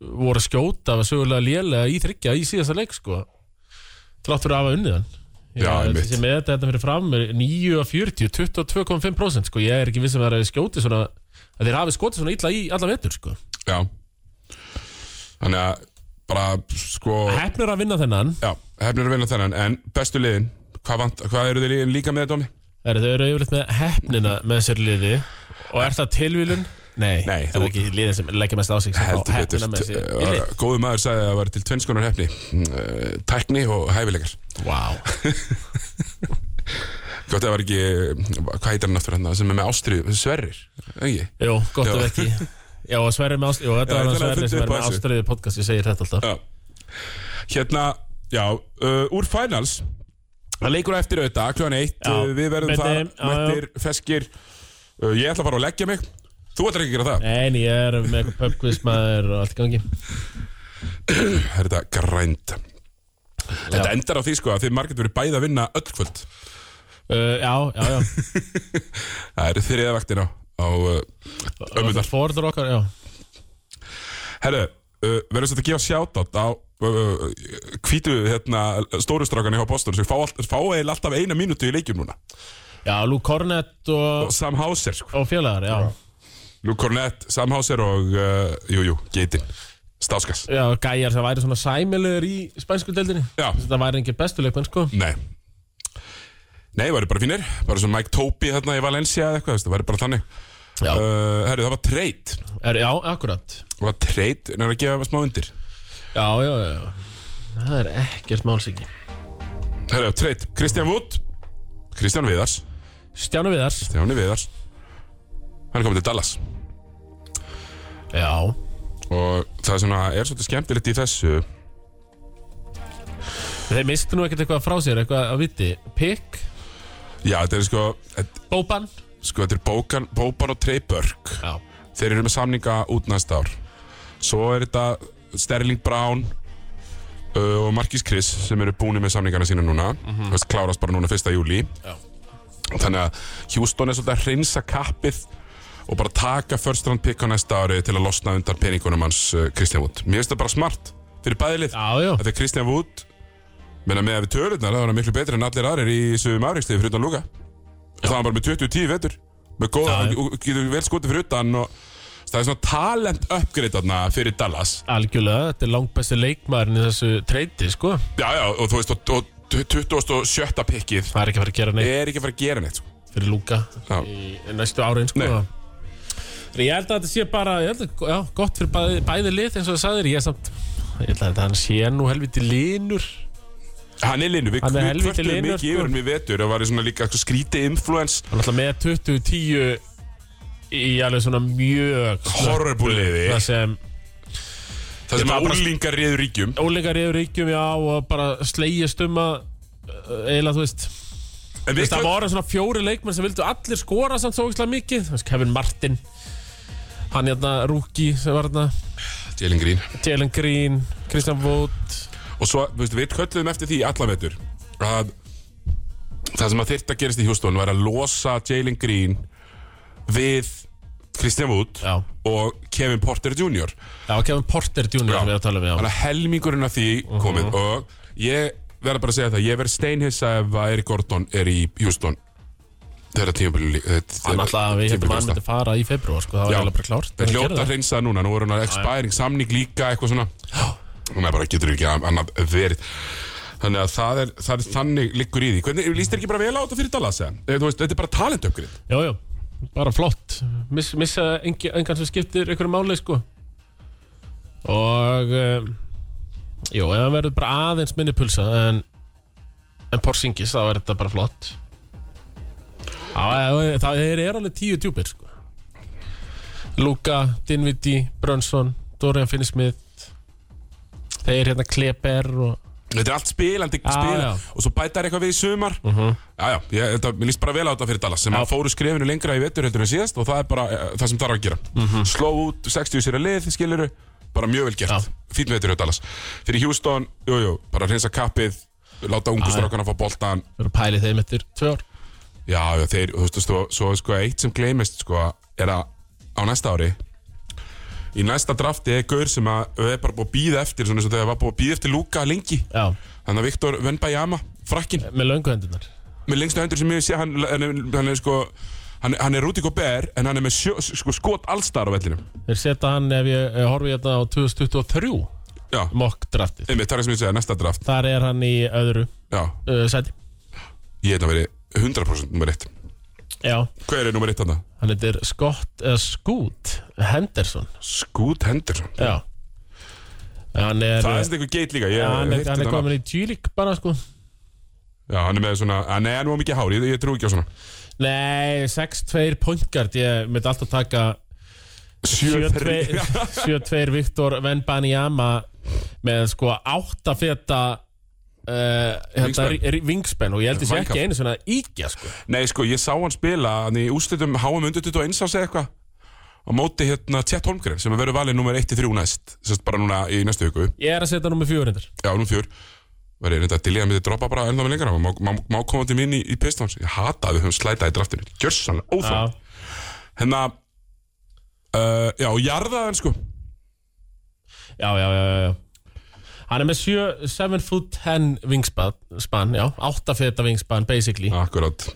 Speaker 2: voru að skjóta að sögulega lélega í þryggja í síðasta leik sko Trátt fyrir að hafa unnið hann Ég-
Speaker 1: Já, einmitt.
Speaker 2: Þessi með þetta, þetta fyrir fram er 9 af 40, 22,5% sko Ég er ekki vissum að þeir hafi skjótið svona að þeir hafi skotið svona illa í alla vetur sko
Speaker 1: já þannig að bara sko
Speaker 2: Hefnir að vinna þennan
Speaker 1: já, hefnir að vinna þennan en bestu liðin, hvað, vant, hvað eru þeir liðin líka með þetta
Speaker 2: er, Þau eru yfirleitt með hefnina með sér liði Og er það tilvílun? Nei,
Speaker 1: Nei,
Speaker 2: það er
Speaker 1: þú-
Speaker 2: ekki liðin sem leggja mest á sig sem fá
Speaker 1: heldur
Speaker 2: Hefnina með sér í
Speaker 1: betur uh,
Speaker 2: lið
Speaker 1: góðu Eh, maður sagði að það var til tvennskonar hefni Eh, tækni og hæfilegar
Speaker 2: Vá,
Speaker 1: gott að það var ekki, eh, hvað heitir hann aftur hann sem er með ástriðu, sverrir ekki,
Speaker 2: jú, gott
Speaker 1: Já.
Speaker 2: ef ekki Já, og Sverri með ástriði Jú, þetta
Speaker 1: Já,
Speaker 2: var
Speaker 1: ég ætlaði
Speaker 2: hann
Speaker 1: að
Speaker 2: Sverri
Speaker 1: funda
Speaker 2: sem er
Speaker 1: upp á
Speaker 2: með
Speaker 1: þessu.
Speaker 2: ástriði podcast Ég segir þetta alltaf
Speaker 1: já hérna, já uh, úr finals, það leikur á eftir auðvitað, kljóðan eitt,
Speaker 2: Já.
Speaker 1: uh, við verðum
Speaker 2: Með
Speaker 1: þar
Speaker 2: þeim, já, já.
Speaker 1: mættir, feskir uh, ég ætla að fara og leggja mig þú ætlar ekki að gera það,
Speaker 2: En ég er með eitthvað pubquiz maður og allt í gangi
Speaker 1: það er þetta grænt þetta endar á því sko að þið margir verið bæði að vinna öll kvöld
Speaker 2: uh, Já, já, já
Speaker 1: það eru þriða vaktin á, á uh, ömmundar
Speaker 2: Forður okkar, já
Speaker 1: Herru, uh, verður þetta að gefa sjátátt á uh, hvítu hérna, stórustrákan í Boston sem fá, all- fá eil alltaf eina mínútu í leikjum núna
Speaker 2: Já, Lú Kornett og,
Speaker 1: og Sam Hauser sko.
Speaker 2: og félagar, já
Speaker 1: Luke Cornett, Sam Hauser og uh, jú, jú, Geitin Stáskas
Speaker 2: Já, gæjar sem væri svona sæmilegur í spænsku deildinni
Speaker 1: Já.
Speaker 2: Þetta væri engin bestuleikmenn, sko
Speaker 1: Nei Nei, varu bara fínir bara sem Mike Topi hérna í Valencia eða eitthvað, það varu bara þannig
Speaker 2: Já.
Speaker 1: uh, Herru, það var treyt
Speaker 2: er, Já, akkurat
Speaker 1: það var treyt, en það er að gefa smá undir
Speaker 2: Já, já, já Það er ekkert málsiki
Speaker 1: Herru, treyt, Kristján Wood Kristján Viðars,
Speaker 2: Stjánu Viðars
Speaker 1: Stjáni Viðars Hann er komið til Dallas
Speaker 2: Já
Speaker 1: og það svona er svolítið skemmtilegt í þessu
Speaker 2: Þeir mistu nú ekkert eitthvað frá sér Eitthvað að viti Pick
Speaker 1: já, þetta er sko þetta-
Speaker 2: Bóban
Speaker 1: sko, þetta er Bókan, Bóban og Trey Burke
Speaker 2: Já
Speaker 1: þeir eru með samninga út næsta ár svo er þetta Sterling Brown uh, og Marcus Chris sem eru búin með samningana sína núna þú veist, klárast bara núna 1. júli
Speaker 2: Já.
Speaker 1: þannig að Houston er svolítið að hreinsa kappið og bara taka first round pick á næsta ári til að losna undan peningunum hans uh, Christian Wood mér finnst það bara smart fyrir bæðilið
Speaker 2: Já, já
Speaker 1: Þetta er Christian Wood Menna með að við tölunar, það var hann miklu betri en allir aðrir í sögum afrikstegi fyrir utan Luka Það var bara með 20-10 vetur Með góða,
Speaker 2: Já, já.
Speaker 1: og getur vel skotið fyrir utan og það er svona talent upgrade þarna fyrir Dallas
Speaker 2: Algjörlega, þetta er langbæsti leikmaðurinn í þessu treyti, sko.
Speaker 1: Já, já, og þú veist, og, og 27. pikkið
Speaker 2: Það er ekki að fara að gera neitt
Speaker 1: er ekki að fara að gera neitt sko.
Speaker 2: fyrir Lúka
Speaker 1: Já.
Speaker 2: í næstu árin, sko.
Speaker 1: Nei.
Speaker 2: Þannig Ég held að þetta sé bara, ég held að, já, gott fyrir bæði, bæði lið eins og það sagðir, ég er samt, ég held að þetta hann sé nú helviti linur.
Speaker 1: Hann er linu, við
Speaker 2: Hann er
Speaker 1: við
Speaker 2: helviti
Speaker 1: kvörtum
Speaker 2: linur,
Speaker 1: mikið
Speaker 2: sko.
Speaker 1: yfir hann við vetur Það var svona líka sko, skrítið influence
Speaker 2: Hann er alltaf með 20-10 í alveg svona mjög
Speaker 1: Horrorbúliði
Speaker 2: það sem
Speaker 1: Það sem
Speaker 2: Ég
Speaker 1: að
Speaker 2: bara-
Speaker 1: úlingar réður ríkjum
Speaker 2: óleikar yfir ríkjum, já, og bara slegjast um að, uh, eiginlega, þú veist,
Speaker 1: En
Speaker 2: Þú
Speaker 1: við
Speaker 2: veist, það voru svona fjóri leikmenn sem vildu allir skora samt svo ógislega mikið Þú veist, Kevin Martin hann hérna Rúki sem var hérna
Speaker 1: Jalen Green
Speaker 2: Jalen Green, Christian Wood
Speaker 1: Og svo, þú veist, við kölluðum eftir því allan vetur Að það sem að þyrft að gerast í Hjústón Var að losa Jalen Green Við Christian Wood
Speaker 2: já,
Speaker 1: Og Kevin Porter Jr.
Speaker 2: já Kevin Porter Jr.
Speaker 1: Já.
Speaker 2: sem við að tala um já. Mhm.
Speaker 1: Þannig að helmingurinn af því komið Og ég verð bara að segja það Ég verð steinhissa ef að Eric Gordon er í Hjústón Þeirra tímabili
Speaker 2: hann alltaf að við hefðum að hann
Speaker 1: tímabilið-
Speaker 2: myndi fara í februar sko, það var
Speaker 1: Já.
Speaker 2: eiginlega bara klárt
Speaker 1: Þeir
Speaker 2: Hann
Speaker 1: hljóta
Speaker 2: gerði
Speaker 1: að
Speaker 2: það.
Speaker 1: reynsa það núna, nú voru hann að expiring samning líka eitthvað svona Þannig að bara getur ekki annað verið Þannig að það er, það er þannig liggur í því Hvernig, líst þér ekki bara vel á þetta fyrir Dallas eða? Eh, þú veist, Þetta er bara talent uppgrið
Speaker 2: já, já, bara flott Miss, missa engi, engan sem skiptir einhverju máli sko og um, jú, ef hann verður bara aðeins minni pulsa en, en Porzingis þá er þetta bara flott það, það þeir eru alveg tíu djúpir sko Luka, Dinvidi, Brunson Dorian Finney-Smith þeir hérna Kleber og
Speaker 1: Þetta er allt spilandi,
Speaker 2: Já,
Speaker 1: spilandi
Speaker 2: já. Mhm.
Speaker 1: Og svo bætar eitthvað við í sumar uh -huh. Já, já, ég, þetta, mér líst bara vel á þetta fyrir Dallas sem að fóru skrefinu lengra í vetur heldur en síðast og það er bara eh, það sem þarf að gera
Speaker 2: Mhm.
Speaker 1: Sló út 60 sér að lið, skiluru bara mjög vel gert,
Speaker 2: Já.
Speaker 1: fínn vetur hjá Dallas Fyrir Houston, jú, jú, bara hreinsa kappið láta ungu strákana fá boltan
Speaker 2: verður að pæli þeim eftir tvö ár
Speaker 1: Já, já, þeir, þú veist, svo, svo sko, eitt sem gleymist, sko, er að á næsta ári í næsta drafti er gaur sem að við erum bara búið að býða eftir, svona eins og þegar var búið að býða eftir Luka lengi,
Speaker 2: já,
Speaker 1: þannig að Viktor Vönbæjama, frakkin,
Speaker 2: með löngu hendunar
Speaker 1: með lengstu hendur sem ég sé, hann, hann, er, hann er sko hann, hann er Rúti Gobert, en hann er með sjö, sko, skot allstar á vellinu
Speaker 2: Þeir setja hann ef ég eh, horfi hérna á 2023
Speaker 1: Já,
Speaker 2: mock draftið.
Speaker 1: einmitt, það er sem ég segja, næsta draft
Speaker 2: Þar er hann í öðru
Speaker 1: Já,
Speaker 2: uh, sæti.
Speaker 1: ég hefði að veri 100% nummer 1
Speaker 2: Já,
Speaker 1: Hver er nummer 1 þarna?
Speaker 2: hann heitir Scott uh, Scoot Henderson.
Speaker 1: Scoot Henderson
Speaker 2: Já. Hann er,
Speaker 1: Það er sem eitthvað geit líka, ég
Speaker 2: ja, hann
Speaker 1: hef
Speaker 2: er,
Speaker 1: heyrt
Speaker 2: hann er
Speaker 1: þetta nafn.
Speaker 2: komin í Tjúlik bara sko.
Speaker 1: Já, hann er með svona, að nei, hann var mikið hár, ég, ég trú ekki á svona
Speaker 2: Nei, 6-2 pointgard, ég myndi alltaf taka
Speaker 1: 7-3
Speaker 2: 7-2 Viktor Venbanyama með sko 8 feta uh, hérna,
Speaker 1: Wingspan.
Speaker 2: ri- ri- wingspan og ég held þessi
Speaker 1: Vænghaf.
Speaker 2: ekki einu svona íkja sko.
Speaker 1: Nei sko, ég sá hann spila hann í úslitum HM undir 21 árs eða eitthvað á móti hérna Tjett Holmgren sem verður valið nummer 1-3 næst sérst bara núna í næstu viku,
Speaker 2: Ég er að setja nummer 4 hendur.
Speaker 1: já nú fjör verður reynda að dilja að myndi droppa bara ennþá með lengra má, má, má koma til mín í, í Pistons ég hata að við höfum slætað í draftinu, gjörsanlega óþá
Speaker 2: Já.
Speaker 1: hérna uh, já, og jarðaðan sko
Speaker 2: já, já, já, já. Hann er með 7, 7 foot 10 wingspan, span, já, 8 feta wingspan basically ja.
Speaker 1: akkurat,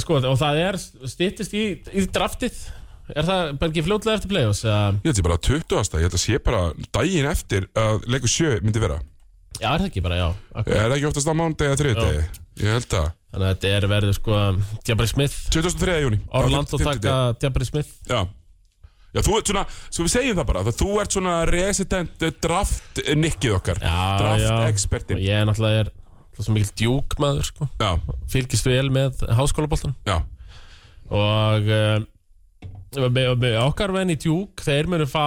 Speaker 2: sko, og það er stýttist í, í draftið er það bara ekki fljótlega eftir playoffs eða,
Speaker 1: ég held ég bara 20 ásta ég held að sé bara daginn eftir að leikur sjö myndi vera,
Speaker 2: já, er það ekki bara, já akkur.
Speaker 1: er það ekki oftast á mándegi eða þriðdegi, ég held að
Speaker 2: þannig að þetta er verið sko Jabari Smith,
Speaker 1: 23. júni
Speaker 2: Orlando taka Jabari Smith
Speaker 1: Já Já, þú ert svona, sko við segjum það bara, það þú ert svona resident eh, draft eh, nikkið okkar
Speaker 2: já,
Speaker 1: Draft
Speaker 2: já.
Speaker 1: expertinn.
Speaker 2: Og ég er náttúrulega er, svo mikil djúkmaður sko
Speaker 1: Já,
Speaker 2: fylgist vel með háskólaboltan
Speaker 1: já,
Speaker 2: og uh, með, með okkar venn í Duke þeir munu fá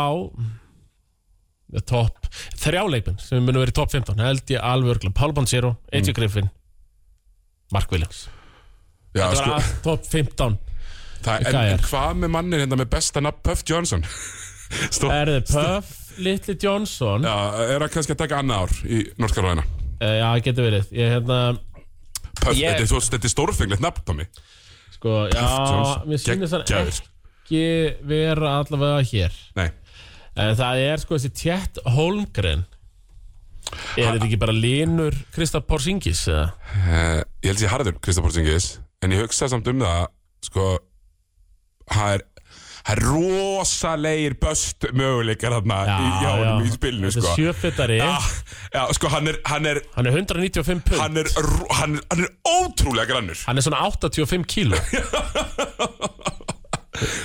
Speaker 2: top, þrjá leikmenn sem munu verið í top 15, held ég alveg örgla Paul Banchero,
Speaker 1: Mm.
Speaker 2: AJ Griffin Mark Williams
Speaker 1: já
Speaker 2: það
Speaker 1: sko,
Speaker 2: var allt top 15
Speaker 1: það, en
Speaker 2: gæjar.
Speaker 1: hvað með mannin hérna með besta nafn Puff Johnson? Stó,
Speaker 2: það er Puff, Little Johnson
Speaker 1: já,
Speaker 2: já,
Speaker 1: er það kannski að taka annað ár í Norskaróðina?
Speaker 2: já getur verið ég hérna,
Speaker 1: Puff,
Speaker 2: Ég-
Speaker 1: þetta, er, þú- þetta er stórfenglegt nafn, Tommy
Speaker 2: sko, já
Speaker 1: Johnson,
Speaker 2: mér sýnist hann
Speaker 1: geggjaður.
Speaker 2: ekki vera allavega hér
Speaker 1: Nei,
Speaker 2: en það er sko þessi tjett Holmgren er þetta ekki bara línur Kristaf Porzingis eða?
Speaker 1: uh, ég held að ég harður Kristapórsingis En ég hugsa samt um það, sko, það er, það er rosalegir böst möguleikar þarna
Speaker 2: Já,
Speaker 1: í, hjá honum
Speaker 2: já.
Speaker 1: í spilinu
Speaker 2: Þetta er
Speaker 1: sko.
Speaker 2: sjöfitari.
Speaker 1: já, já, sko, hann er hann er,
Speaker 2: Hann er 195 pund
Speaker 1: hann er, ro- hann er, hann er ótrúlega grannur
Speaker 2: Hann er svona 85 kíló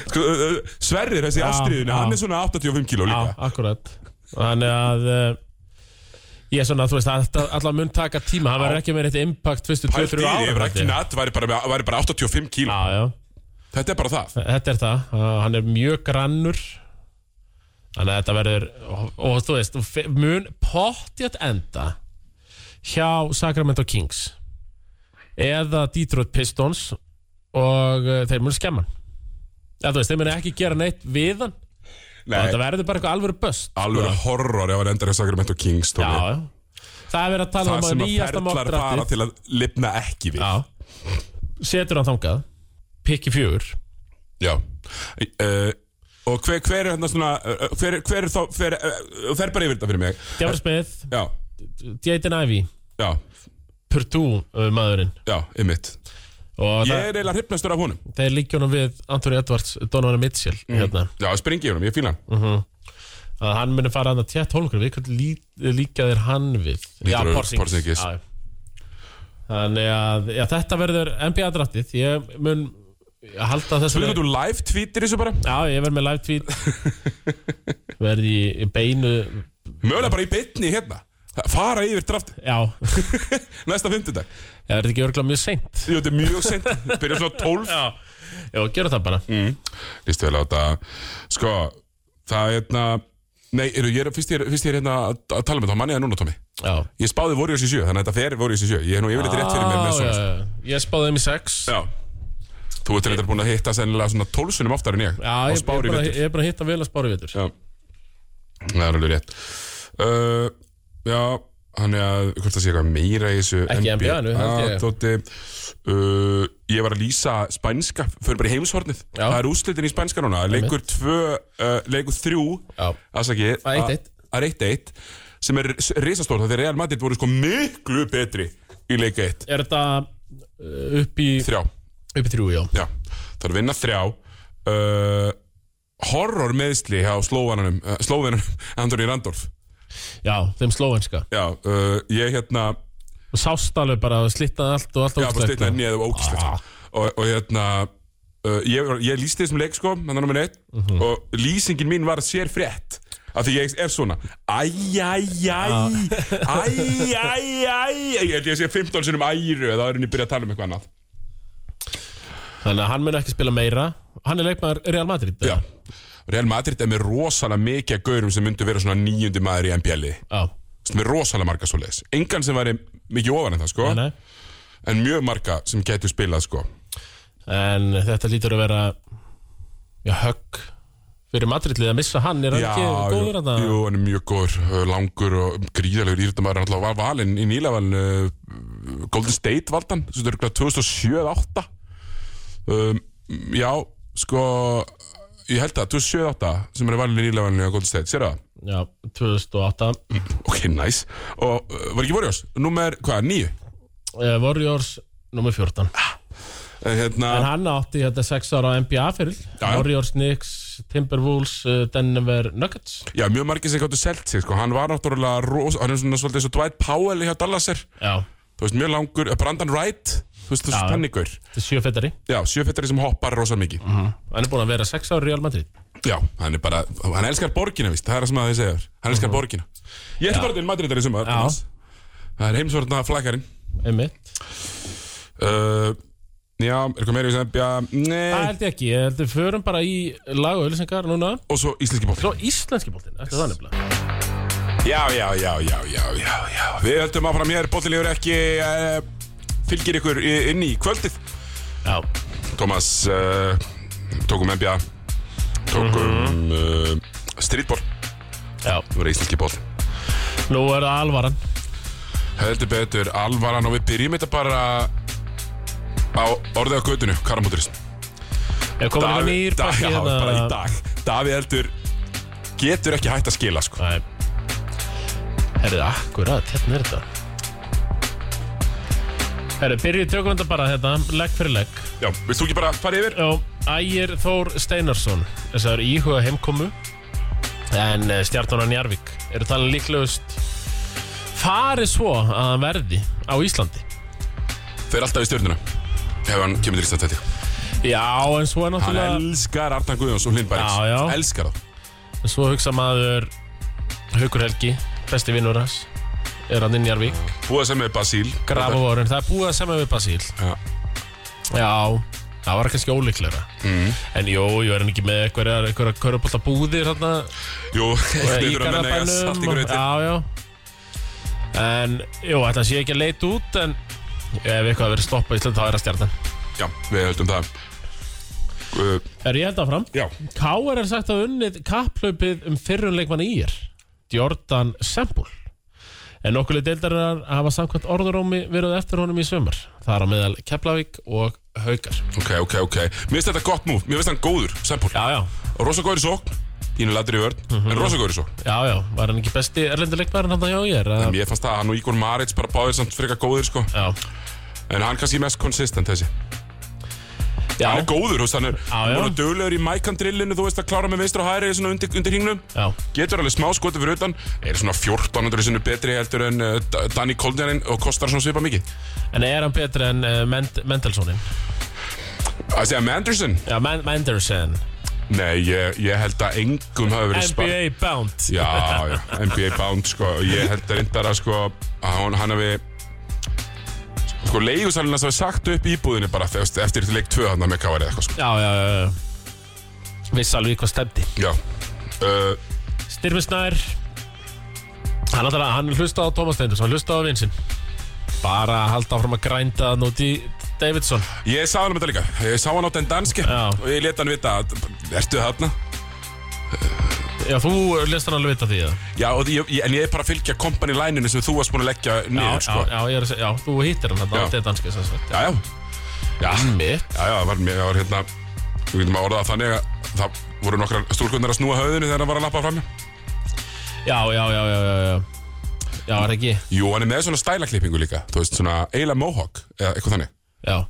Speaker 1: sko, ö, ö, Sverrir, þessi
Speaker 2: Já,
Speaker 1: ástriðinu,
Speaker 2: já.
Speaker 1: hann er svona 85 kíló
Speaker 2: Já,
Speaker 1: líka
Speaker 2: akkurat Þannig að eh, Ég er svona, þú veist, þetta allan mun taka tíma Hann verður ekki með eitt impact fyrstu 2-3
Speaker 1: Pæltýri
Speaker 2: ára
Speaker 1: yfir ekki natt væri bara, með- væri bara 85 kíló
Speaker 2: Já, já,
Speaker 1: Þetta er bara það
Speaker 2: þetta er það Uh, Hann er mjög grannur Þannig að þetta verður og, og þú veist, og fe- mun pottjætt enda Hjá Sacramento Kings Eða Detroit Pistons Og uh, þeir mun skemma hann. Eða þú veist, þeir mun ekki gera neitt við hann Þetta
Speaker 1: Nei,
Speaker 2: verður bara eitthvað alvöru böst
Speaker 1: alveg horror ef hann endar í Sacramento Kings Tómi.
Speaker 2: Já, já Það er verið að tala
Speaker 1: Það
Speaker 2: um að
Speaker 1: sem að
Speaker 2: nýjasta
Speaker 1: ferlar fara
Speaker 2: mótdratti
Speaker 1: til að lifna ekki við
Speaker 2: Já Setur hann þangað Pikki fjögur
Speaker 1: Já uh, Og hver, hver er hérna svona uh, Hver, hver er þá Hver, uh, fer bara yfir þetta fyrir mig
Speaker 2: Djáfri Smith
Speaker 1: Já,
Speaker 2: Jaden Ivey
Speaker 1: já,
Speaker 2: Purdue uh, maðurinn
Speaker 1: já, ymmit Ég
Speaker 2: Og það,
Speaker 1: er eiginlega hrypnastur af honum
Speaker 2: þeir líkja honum við Anthony Edwards Donovan Mitchell
Speaker 1: Mhm.
Speaker 2: hérna.
Speaker 1: Já, springi yfir honum, ég fíla hann
Speaker 2: að hann muni fara hann að tjætt hólkur við hvern lí, líka þeir hann við
Speaker 1: Lítur að-
Speaker 2: Porzingis.
Speaker 1: Porzingis.
Speaker 2: Já, já. Þannig að já, þetta verður NBA drattið Ég mun halda þessu
Speaker 1: Spurðu hvað þú live tweetir þessu bara
Speaker 2: Já, ég verð með live tweet Verði í- í beinu
Speaker 1: Mögulega bara í beinni hérna Fara yfir draft
Speaker 2: Já,
Speaker 1: næsta fymtudag
Speaker 2: það er ekki örgulega mjög seint
Speaker 1: Jú, þetta er mjög sent Byrja svona 12
Speaker 2: Já, já gera það bara mm.
Speaker 1: Lýst vel á þetta Sko, það er hérna Nei, eru, ég er, fyrst, ég er, fyrst ég er hérna að að tala með það Manni það núna, Tómi
Speaker 2: Já,
Speaker 1: Ég spáði Warriors í sjö, þannig að þetta fer Warriors í sjö Ég er nú yfirleitt rétt fyrir mér með
Speaker 2: já,
Speaker 1: svona
Speaker 2: já. Ég spáði þeim í sex
Speaker 1: Já Þú ert reyndar búin að hitta sennilega svona tólsunum oftar en ég
Speaker 2: Já, ég, ég, er
Speaker 1: spári
Speaker 2: bara,
Speaker 1: vettur
Speaker 2: ég er bara að hitta vel að spári vittur
Speaker 1: Já Það er alveg rétt uh, Já, hann er að Hvort það sé eitthvað meira í þessu
Speaker 2: Ekki NBA -nu, held
Speaker 1: Já,
Speaker 2: ég.
Speaker 1: Tóti uh, Ég var að lýsa spænska Fyrir bara í heimshornið
Speaker 2: Já.
Speaker 1: Það er úslitin í spænska núna Leikur tvö uh, Leikur þrjú
Speaker 2: Já.
Speaker 1: Afsaki
Speaker 2: Það er 1-1.
Speaker 1: Það er eitt eitt Sem er risastór Það er Real Madrid voru sko miklu betri Í leik eitt
Speaker 2: Er þetta uh, upp í,
Speaker 1: Þrjá
Speaker 2: upp í þrjú, já
Speaker 1: Já, það er að vinna þrjá uh, Horror meðsli hjá slóvanunum uh, Slóvenunum Andoni Randolf
Speaker 2: Já, þeim slóvenska
Speaker 1: Já, uh, ég hérna
Speaker 2: Og sást alveg bara að slitna allt og allt
Speaker 1: Já, bara
Speaker 2: ógeðslegt.
Speaker 1: steinna henni eða ógislegt
Speaker 2: Ah.
Speaker 1: og, og hérna uh, ég, ég lýsti þessum leik sko Þannig nummer eitt Og lýsingin mín var sér frétt Af því ég er svona Æj, æj, æj Æj, æj, æj Ég held ég sé 15 sinnum æru Það er henni byrja að tala um eitthvað annað
Speaker 2: Þannig að hann mun ekki spila meira Hann er leikmaður Real Madrid
Speaker 1: Já
Speaker 2: eða?
Speaker 1: Real Madrid er með rosalega mikið að gaurum sem myndu vera svona nýjundi maður í NBL-i
Speaker 2: já.
Speaker 1: sem er rosalega marga svo leiðis engan sem væri mikið ofan en það sko
Speaker 2: Nei, nei.
Speaker 1: en mjög marga sem getur spilað sko
Speaker 2: En þetta lítur að vera Já, högg Fyrir Madridlið að missa hann Er hann ekki
Speaker 1: jú,
Speaker 2: góður að það?
Speaker 1: jú, hann er mjög góður, uh, langur og gríðalegur írtumæður, hann alltaf var valinn í nýlavalin uh, Golden State valdan þessu þetta er örugglega 2007 eða 2008 um, já, sko ég held það, 2007 eða 2008 sem hann er valinn í nýlavalin á Golden State, sér það?
Speaker 2: Já, 2008
Speaker 1: ok, næs, og uh, var ekki Warriors nummer, hvað, nýju?
Speaker 2: uh, Warriors nummer 14
Speaker 1: Hérna,
Speaker 2: en hann átti þetta 6 ára NBA fyrir
Speaker 1: Já, já.
Speaker 2: Warriors, Knicks, Timberwolves uh, Denver Nuggets
Speaker 1: Já, mjög margir sem gáttu selt sig, sko. Hann var náttúrulega rosa, hann er svona svolítið eins og Dwight Powell hjá Dallasir.
Speaker 2: já,
Speaker 1: Þú veist, mjög langur, eh, Brandon Wright, þú veist, þessu
Speaker 2: Já.
Speaker 1: tannigur.
Speaker 2: þetta er sjöfettari
Speaker 1: Já, sjöfettari sem hoppar rosa mikið.
Speaker 2: hann er búinn að vera 6 ára í Real Madrid
Speaker 1: Já, hann er bara, hann elskar borgina, víst, það er það sem að þið segja. Hann elskar borgina. Ég ætti bara til Madridar í sumar.
Speaker 2: Já.
Speaker 1: annars. Það er heimsvortna flækarinn.
Speaker 2: einmitt
Speaker 1: Uh, já, er eitthvað meira í sem, já,
Speaker 2: það
Speaker 1: nei.
Speaker 2: held ég ekki ég held við förum bara í lag og öllisengar núna
Speaker 1: Og svo íslenski bótt.
Speaker 2: svo íslenski bóltinn eftir það nefnilega
Speaker 1: Já, já, já, já, já, já, já Við höldum áfram hér, bóttilegur ekki uh, fylgir ykkur í- inn í kvöldið
Speaker 2: já
Speaker 1: Thomas uh, tókum NBA tókum uh, streetball
Speaker 2: Já,
Speaker 1: það var íslenski ból
Speaker 2: nú er það alvaran
Speaker 1: heldur betur alvaran og við byrjum þetta bara á orðið á gödunu karamóturist
Speaker 2: Ég kom að nýr
Speaker 1: dag,
Speaker 2: pakki
Speaker 1: já,
Speaker 2: hérna.
Speaker 1: bara í dag Davíð heldur getur ekki hægt að skila sko.
Speaker 2: Nei Herðu, akkurat, hérna er þetta Herðu, byrjuð tökum þetta bara hérna, legg fyrir legg
Speaker 1: já, vilt þú ekki bara fara yfir?
Speaker 2: Já, Ægir Þór Steinarsson þess að það eru íhuga heimkomu en eh, stjarnan á Njarvík eru talin líklegust farið svo að hann verði á Íslandi
Speaker 1: Fer alltaf í stjórnuna Ef hann kemur til Íslandsæti
Speaker 2: Já, en svo er
Speaker 1: Hann
Speaker 2: náttúrulega
Speaker 1: elskar Arnar Guðjóns og Lindbergs
Speaker 2: Já, já.
Speaker 1: Elskar það
Speaker 2: En svo hugsa maður Haukur Helgi, besti vinnur hans er hann inn í Arvík,
Speaker 1: Búið sem með Basíl
Speaker 2: grafa vorun það er búið að semja við Basíl
Speaker 1: Já.
Speaker 2: Já, það var kannski ólíklegra mm. en jú, ég er hann ekki með einhverjar einhverjar körubólta búðir þarna
Speaker 1: Jú,
Speaker 2: í
Speaker 1: hlýtur að menna eiga satt í
Speaker 2: Garðabænum og-
Speaker 1: gröti
Speaker 2: Já, já En, jú, þetta sé ekki að leita út en ef eitthvað verið stoppað í Ísland þá er það stjartan
Speaker 1: Já, við höldum það Uh,
Speaker 2: Er ég held áfram?
Speaker 1: Já,
Speaker 2: K.R. er sagt að unnið kapplaupið um fyrrunleikmann í er Jordan Sembúl en nokkuli deildarinnar hafa samkvæmt orðurómi verið eftir honum í sömur þar á meðal Keflavík og Haukar
Speaker 1: ok, ok, ok Mér finnst þetta gott múf, mér finnst hann góður, sempul
Speaker 2: Já, Mhm. já, Rosa
Speaker 1: Góður í sók, pínu ladri í vörn En rosa góður í sók
Speaker 2: Já, já, var hann ekki besti erlenduleikmarinn hann hjá ég er
Speaker 1: Mér fannst það, hann og Ígor Marits bara báðir samt frekar góðir sko
Speaker 2: Já,
Speaker 1: En hann kannski mest consistent þessi
Speaker 2: já,
Speaker 1: Hann er góður, þú veist, hann er
Speaker 2: Já, já.
Speaker 1: Hann er duglegur í mækandrillinu, þú veist, að klára með veistur og hæri Svona undir, undir hringnum
Speaker 2: já,
Speaker 1: Getur alveg smá skoti fyrir utan Er svona 1400 sinu betri heldur en uh, Da- Danny Koldianin og kostar svona svipa mikið
Speaker 2: en er hann betri en uh, Mend Mendelsonin?
Speaker 1: Að segja með Anderson?
Speaker 2: Já, Men Mendelson
Speaker 1: Nei, ég, ég held að engum hafi verið spart
Speaker 2: NBA Bound
Speaker 1: Já, já, NBA Bound sko Ég held að reyndar að sko að hann, hann hafi sko leigusalinn hans hafi sagt upp íbúðinu bara þú veist, eftir leik 2 hann með KR eða eitthvað sko
Speaker 2: Já, já, já, já Viss alveg í hvað stemdi
Speaker 1: Já uh,
Speaker 2: Styrmi Snær hann, alltaf, hann hlustaði á Thomas Steindus hann hlustaði á vinsinn bara að halda áfram að grænda hann út í Davidson
Speaker 1: Ég sá hann um þetta líka Ég sá hann á den danski
Speaker 2: Já.
Speaker 1: og ég let hann vita að Ertu þarna?
Speaker 2: já þú lest hann alveg vita því já,
Speaker 1: Já, og ég, ég- en ég er bara að fylgja kompani læninu sem þú varst búin að leggja niður
Speaker 2: já,
Speaker 1: sko
Speaker 2: já, ég er, að seg- já þú hittir hann
Speaker 1: Já.
Speaker 2: þarna á Dedanski sem sagt
Speaker 1: Já, já Já,
Speaker 2: mitt
Speaker 1: já, já, það var, mér- það var hérna Við getum að orða það þannig að það voru nokkrar stúlkunar að snúa höfðinu þegar hann var að lappa fram
Speaker 2: já já já já já já já er ekki
Speaker 1: Jú, hann er með svona stælaklippingu líka Þú veist, svona eiginlega mohawk eða eitthvað þannig
Speaker 2: já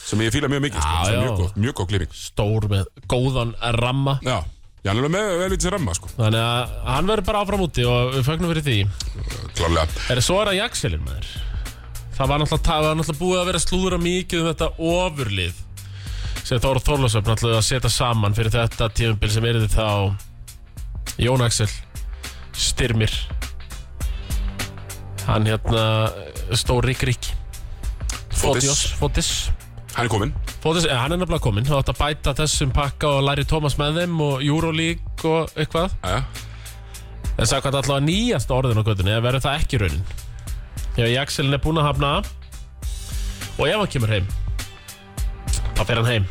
Speaker 1: sem ég fíla mjög mikið, sko,
Speaker 2: Já,
Speaker 1: sem
Speaker 2: já.
Speaker 1: mjög góð, mjög góð klipping
Speaker 2: stór með góðan ramma
Speaker 1: Já, ég hann er alveg með vel lítið ramma, sko,
Speaker 2: þannig að hann verður bara áfram úti og við fögnum fyrir því
Speaker 1: klárlega
Speaker 2: Er það svo er að jakselin maður Það var náttúrulega, það var náttúrulega búið að vera að slúðra mikið um þetta ofurlið sem Þóra Þorlásöfn náttúrulega að setja saman fyrir þetta tímabil sem erði þá Jón Axel Styrmir Hann hérna Stóri Grík
Speaker 1: Fotis,
Speaker 2: Fótis Fótis,
Speaker 1: hann er kominn
Speaker 2: Fótis eh, hann er nefnilega kominn Það átt að bæta þessum pakka og Larry Thomas með þeim og Euroleague og eitthvað
Speaker 1: Jæja.
Speaker 2: En sagði hvað allavega nýjasta orðin á göttunni eða verður það ekki raunin Þegar Jaxelin er búinn að hafna og ef hann kemur heim þá fer hann heim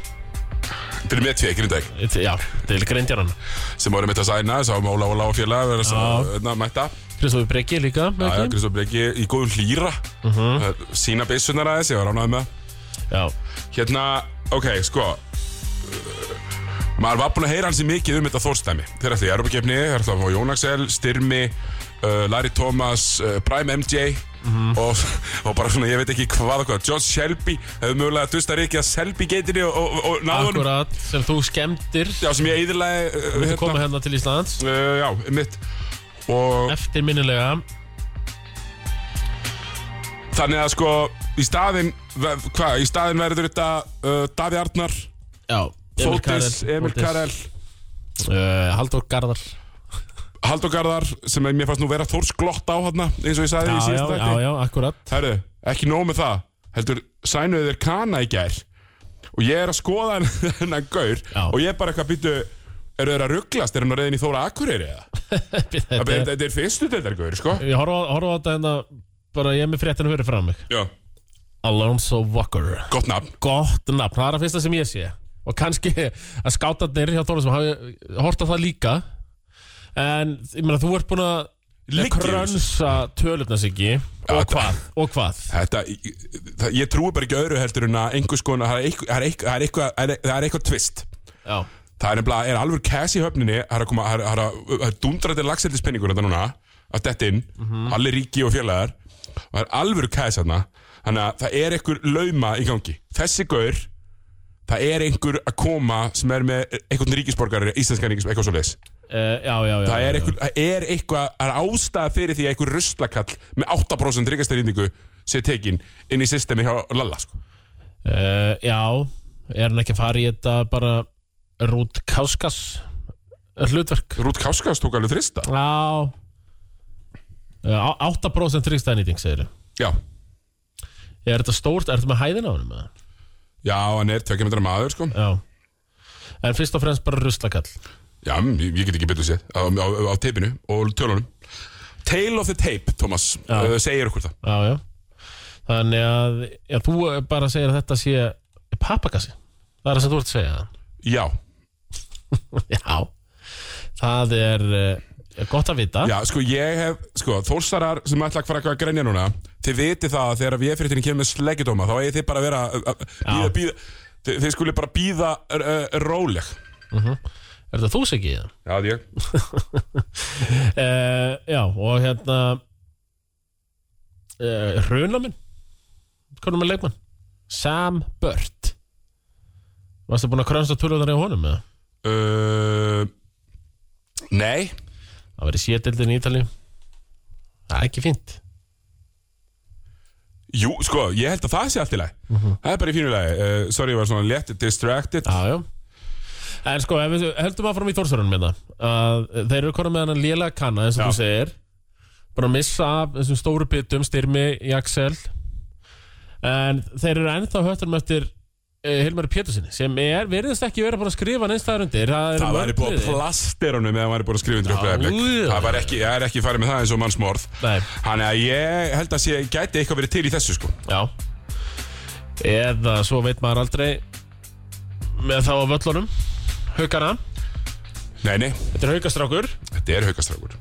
Speaker 1: Þetta er með tvekir í dag
Speaker 2: It- Já, til grindjar hann
Speaker 1: sem voru mitt að sæna, sá Mála og Láa félag vera svo, na, mætta,
Speaker 2: Kristofur Breki líka
Speaker 1: já, já,
Speaker 2: með ekki?
Speaker 1: Kristof Breki í góðum hlýra uh
Speaker 2: Mhm.
Speaker 1: -huh. sína byssunar aðeins, ég var ránaði með það.
Speaker 2: Já,
Speaker 1: Hérna, ok, sko uh, maður var búinn að heyra hans í mikið um þetta þórstæmi þeir ætla í Europakefni, þeir ætla að fá Jón Axel Styrmi, uh, Larry Thomas uh, Prime MJ
Speaker 2: Mhm.
Speaker 1: og, og bara svona, ég veit ekki hvað og hvað John Shelby, hefur mögulega að dusta Rikki að Shelby geitinni og, og, og náðunum
Speaker 2: akkurat sem þú skemmtir
Speaker 1: já, sem ég eðilaði uh,
Speaker 2: þú komið hérna til Íslands
Speaker 1: uh, já, mitt og
Speaker 2: eftir minnilega
Speaker 1: þannig að sko í staðinn, ve- hvað, í staðinn verður þetta uh, Davi Arnar,
Speaker 2: Já, Emil
Speaker 1: Fótis, Emil Karel
Speaker 2: uh, Halldór Garðar
Speaker 1: Halldór Garðar sem mér fannst nú vera þórsglott á hann eins og ég sagði í
Speaker 2: Já, já,
Speaker 1: síðasta
Speaker 2: já,
Speaker 1: þætti
Speaker 2: já, akkurat
Speaker 1: Herru, ekki nóg með það heldur sænuðu þeir kana í gær og ég er að skoða hann- hennan gaur
Speaker 2: Já.
Speaker 1: og ég er bara eitthvað býtu eru þeir að rugglast, er hann að reyðin í Þóra Akureyri eða?
Speaker 2: Þetta
Speaker 1: Þetta
Speaker 2: er-
Speaker 1: þetta er fyrstu deildar gaur, sko
Speaker 2: Ég horfa á horfa á þetta hérna bara ég er með fréttinu fyrir fram mig
Speaker 1: Já,
Speaker 2: Alonso Walker
Speaker 1: gott nafn
Speaker 2: gott nafn, það er að fyrsta sem ég sé og kannski að skátarnir hjá Þólasum hafi hort á það líka en ég meina þú ert búin að
Speaker 1: Liggja í
Speaker 2: krönsa tölurna Siggi og
Speaker 1: þetta-
Speaker 2: hvað, og hvað
Speaker 1: Þetta, það, ég trúi bara ekki öðru heldur en að einhvers konar, það er eitthvað- það er eitthvað- það er eitthvað það er- það er eitthvað tvist
Speaker 2: já,
Speaker 1: Það er nefnilega, er alveg cash í höfninni Það er að koma, það er- það er að- það er dundratir lagseldispenningur þetta núna Að detta inn,
Speaker 2: Mhm.
Speaker 1: allir ríki og félagar Og það er alveg cash þarna Þannig að það er einhver lauma í gangi Þessi gaur það er einhver að koma sem er með einhvern ríkisborgar íslenskan ríkisborgar, eitthvað svo leis
Speaker 2: Uh, já, já,
Speaker 1: það
Speaker 2: já
Speaker 1: er,
Speaker 2: já, já.
Speaker 1: einhver, það er eitthvað það er ástæða fyrir því að einhver ruslakall með 8% ríkastærinningu sé tekin inn í systemi hjá Lalla sko.
Speaker 2: Uh, já, er hann ekki að fara í þetta bara Rút Káskas hlutverk?
Speaker 1: Rút Káskas tók alveg þrista
Speaker 2: Já uh, 8% ríkstæðnýting, segir
Speaker 1: já,
Speaker 2: Er þetta stórt, ertu með hæðina á honum? eða?
Speaker 1: já hann er tvekkimetra maður sko.
Speaker 2: Já En fyrst og fremst bara ruslakall
Speaker 1: já, ég, ég get ekki betur séð á, á, á teipinu og tölunum Tale of the Tape, Thomas
Speaker 2: Já.
Speaker 1: uh, segir okkur það
Speaker 2: Já, já Þannig að já, þú eh, bara segir að þetta sé pappakassi Það er það sem þú ert að segja
Speaker 1: já,
Speaker 2: Já Það er uh, gott að vita
Speaker 1: já, sko ég hef sko, þórsarar sem ætla að fara eitthvað að grenja núna þið viti það að þegar við fyrirtinni kemur með sleggjadóma þá eigi þið bara að vera að- að- bíða, bíða, þið, þið skuli bara býða uh, róleg
Speaker 2: Er þetta þú segið það?
Speaker 1: já, það er ég
Speaker 2: Uh, já, og hérna uh, Runaminn Hvernig með leikmann? Sam Burt Varstu búin að krönsta tölvöðar í honum? Eða?
Speaker 1: Uh, nei
Speaker 2: Það verið sétildin í Ítalíu Það er ekki fínt
Speaker 1: Jú, sko, ég held að það sé allt í lagi Það er bara í fínu lagi uh, Sorry, ég var svona létt distracted
Speaker 2: Já, já En sko, ef við heldum áfram í Þórsörunum hérna að þeir eru konum með hennan lélega kanna eins
Speaker 1: Já.
Speaker 2: og þú segir bara að missa af þessum stóru bitum styrmi í Axel en þeir eru ennþá höttunum eftir uh, Hilmari Pétursinni sem er, virðist ekki vera búin að skrifa neins það undir það, eru
Speaker 1: Það væri
Speaker 2: mörg
Speaker 1: búið að
Speaker 2: liðið.
Speaker 1: plastir honum eða hann væri búið að skrifa undir
Speaker 2: Já,
Speaker 1: upplega
Speaker 2: já.
Speaker 1: Það var ekki, það er ekki farið með það eins og mannsmorð
Speaker 2: Nei,
Speaker 1: Þannig að ég held að sé gæti eitthvað verið til í þessu sko
Speaker 2: já eða svo veit maður aldrei með þá á völlunum haukana,
Speaker 1: Nei, nei,
Speaker 2: þetta er haukastrákur
Speaker 1: þetta er haukastrákur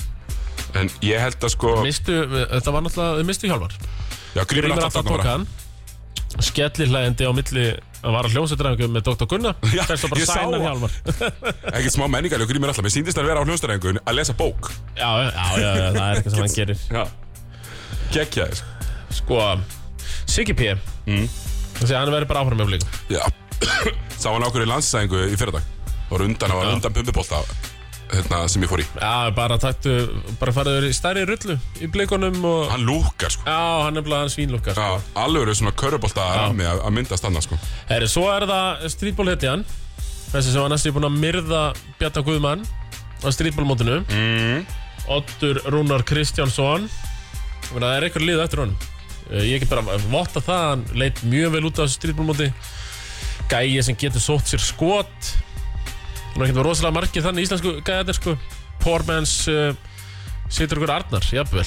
Speaker 1: En ég held að sko
Speaker 2: mistu, þetta eh, var náttúrulega, þau mistu hjálmar
Speaker 1: Já, grímur
Speaker 2: Grímur
Speaker 1: alltaf
Speaker 2: alltaf
Speaker 1: þarna
Speaker 2: tók
Speaker 1: bara
Speaker 2: hann Skellihlæðindi á milli að vara hljómsveitræðingu með Dr. Gunnar
Speaker 1: Já,
Speaker 2: Þess að bara
Speaker 1: ég sá
Speaker 2: sæna
Speaker 1: það.
Speaker 2: hjálmar
Speaker 1: Ekkert smá menningarleg grímur alltaf Mér síndist að vera á hljóstarengun að lesa bók
Speaker 2: já, já, já, já, já, það er eitthvað sem hann gerir
Speaker 1: Já Gekkjaðir
Speaker 2: Sko, Siggi P mm. Þessi, hann verður bara áfram með flíkum
Speaker 1: Já Sá hann ákveður í landsæðingu í fyrradag Og rundan, hann var rundan pumpubólta hérna, sem ég fór í
Speaker 2: Já, bara taktu, bara farið í stærri rullu í blikunum og
Speaker 1: Hann lúkar sko
Speaker 2: Já, hann er bara hann svínlukkar
Speaker 1: Já, alveg eru svona körubólta rami að að myndast annað sko
Speaker 2: Herri, svo er það streetball hetjan Þessi sem var næstu búin að myrða Bjarta Guðmann á streetballmótinu mm. Oddur Rúnar Kristjánsson Ég meina, Það er einhver lið eftir honum Eh, Ég get bara votta það Hann leit mjög vel út á þessu streetballmóti Gæi sem getur sótt sér skot Nú er ekkert rosalega margir þannig íslensku gæðir sko Poor man's uh, Situr ykkur Arnar, jafnvel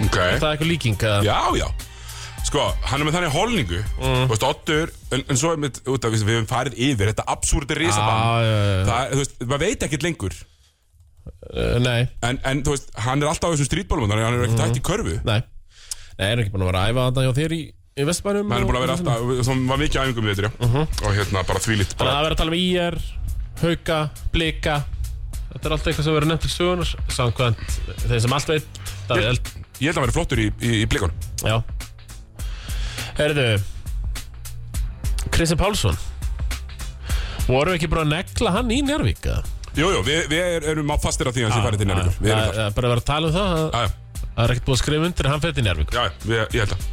Speaker 1: Ok
Speaker 2: Það er eitthvað líking að
Speaker 1: Já, já Sko, hann er með þannig holningu
Speaker 2: Mm.
Speaker 1: Þú veist, Oddur En, en svo er með, út af, við höfum farið yfir Þetta absúrdi risabann
Speaker 2: Ah, já, já.
Speaker 1: Það, þú veist, maður veit ekkert lengur
Speaker 2: Eh, Nei,
Speaker 1: En, en þú veist, hann er alltaf á þessum strítbólum Hann er
Speaker 2: Mhm.
Speaker 1: ekkert hægt í körfu
Speaker 2: Nei, nei, erum ekki búin að vera að æfa þetta hjá þér í, í Vestbænum
Speaker 1: Hann er búin að vera alltaf, það var mikið á æfingum við þetta, já
Speaker 2: Mhm.
Speaker 1: Og hérna, bara þvílít
Speaker 2: Þannig að
Speaker 1: bara,
Speaker 2: það vera að tala um IR, Hauka, Blika Þetta er allt eitthvað sem verður nefnt til sögunar Samkvæmt þeir sem allt veit Það er eld,
Speaker 1: Ég held að hann verið flottur í, í, í blikun
Speaker 2: já Herðu Kristján Pálsson Vorum við ekki búin að negla hann í Njárvík? eða?
Speaker 1: Jú, jú, við, við erum á fastir af því að
Speaker 2: Ah,
Speaker 1: hann sé farið til Njárvíkur Við erum
Speaker 2: Það
Speaker 1: þar
Speaker 2: það er bara að vera að tala um það að-
Speaker 1: Já, já,
Speaker 2: Það er ekkert búið að skrifa undir að hann fyrir til Njárvík
Speaker 1: já, við, ég held að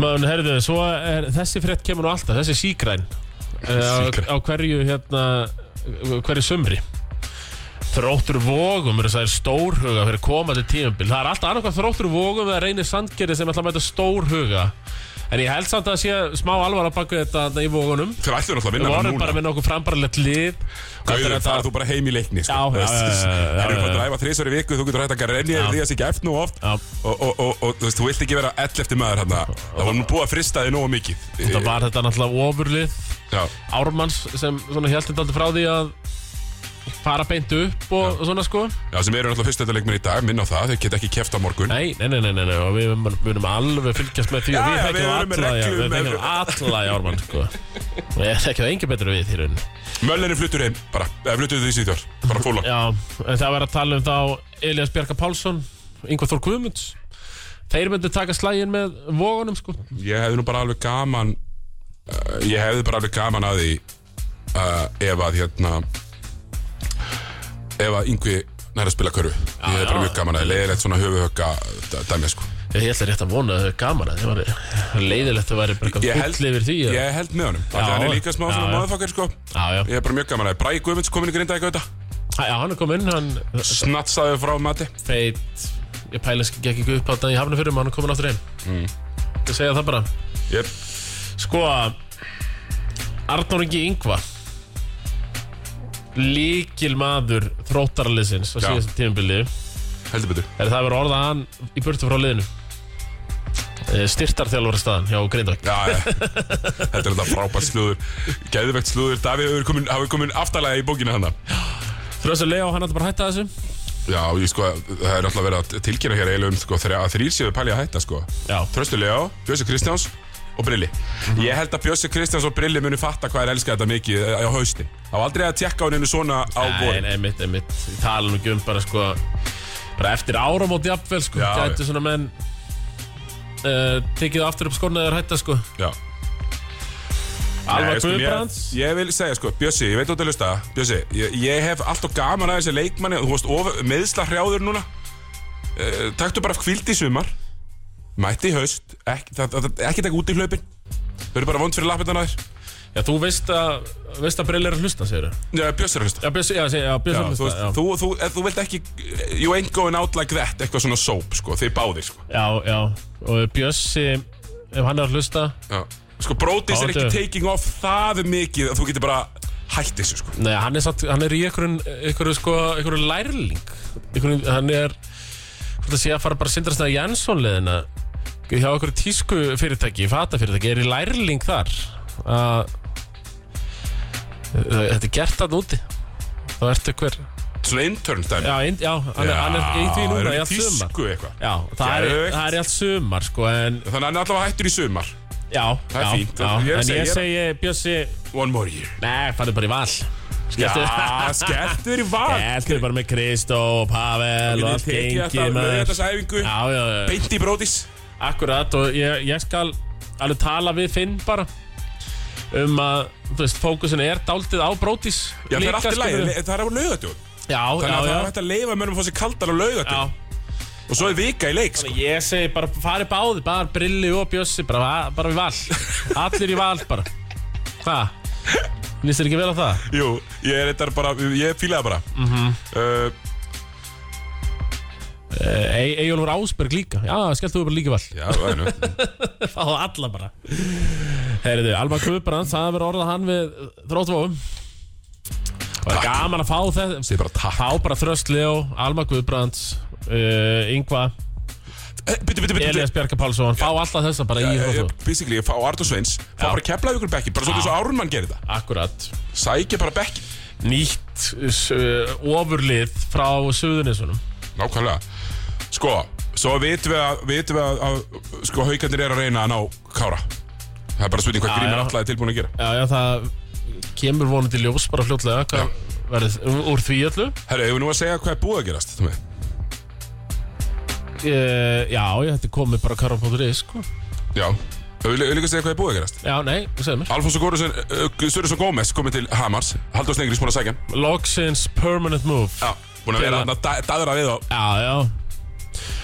Speaker 2: Mán, herðu, svo er, þessi frétt kemur nú alltaf, þessi sígræn uh,
Speaker 1: Sígræn.
Speaker 2: á, á hverju hérna hverju sumri Þróttur vógum er það er stórhuga fyrir komandi tímabil það er alltaf annarkvað þróttur vógum eða reynir sandgerði sem ætla að mæta stórhuga en ég held samt að það sé smá alvar að baka þetta þarna í vógunum
Speaker 1: Þeir ætlum náttúrulega að
Speaker 2: við
Speaker 1: vinna hann
Speaker 2: vorum
Speaker 1: núna
Speaker 2: bara með nokkuð frambarlegt lið
Speaker 1: Gauður,
Speaker 2: Þetta-
Speaker 1: farað þú bara heim í leikni sko.
Speaker 2: Já, já, já, já, já, já,
Speaker 1: Það eru bara
Speaker 2: já.
Speaker 1: að dræfa þrísvar í viku Þú getur hægt að renni
Speaker 2: Já.
Speaker 1: þér því að sé ekki eftir nú oft
Speaker 2: Já.
Speaker 1: og, og, og, og þú veist, þú vilt ekki vera ell eftir maður hérna Það var nú búið að frista þig nógu mikið
Speaker 2: þetta var þetta náttúrulega ofurlið
Speaker 1: Já,
Speaker 2: Ármanns sem svona held þetta frá því að fara beint upp og, og svona sko
Speaker 1: já, sem eru náttúrulega fyrstöldaleikmenn í dag Minn á það, þeir geta ekki keft á morgun
Speaker 2: Nei, nei, nei, nei, nei, nei, og við mun- munum alveg fylgjast með því
Speaker 1: Já,
Speaker 2: og við
Speaker 1: já, við
Speaker 2: þekkjum
Speaker 1: erum með
Speaker 2: alla, já,
Speaker 1: reglum,
Speaker 2: við þekkjum alla í ármann, sko. Og ég þekkjum það engi betur við því raun.
Speaker 1: Möllinni fluttur heim, bara Eða fluttur því síðar, bara fólan
Speaker 2: Já, en það verður að tala um þá Elias Bjarka Pálsson, Ingvar Þór Guðmunds. Þeir myndu taka slægin með vógunum, sko.
Speaker 1: Ég hefði nú bara alveg gaman uh, ég hefði bara alveg gaman að því uh, ef að hérna ef að yngvi nær að spila körfu ég hefði bara
Speaker 2: já.
Speaker 1: mjög gaman að því, leiðilegt svona höfuhögga dæmi sko
Speaker 2: Ég ætla rétt að vona að þau er gaman að þau var leiðilegt að það væri bara
Speaker 1: Ég
Speaker 2: eitthvað
Speaker 1: held-
Speaker 2: full yfir því eða-
Speaker 1: ég held með honum, þannig að
Speaker 2: Já,
Speaker 1: hann er líka smá
Speaker 2: já,
Speaker 1: svona
Speaker 2: já.
Speaker 1: maðurfokkar sko
Speaker 2: Já, já.
Speaker 1: ég hef bara mjög gaman að því, Bræk Guðmunds komin í grinda ekki auðvitað
Speaker 2: Æ, Já, hann er kominn, hann
Speaker 1: snatsaði frá mati
Speaker 2: feit Ég pæla ekki ekki upp á þetta í hafnu fyrir hann er kominn áttur heim
Speaker 1: Mm.
Speaker 2: Ég segja það bara
Speaker 1: yep.
Speaker 2: Sko Arnór Ingi Ingva Líkil maður þróttaraliðsins á
Speaker 1: Já.
Speaker 2: síðasta tímabili
Speaker 1: heldur betur
Speaker 2: Er það verið orðað hann í burtu frá liðinu Styrtarþjálfara staðan hjá Grindavík
Speaker 1: Já, já. þetta er þetta frábært slúður Gæðvegt slúður, Davíð hefur komin, hafi komin aftalega í bókina hann
Speaker 2: Þrjóðs að Leo, hann ætla bara að hætta þessu
Speaker 1: Já, ég sko, það er alltaf verið að tilkynna hér eiginlega um sko, þrjá, þrýr séu pæli að hætta sko
Speaker 2: Já,
Speaker 1: Þröstu Leó, Bjössi Kristjáns og Brilli Ég held að Bjössi Kristjáns og Brilli muni fatta hvað er elska þetta mikið eh, á haustin Það var aldrei að tjekka á hennu svona á
Speaker 2: Nei,
Speaker 1: vorin
Speaker 2: nei, mitt, mitt Ég tala nú ekki um bara sko bara eftir áramót jafnvel sko
Speaker 1: Já,
Speaker 2: gæti svona menn uh, tekið aftur upp skona eða hætta sko
Speaker 1: Já.
Speaker 2: Alvar
Speaker 1: Nei, sko, mér-
Speaker 2: Guðbrands
Speaker 1: Ég vil segja sko, Bjössi, ég veit þú ert að lusta Bjössi, ég, ég hef allt og gaman að þessi leikmanni Þú veist, of, meðsla hrjáður núna uh, Taktu bara kvild í sumar Mætti í haust Ekki, það, það, ekki taka út í hlaupin Þau eru bara vond fyrir lappindan að þér
Speaker 2: Já, þú veist að veist að Brill er að hlusta, segir þú
Speaker 1: Já, Bjössi er að hlusta
Speaker 2: Já, Björs, já, seg- já, Björs
Speaker 1: Já,
Speaker 2: er að
Speaker 1: þú,
Speaker 2: hlusta
Speaker 1: veist,
Speaker 2: já.
Speaker 1: þú, þú, ef þú vilt ekki eh, You ain't going out like that Eitthvað svona soap, sko, þið báðir sko.
Speaker 2: já, já og Björsi ef hann er að hlusta
Speaker 1: Já. sko, Brodís er
Speaker 2: Báðir.
Speaker 1: ekki taking off það mikið að þú getur bara hætt þessu sko.
Speaker 2: Nei, hann er, satt, hann er í einhverjum einhverjum sko, einhverjum lærling einhverjum, hann er hvort að sé að fara bara að sindra snæða Jansson leðina hjá einhverju tísku fyrirtæki fata fyrirtæki, er í lærling þar að þetta er gert að úti þá ertu hver já,
Speaker 1: Svona intern dæmi
Speaker 2: ind, já, hann, er, hann er í því
Speaker 1: þeir
Speaker 2: núna
Speaker 1: eru
Speaker 2: í allt sumar
Speaker 1: tísku eitthvað
Speaker 2: já, það er,
Speaker 1: Geðveikt.
Speaker 2: það er í allt sumar sko, en
Speaker 1: Þannig að hann er allavega hættur í sumar
Speaker 2: já,
Speaker 1: Það er
Speaker 2: já,
Speaker 1: fínt. Ég
Speaker 2: já,
Speaker 1: er að
Speaker 2: en
Speaker 1: segja-
Speaker 2: ég segi Bjössi,
Speaker 1: One more year
Speaker 2: nei, farðu bara í val
Speaker 1: Já, skelltur í val
Speaker 2: Þetta er bara með Kristó og Pavel
Speaker 1: Ég
Speaker 2: og
Speaker 1: get
Speaker 2: allt
Speaker 1: tekið
Speaker 2: gengi
Speaker 1: þetta
Speaker 2: maður.
Speaker 1: lögðarsæfingu
Speaker 2: Já, já, já,
Speaker 1: Beint í brótis
Speaker 2: akkurat og ég, ég skal alveg tala við Finn bara um að, þú veist, fókusin er dáltið á brótis
Speaker 1: Já, það er allt í lagi,
Speaker 2: skilurðu.
Speaker 1: le- það er á lögatjón
Speaker 2: Já,
Speaker 1: Þannig
Speaker 2: já,
Speaker 1: að það er
Speaker 2: já,
Speaker 1: hægt að leifa mönnum að fá sér kaldar á
Speaker 2: já
Speaker 1: lögatjón Og svo er vika í leik, sko
Speaker 2: Ég segi bara, fari báði, bara Brilli og Bjössi, bara, bara við val Allir í val bara Hvað? Nýst þér ekki vel á það?
Speaker 1: Jú, ég er þetta bara, ég fíla það bara uh,
Speaker 2: E Ejólfur Ásberg líka, já, skellt þú bara líka í val
Speaker 1: Já, það er nú
Speaker 2: á alla bara Heyriðu, Alma Kubrans, það verður orðað hann við þróttvóum og er gaman að fá þetta
Speaker 1: Sér bara takk
Speaker 2: fá bara Þröst Leó, Alma Guðbrands uh, Ingva,
Speaker 1: Eh, Bittu, bittu, bittu, bittu
Speaker 2: Elias Bjarka Pálsson fá alltaf þessa bara í
Speaker 1: Eh, eh,
Speaker 2: þróttvóum
Speaker 1: Basically, ég fá Artur Sveins Fá
Speaker 2: Já.
Speaker 1: bara kepla ykkur bekki, bara svolítið
Speaker 2: Já.
Speaker 1: svo Ármann gerir það
Speaker 2: Akkurat,
Speaker 1: Sækja bara bekki
Speaker 2: nýtt uh, ofurlið frá Suðunisunum
Speaker 1: Nákvæmlega Sko, svo vitum við að, vitum við að, að sko, haukarnir eru að reyna að ná Kára Það er bara spurning hvað
Speaker 2: Já,
Speaker 1: Grímur
Speaker 2: já.
Speaker 1: alltaf er tilbúin að gera
Speaker 2: Já, já, það kemur vonandi ljós bara fljótlega hvað verður úr því öllu
Speaker 1: Herru, hefur nú að segja hvað er búið að gerast Tómi?
Speaker 2: uh, Já, ég hætti komið bara karra.is sko.
Speaker 1: Já Hefur við líka að segja hvað er búið að gerast
Speaker 2: Já, nei, segðu mér
Speaker 1: Alfonso Góruðsson, uh, Sörjusson Gómez komið til Hamars Haldur Snengris búin að segja hann
Speaker 2: Logsins Permanent Move
Speaker 1: Já, búin að vera hann
Speaker 2: Félag.
Speaker 1: að daðra við á
Speaker 2: Já, já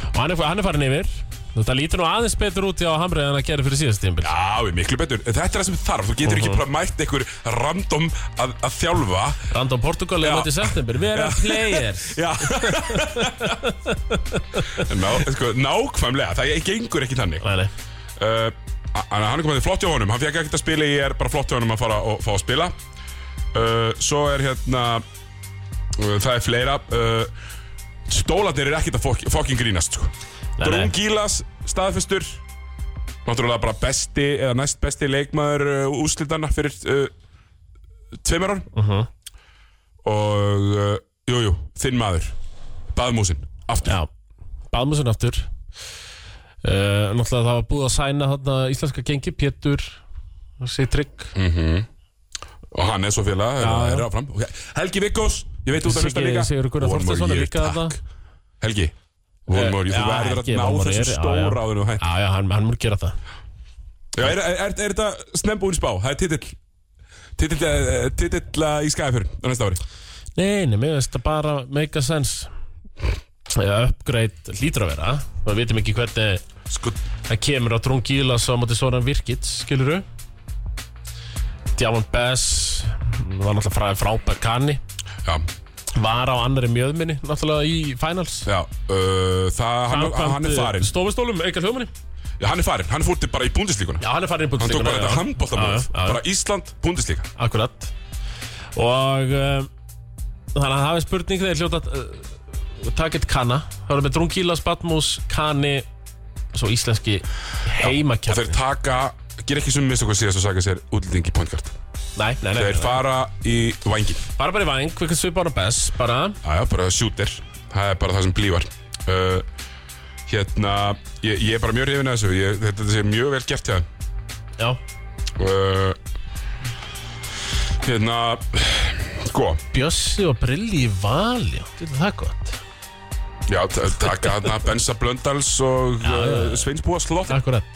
Speaker 2: Og hann er, hann er farin yfir Þetta lítur nú aðeins betur út hjá Hamrið en að gera fyrir síðast tímbil
Speaker 1: Já, við miklu betur Þetta er það sem þarf, þú getur ekki bara mætt einhver random að, að þjálfa
Speaker 2: Random Portugal er
Speaker 1: Já.
Speaker 2: mætt í september Við erum players
Speaker 1: Já Ná, sko, Nákvæmlega, það gengur ekki þannig
Speaker 2: Nei, nei
Speaker 1: uh, hann hann kom að þið flott hjá honum hann fekk ekkert að spila, ég er bara flott hjá honum að fara og fá að spila uh, svo er hérna uh, það er fleira uh, stólarnir er ekkert að fokk- fokkin grínast sko.
Speaker 2: Nei, nei.
Speaker 1: Drún Gílas, staðfestur náttúrulega bara besti eða næst besti leikmaður uh, úslitanna fyrir uh, tveimur árum
Speaker 2: Mhm.
Speaker 1: og uh, jú, jú, þinn maður Baðmúsin, aftur
Speaker 2: Já Báðmúsin aftur uh, Náttúrulega það var búið að sæna þarna íslenska gengi Pétur Sittrygg
Speaker 1: og hann er svo félag
Speaker 2: Já,
Speaker 1: er áfram okay. Helgi Vikkós, ég veit út að hlusta
Speaker 2: Siggi-
Speaker 1: líka
Speaker 2: Sigurður Gunnar
Speaker 1: One more
Speaker 2: Þorsteinsson er
Speaker 1: year,
Speaker 2: líka
Speaker 1: takk.
Speaker 2: þarna.
Speaker 1: Helgi, one
Speaker 2: Eh,
Speaker 1: more year,
Speaker 2: já,
Speaker 1: þú verður að
Speaker 2: Helgi, one
Speaker 1: ná
Speaker 2: more
Speaker 1: þessu
Speaker 2: year, já, já.
Speaker 1: stóra áður og hætt
Speaker 2: Já, já, hann, hann múr gera það
Speaker 1: Já, er, er, er, er þetta snembúin spá? Það er titill Titill, eh, titill eh, í skæðafjörn á næsta ári
Speaker 2: Nei, nei, mér finnst það bara make a sense eða upgrade hlýtur að vera við vitum ekki hvernig
Speaker 1: Sko,
Speaker 2: það kemur á Trún Gílas á móti Soran Virkits, skilur du Djáman Bess var náttúrulega fræði frábær kanni
Speaker 1: já,
Speaker 2: var á annari mjöðminni náttúrulega í finals eh,
Speaker 1: já uh, Það, hann, hann er farin
Speaker 2: Stofustólum, auka hljóðminni
Speaker 1: Já, hann er farin, hann fór til bara í búndislíkuna
Speaker 2: Já, hann er farin í
Speaker 1: Hann tók bara þetta handbóltamóð
Speaker 2: Já, já, já.
Speaker 1: Bara Ísland, búndislíka
Speaker 2: Akkurat Og uh, Þannig að það er spurning þegar hljóta uh, Takket Kana Það var með Drungílas, Batmús, Kani Svo íslenski
Speaker 1: Og þeir
Speaker 2: heimakjarni
Speaker 1: taka, gera ekki sem mista hvað síðast og saka sér útlending í pointgard
Speaker 2: Nei, nei, nei,
Speaker 1: Þeir
Speaker 2: nei.
Speaker 1: fara í vangin
Speaker 2: Bara bara í væng, hvernig svipar á best Bara
Speaker 1: Já, já, bara shooter Það er bara það sem blívar uh, Hérna, ég, ég er bara mjög hrifin að þessu ég, Þetta þetta sé mjög vel gert hjá þeim
Speaker 2: Já,
Speaker 1: uh, Hérna Sko,
Speaker 2: Bjössi og Brilli í vali Þetta er það gott
Speaker 1: já, t- taka þarna Bensa Blöndals og uh, Sveinsbúa slott
Speaker 2: Akkurat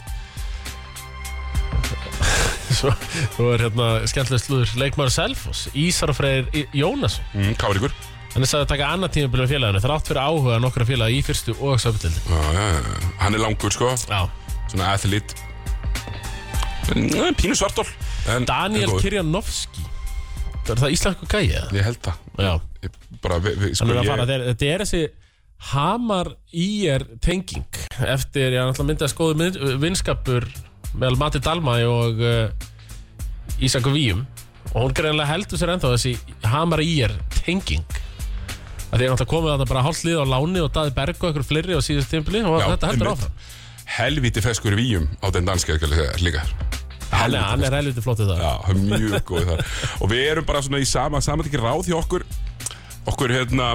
Speaker 2: Svo, svo er hérna skemmtilega slúður Leikmaður Selfoss, Ísar og Freyr Í- Jónasson
Speaker 1: mm, Káringur
Speaker 2: Hann er sagði að taka annað tímabil með félaginu þrátt fyrir áhuga nokkra félaga í fyrstu og söpildinni.
Speaker 1: Já, já, já. Hann er langur, sko
Speaker 2: Já.
Speaker 1: Svona athlete Mm, Pínu svartól en, en
Speaker 2: Daniel
Speaker 1: góður.
Speaker 2: Kirjanovski. Það er það íslensku gæi eða?
Speaker 1: Ég held það
Speaker 2: Já.
Speaker 1: Ég bara, vi, vi, sko,
Speaker 2: Hann er að
Speaker 1: ég,
Speaker 2: fara, þeir, þetta er þessi Hamar IR tenging eftir, ég náttúrulega myndi að skoðu mynd, vinskapur meðal Mati Dalmæ og uh, Ísaku Víum og hún greinlega heldur sér ennþá þessi Hamar IR tenging að því er náttúrulega komið að það bara hálflið á láni og daði berg og einhver fleiri á síðust tímpili og
Speaker 1: Já,
Speaker 2: þetta heldur
Speaker 1: einmitt.
Speaker 2: áfram
Speaker 1: helvíti feskur víum á den danska, skal ég segja, líka
Speaker 2: hann er, hann er helviti flott í það
Speaker 1: Já, það er mjög góð þar Og við erum bara svona í sama, saman ekki ráð hjá okkur Okkur hérna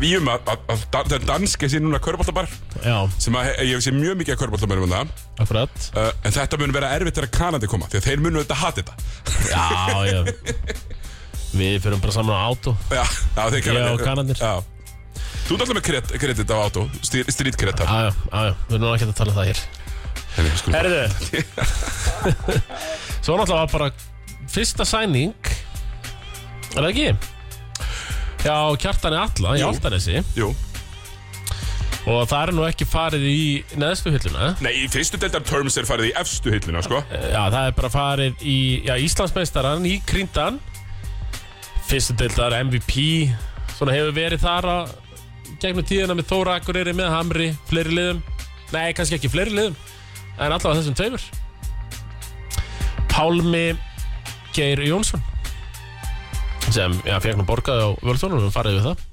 Speaker 1: Við um að, að, að dan- það danski sé núna körbóltabar
Speaker 2: Já,
Speaker 1: Sem að ég sé mjög mikið að körbóltamennum um það
Speaker 2: akkurat
Speaker 1: uh, En þetta mun vera erfitt þegar kanandi koma Því að þeir munu þetta hati þetta
Speaker 2: Já, já Við fyrir bara saman á átó
Speaker 1: Já, já þeir
Speaker 2: Já, Kanarnir.
Speaker 1: Já Þú ert alltaf með kredit, kredit á auto, street kredit þar
Speaker 2: Já, já, já, já, við erum nú ekki að tala um það hér
Speaker 1: Þannig, skulum-
Speaker 2: Herðu Svo náttúrulega var bara Fyrsta sæning Er það ekki? Já, kjartan er alla í
Speaker 1: Jú.
Speaker 2: Altanesi
Speaker 1: Jú,
Speaker 2: Og það er nú ekki farið í neðstu hylluna
Speaker 1: nei, í fyrstu deildar terms er farið í efstu hillina, sko
Speaker 2: Já, það er bara farið í Já, Íslandsmeistaran í Krindan Fyrstu deildar MVP Svona hefur verið þar að Gegnum tíðina með Þóra Akureyri með Hamri Fleiri liðum Nei, kannski ekki fleiri liðum En allavega þessum tveimur Pálmi Geir Jónsson Sem, já, fekk nú borgaði á Völdsónum Við farið við það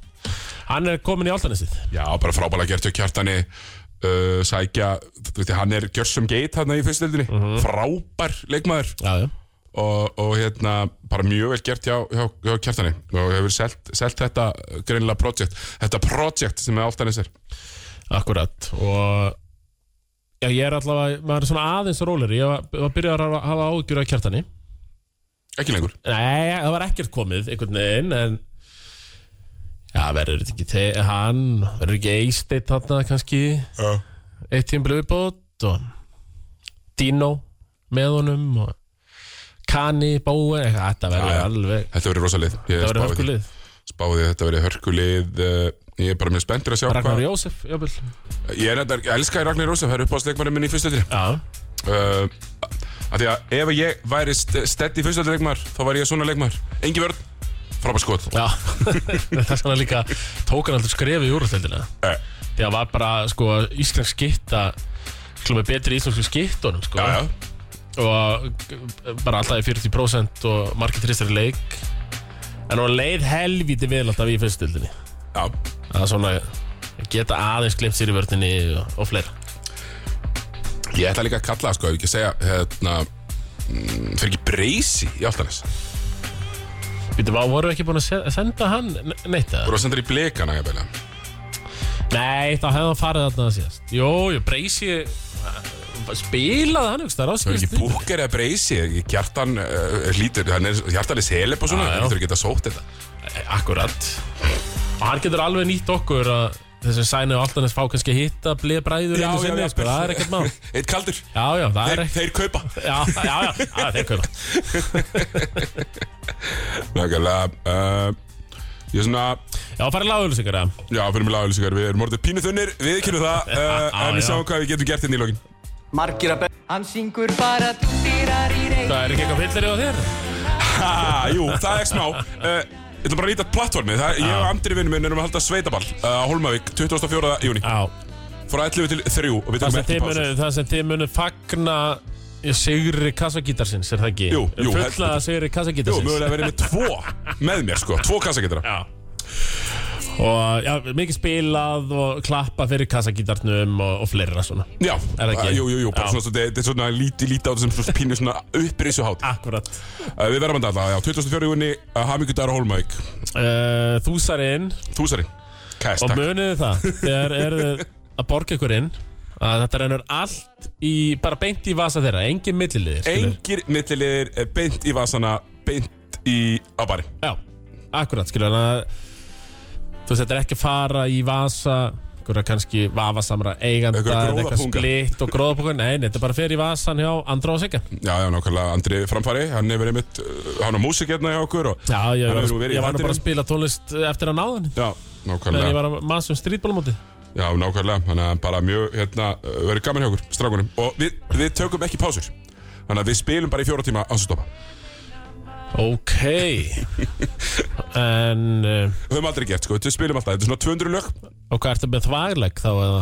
Speaker 2: Hann er komin í áltanesið
Speaker 1: Já, bara frábæla gert hjá kjartani uh, Sækja, þú veist, hann er Gjörsum Geit hann í fyrstildinni mm
Speaker 2: Mhm.
Speaker 1: Frábær leikmaður
Speaker 2: Já, já
Speaker 1: og, og hérna, bara mjög vel gert hjá, hjá, hjá kjartani og hefur selt, selt þetta uh, greinilega projekt Þetta projekt sem er áltanis er
Speaker 2: Akkurat og já, ég er allavega, maður er svona aðeins róleri, ég var, var byrjað að hafa ágjur af kjartani.
Speaker 1: Ekki lengur
Speaker 2: Nei, það var ekkert komið einhvern veginn en já, verður þetta ekki te- hann, verður ekki Eisteit þarna kannski,
Speaker 1: Já,
Speaker 2: eitt tíma blöðbót og Dino með honum og Kani, Bói, eitthvað, þetta verður
Speaker 1: Já, já.
Speaker 2: alveg,
Speaker 1: Þetta verið rosalið Ég
Speaker 2: það verður
Speaker 1: spáði því.
Speaker 2: höfkulið.
Speaker 1: Spáði því, þetta verið hörkulið uh, Ég er bara mjög spenntur að sjá
Speaker 2: Ragnar
Speaker 1: hvað
Speaker 2: Jósef, jáfnvel.
Speaker 1: Ég er þetta, elskar Ragnar Rósef, það er uppáðsleikmarin minn í fyrstildinni
Speaker 2: Já,
Speaker 1: uh, að því að ef ég væri stedd í fyrsta leikmar þá væri ég svona leikmar Engi vörn, frábær skot
Speaker 2: já, þess vegna líka tók hann alltaf skrefið í úrstældina.
Speaker 1: Eh,
Speaker 2: því að var bara sko íslensk skitta klúma betri í íslensku skittunum sko
Speaker 1: Já, já,
Speaker 2: og bara alltaf í 40% og margir tristari leik en hún leið helvítið vel alltaf í fyrstildinni
Speaker 1: já
Speaker 2: að svona geta aðeins glemt sér í vörðinni og, og fleira
Speaker 1: Ég ætla líka að kalla það sko, ef ég ekki að segja hérna, mm, fyrir ekki breysi í Altanes
Speaker 2: Býtum á, vorum við ekki búin að se- senda hann ne- neitt eða?
Speaker 1: Þú eru að senda þér í blikana, ég beila
Speaker 2: Nei, þá hefði hann farið þarna að síðast Jó, ég breysi eh, spilaði hann, það er
Speaker 1: Það er
Speaker 2: áskilist
Speaker 1: ekki búker eða breysi, ekki hjartan uh, hlýtur, hann er hjartan er seleb og svona,
Speaker 2: Já, já.
Speaker 1: hann þurfi ekki að sótt þetta
Speaker 2: Akkurat Og hann getur alveg nýtt okkur að þessi sænu áltanis fá kannski hitta blið bræður einu sinni, sko, það er ekkert mál
Speaker 1: Eitt kaldur
Speaker 2: Já, já, það er
Speaker 1: Þeir, þeir
Speaker 2: ekkert
Speaker 1: kaupa
Speaker 2: Já, já, já, já, þeir kaupa
Speaker 1: Nákvæmlega uh, Ég er svona
Speaker 2: Já, farið lagauðlýsingar, eða?
Speaker 1: Já, fyrir mig lagauðlýsingar Við erum orðið pínu þunnir Við kynum það uh,
Speaker 2: Já,
Speaker 1: En við
Speaker 2: já.
Speaker 1: sjáum hvað við getum gert hérna í lokin
Speaker 4: Margir að beina Hann syngur bara dýrar í reynd
Speaker 2: Það er ekki eitthvað fyllir á þér?
Speaker 1: Ha, jú, það er smá uh, Ég ætla bara að nýta plattformið Það- Ég og andri vinnum minn erum að halda sveitaball uh, á Holmavík 24. júni
Speaker 2: Já,
Speaker 1: Frá 11 til 3 og við
Speaker 2: það
Speaker 1: tökum
Speaker 2: sem
Speaker 1: ekki
Speaker 2: þið munu,
Speaker 1: pásu
Speaker 2: það sem þið munu fagna í sigri kassagítarsins, er það ekki?
Speaker 1: Jú, jú,
Speaker 2: Fulla
Speaker 1: heldur.
Speaker 2: sigri
Speaker 1: Jú,
Speaker 2: kassagítarsins
Speaker 1: mögulega verið með tvo með mér sko Tvo kassaketara
Speaker 2: Já Og já, mikið spilað og klappa fyrir kassagítarnum og, og fleira svona
Speaker 1: Já,
Speaker 2: Er það ekki?
Speaker 1: uh, jú, jú, jú, bara
Speaker 2: Já.
Speaker 1: svona, þetta þetta er svona lítið lítið á þessum svona pínu svona uppriðsuhátt uh,
Speaker 2: Akkurat
Speaker 1: Við verðum að dala, já, 24. júni, uh, hamingudagur á Holmavík
Speaker 2: uh, Þú sar inn
Speaker 1: Þúsari, kæst,
Speaker 2: og
Speaker 1: takk
Speaker 2: muniðu það Þegar eru þið að borga ykkur inn að þetta rennur allt í, bara beint í vasa þeirra, engin milliliðir skilur.
Speaker 1: Engir millilegir beint í vasana, beint í á bari
Speaker 2: Já, akkurat, skilur þannig að þú veist, þetta er ekki að fara í vasa einhverja kannski vafasamra eiganda
Speaker 1: Einhverja
Speaker 2: eða
Speaker 1: gróðapunga.
Speaker 2: splitt og gróðapunga nei, nei, þetta bara fer í vasan hjá andra og sigga
Speaker 1: Já, já, nákvæmlega, Andri framfari, hann hefur einmitt, uh, hann á músik hérna hjá okkur og,
Speaker 2: Já, ég
Speaker 1: Hann
Speaker 2: var,
Speaker 1: hefur verið í
Speaker 2: ég var nú bara að
Speaker 1: þættinum.
Speaker 2: spila tónlist eftir að náðan
Speaker 1: Já,
Speaker 2: Þegar ég
Speaker 1: nákvæmlega,
Speaker 2: var að massa um strítbólumóti
Speaker 1: já, nákvæmlega, þannig að bara mjög, hérna, uh, verið gaman hjá okkur, strákunum Og við, við tökum ekki pásur, þannig að við spilum bara í fjóra tíma án sem stoppa
Speaker 2: Ok En uh,
Speaker 1: Við höfum aldrei gert, sko, við spilum alltaf, þetta er svona 200 lög
Speaker 2: Og hvað ertu með þvagleg þá eða?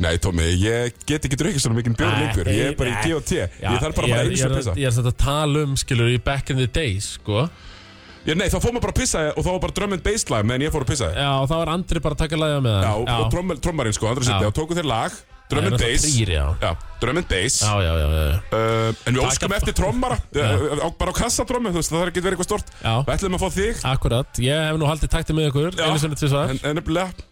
Speaker 1: Nei, Tómi, ég get ekki drukkið svona mikinn björn
Speaker 2: Nei,
Speaker 1: lengur, ég er bara
Speaker 2: nei.
Speaker 1: í G&T Ég þarf bara að
Speaker 2: ég,
Speaker 1: fara
Speaker 2: ég,
Speaker 1: einu
Speaker 2: er
Speaker 1: sem
Speaker 2: að-
Speaker 1: pissa
Speaker 2: ég er satt að tala um skilur í back in the days sko
Speaker 1: Já, nei, þá fór maður bara að pissa og þá var bara drömmin baseline meðan ég fór að pissa
Speaker 2: Já, og þá var Andri bara að taka lagja með
Speaker 1: Já,
Speaker 2: hann
Speaker 1: og trommel, trommarinn sko, andra sýtti,
Speaker 2: Já.
Speaker 1: þá tóku þeir lag Drum and
Speaker 2: Það eru
Speaker 1: bass
Speaker 2: náttúrulega þrír, já.
Speaker 1: Já, drum and bass
Speaker 2: Já, já, já, já, já.
Speaker 1: uh, En við
Speaker 2: Taka-
Speaker 1: óskum eftir trommara uh, á- Bara á kassadrommu, þú veist, það þarf ekki verið eitthvað stort
Speaker 2: Já.
Speaker 1: Við ætlum að fá þig
Speaker 2: Akkurat, ég hef nú haldið takti með ykkur
Speaker 1: Já.
Speaker 2: einu sinni til svar,
Speaker 1: En, en nefnilega,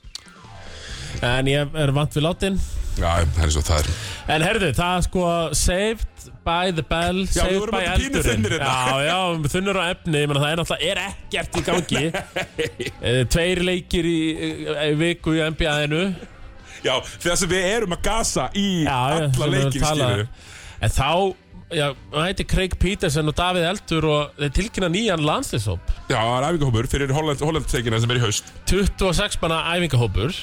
Speaker 2: en ég er vant við látin
Speaker 1: já, það er svo það er
Speaker 2: En herðu, það er sko saved by the bell,
Speaker 1: Já, við
Speaker 2: saved
Speaker 1: vorum
Speaker 2: by
Speaker 1: alltaf pínu
Speaker 2: eldurinn
Speaker 1: þunnir hérna.
Speaker 2: Já, já, þunnur á efni, ég meina það er náttúrulega er ekkert í gangi Eh, Tveir leikir í, í eh, viku í NBA-inu
Speaker 1: Já, þegar sem við erum að gasa í alla leikin, skilur
Speaker 2: En þá, já, hann heitir Craig Peterson og Davíð Eldur og þeir tilkynna nýjan landslýshóp
Speaker 1: Já, það er æfingahópur fyrir Holland, Holland-teikina sem er í haust
Speaker 2: 26 manna æfingahópur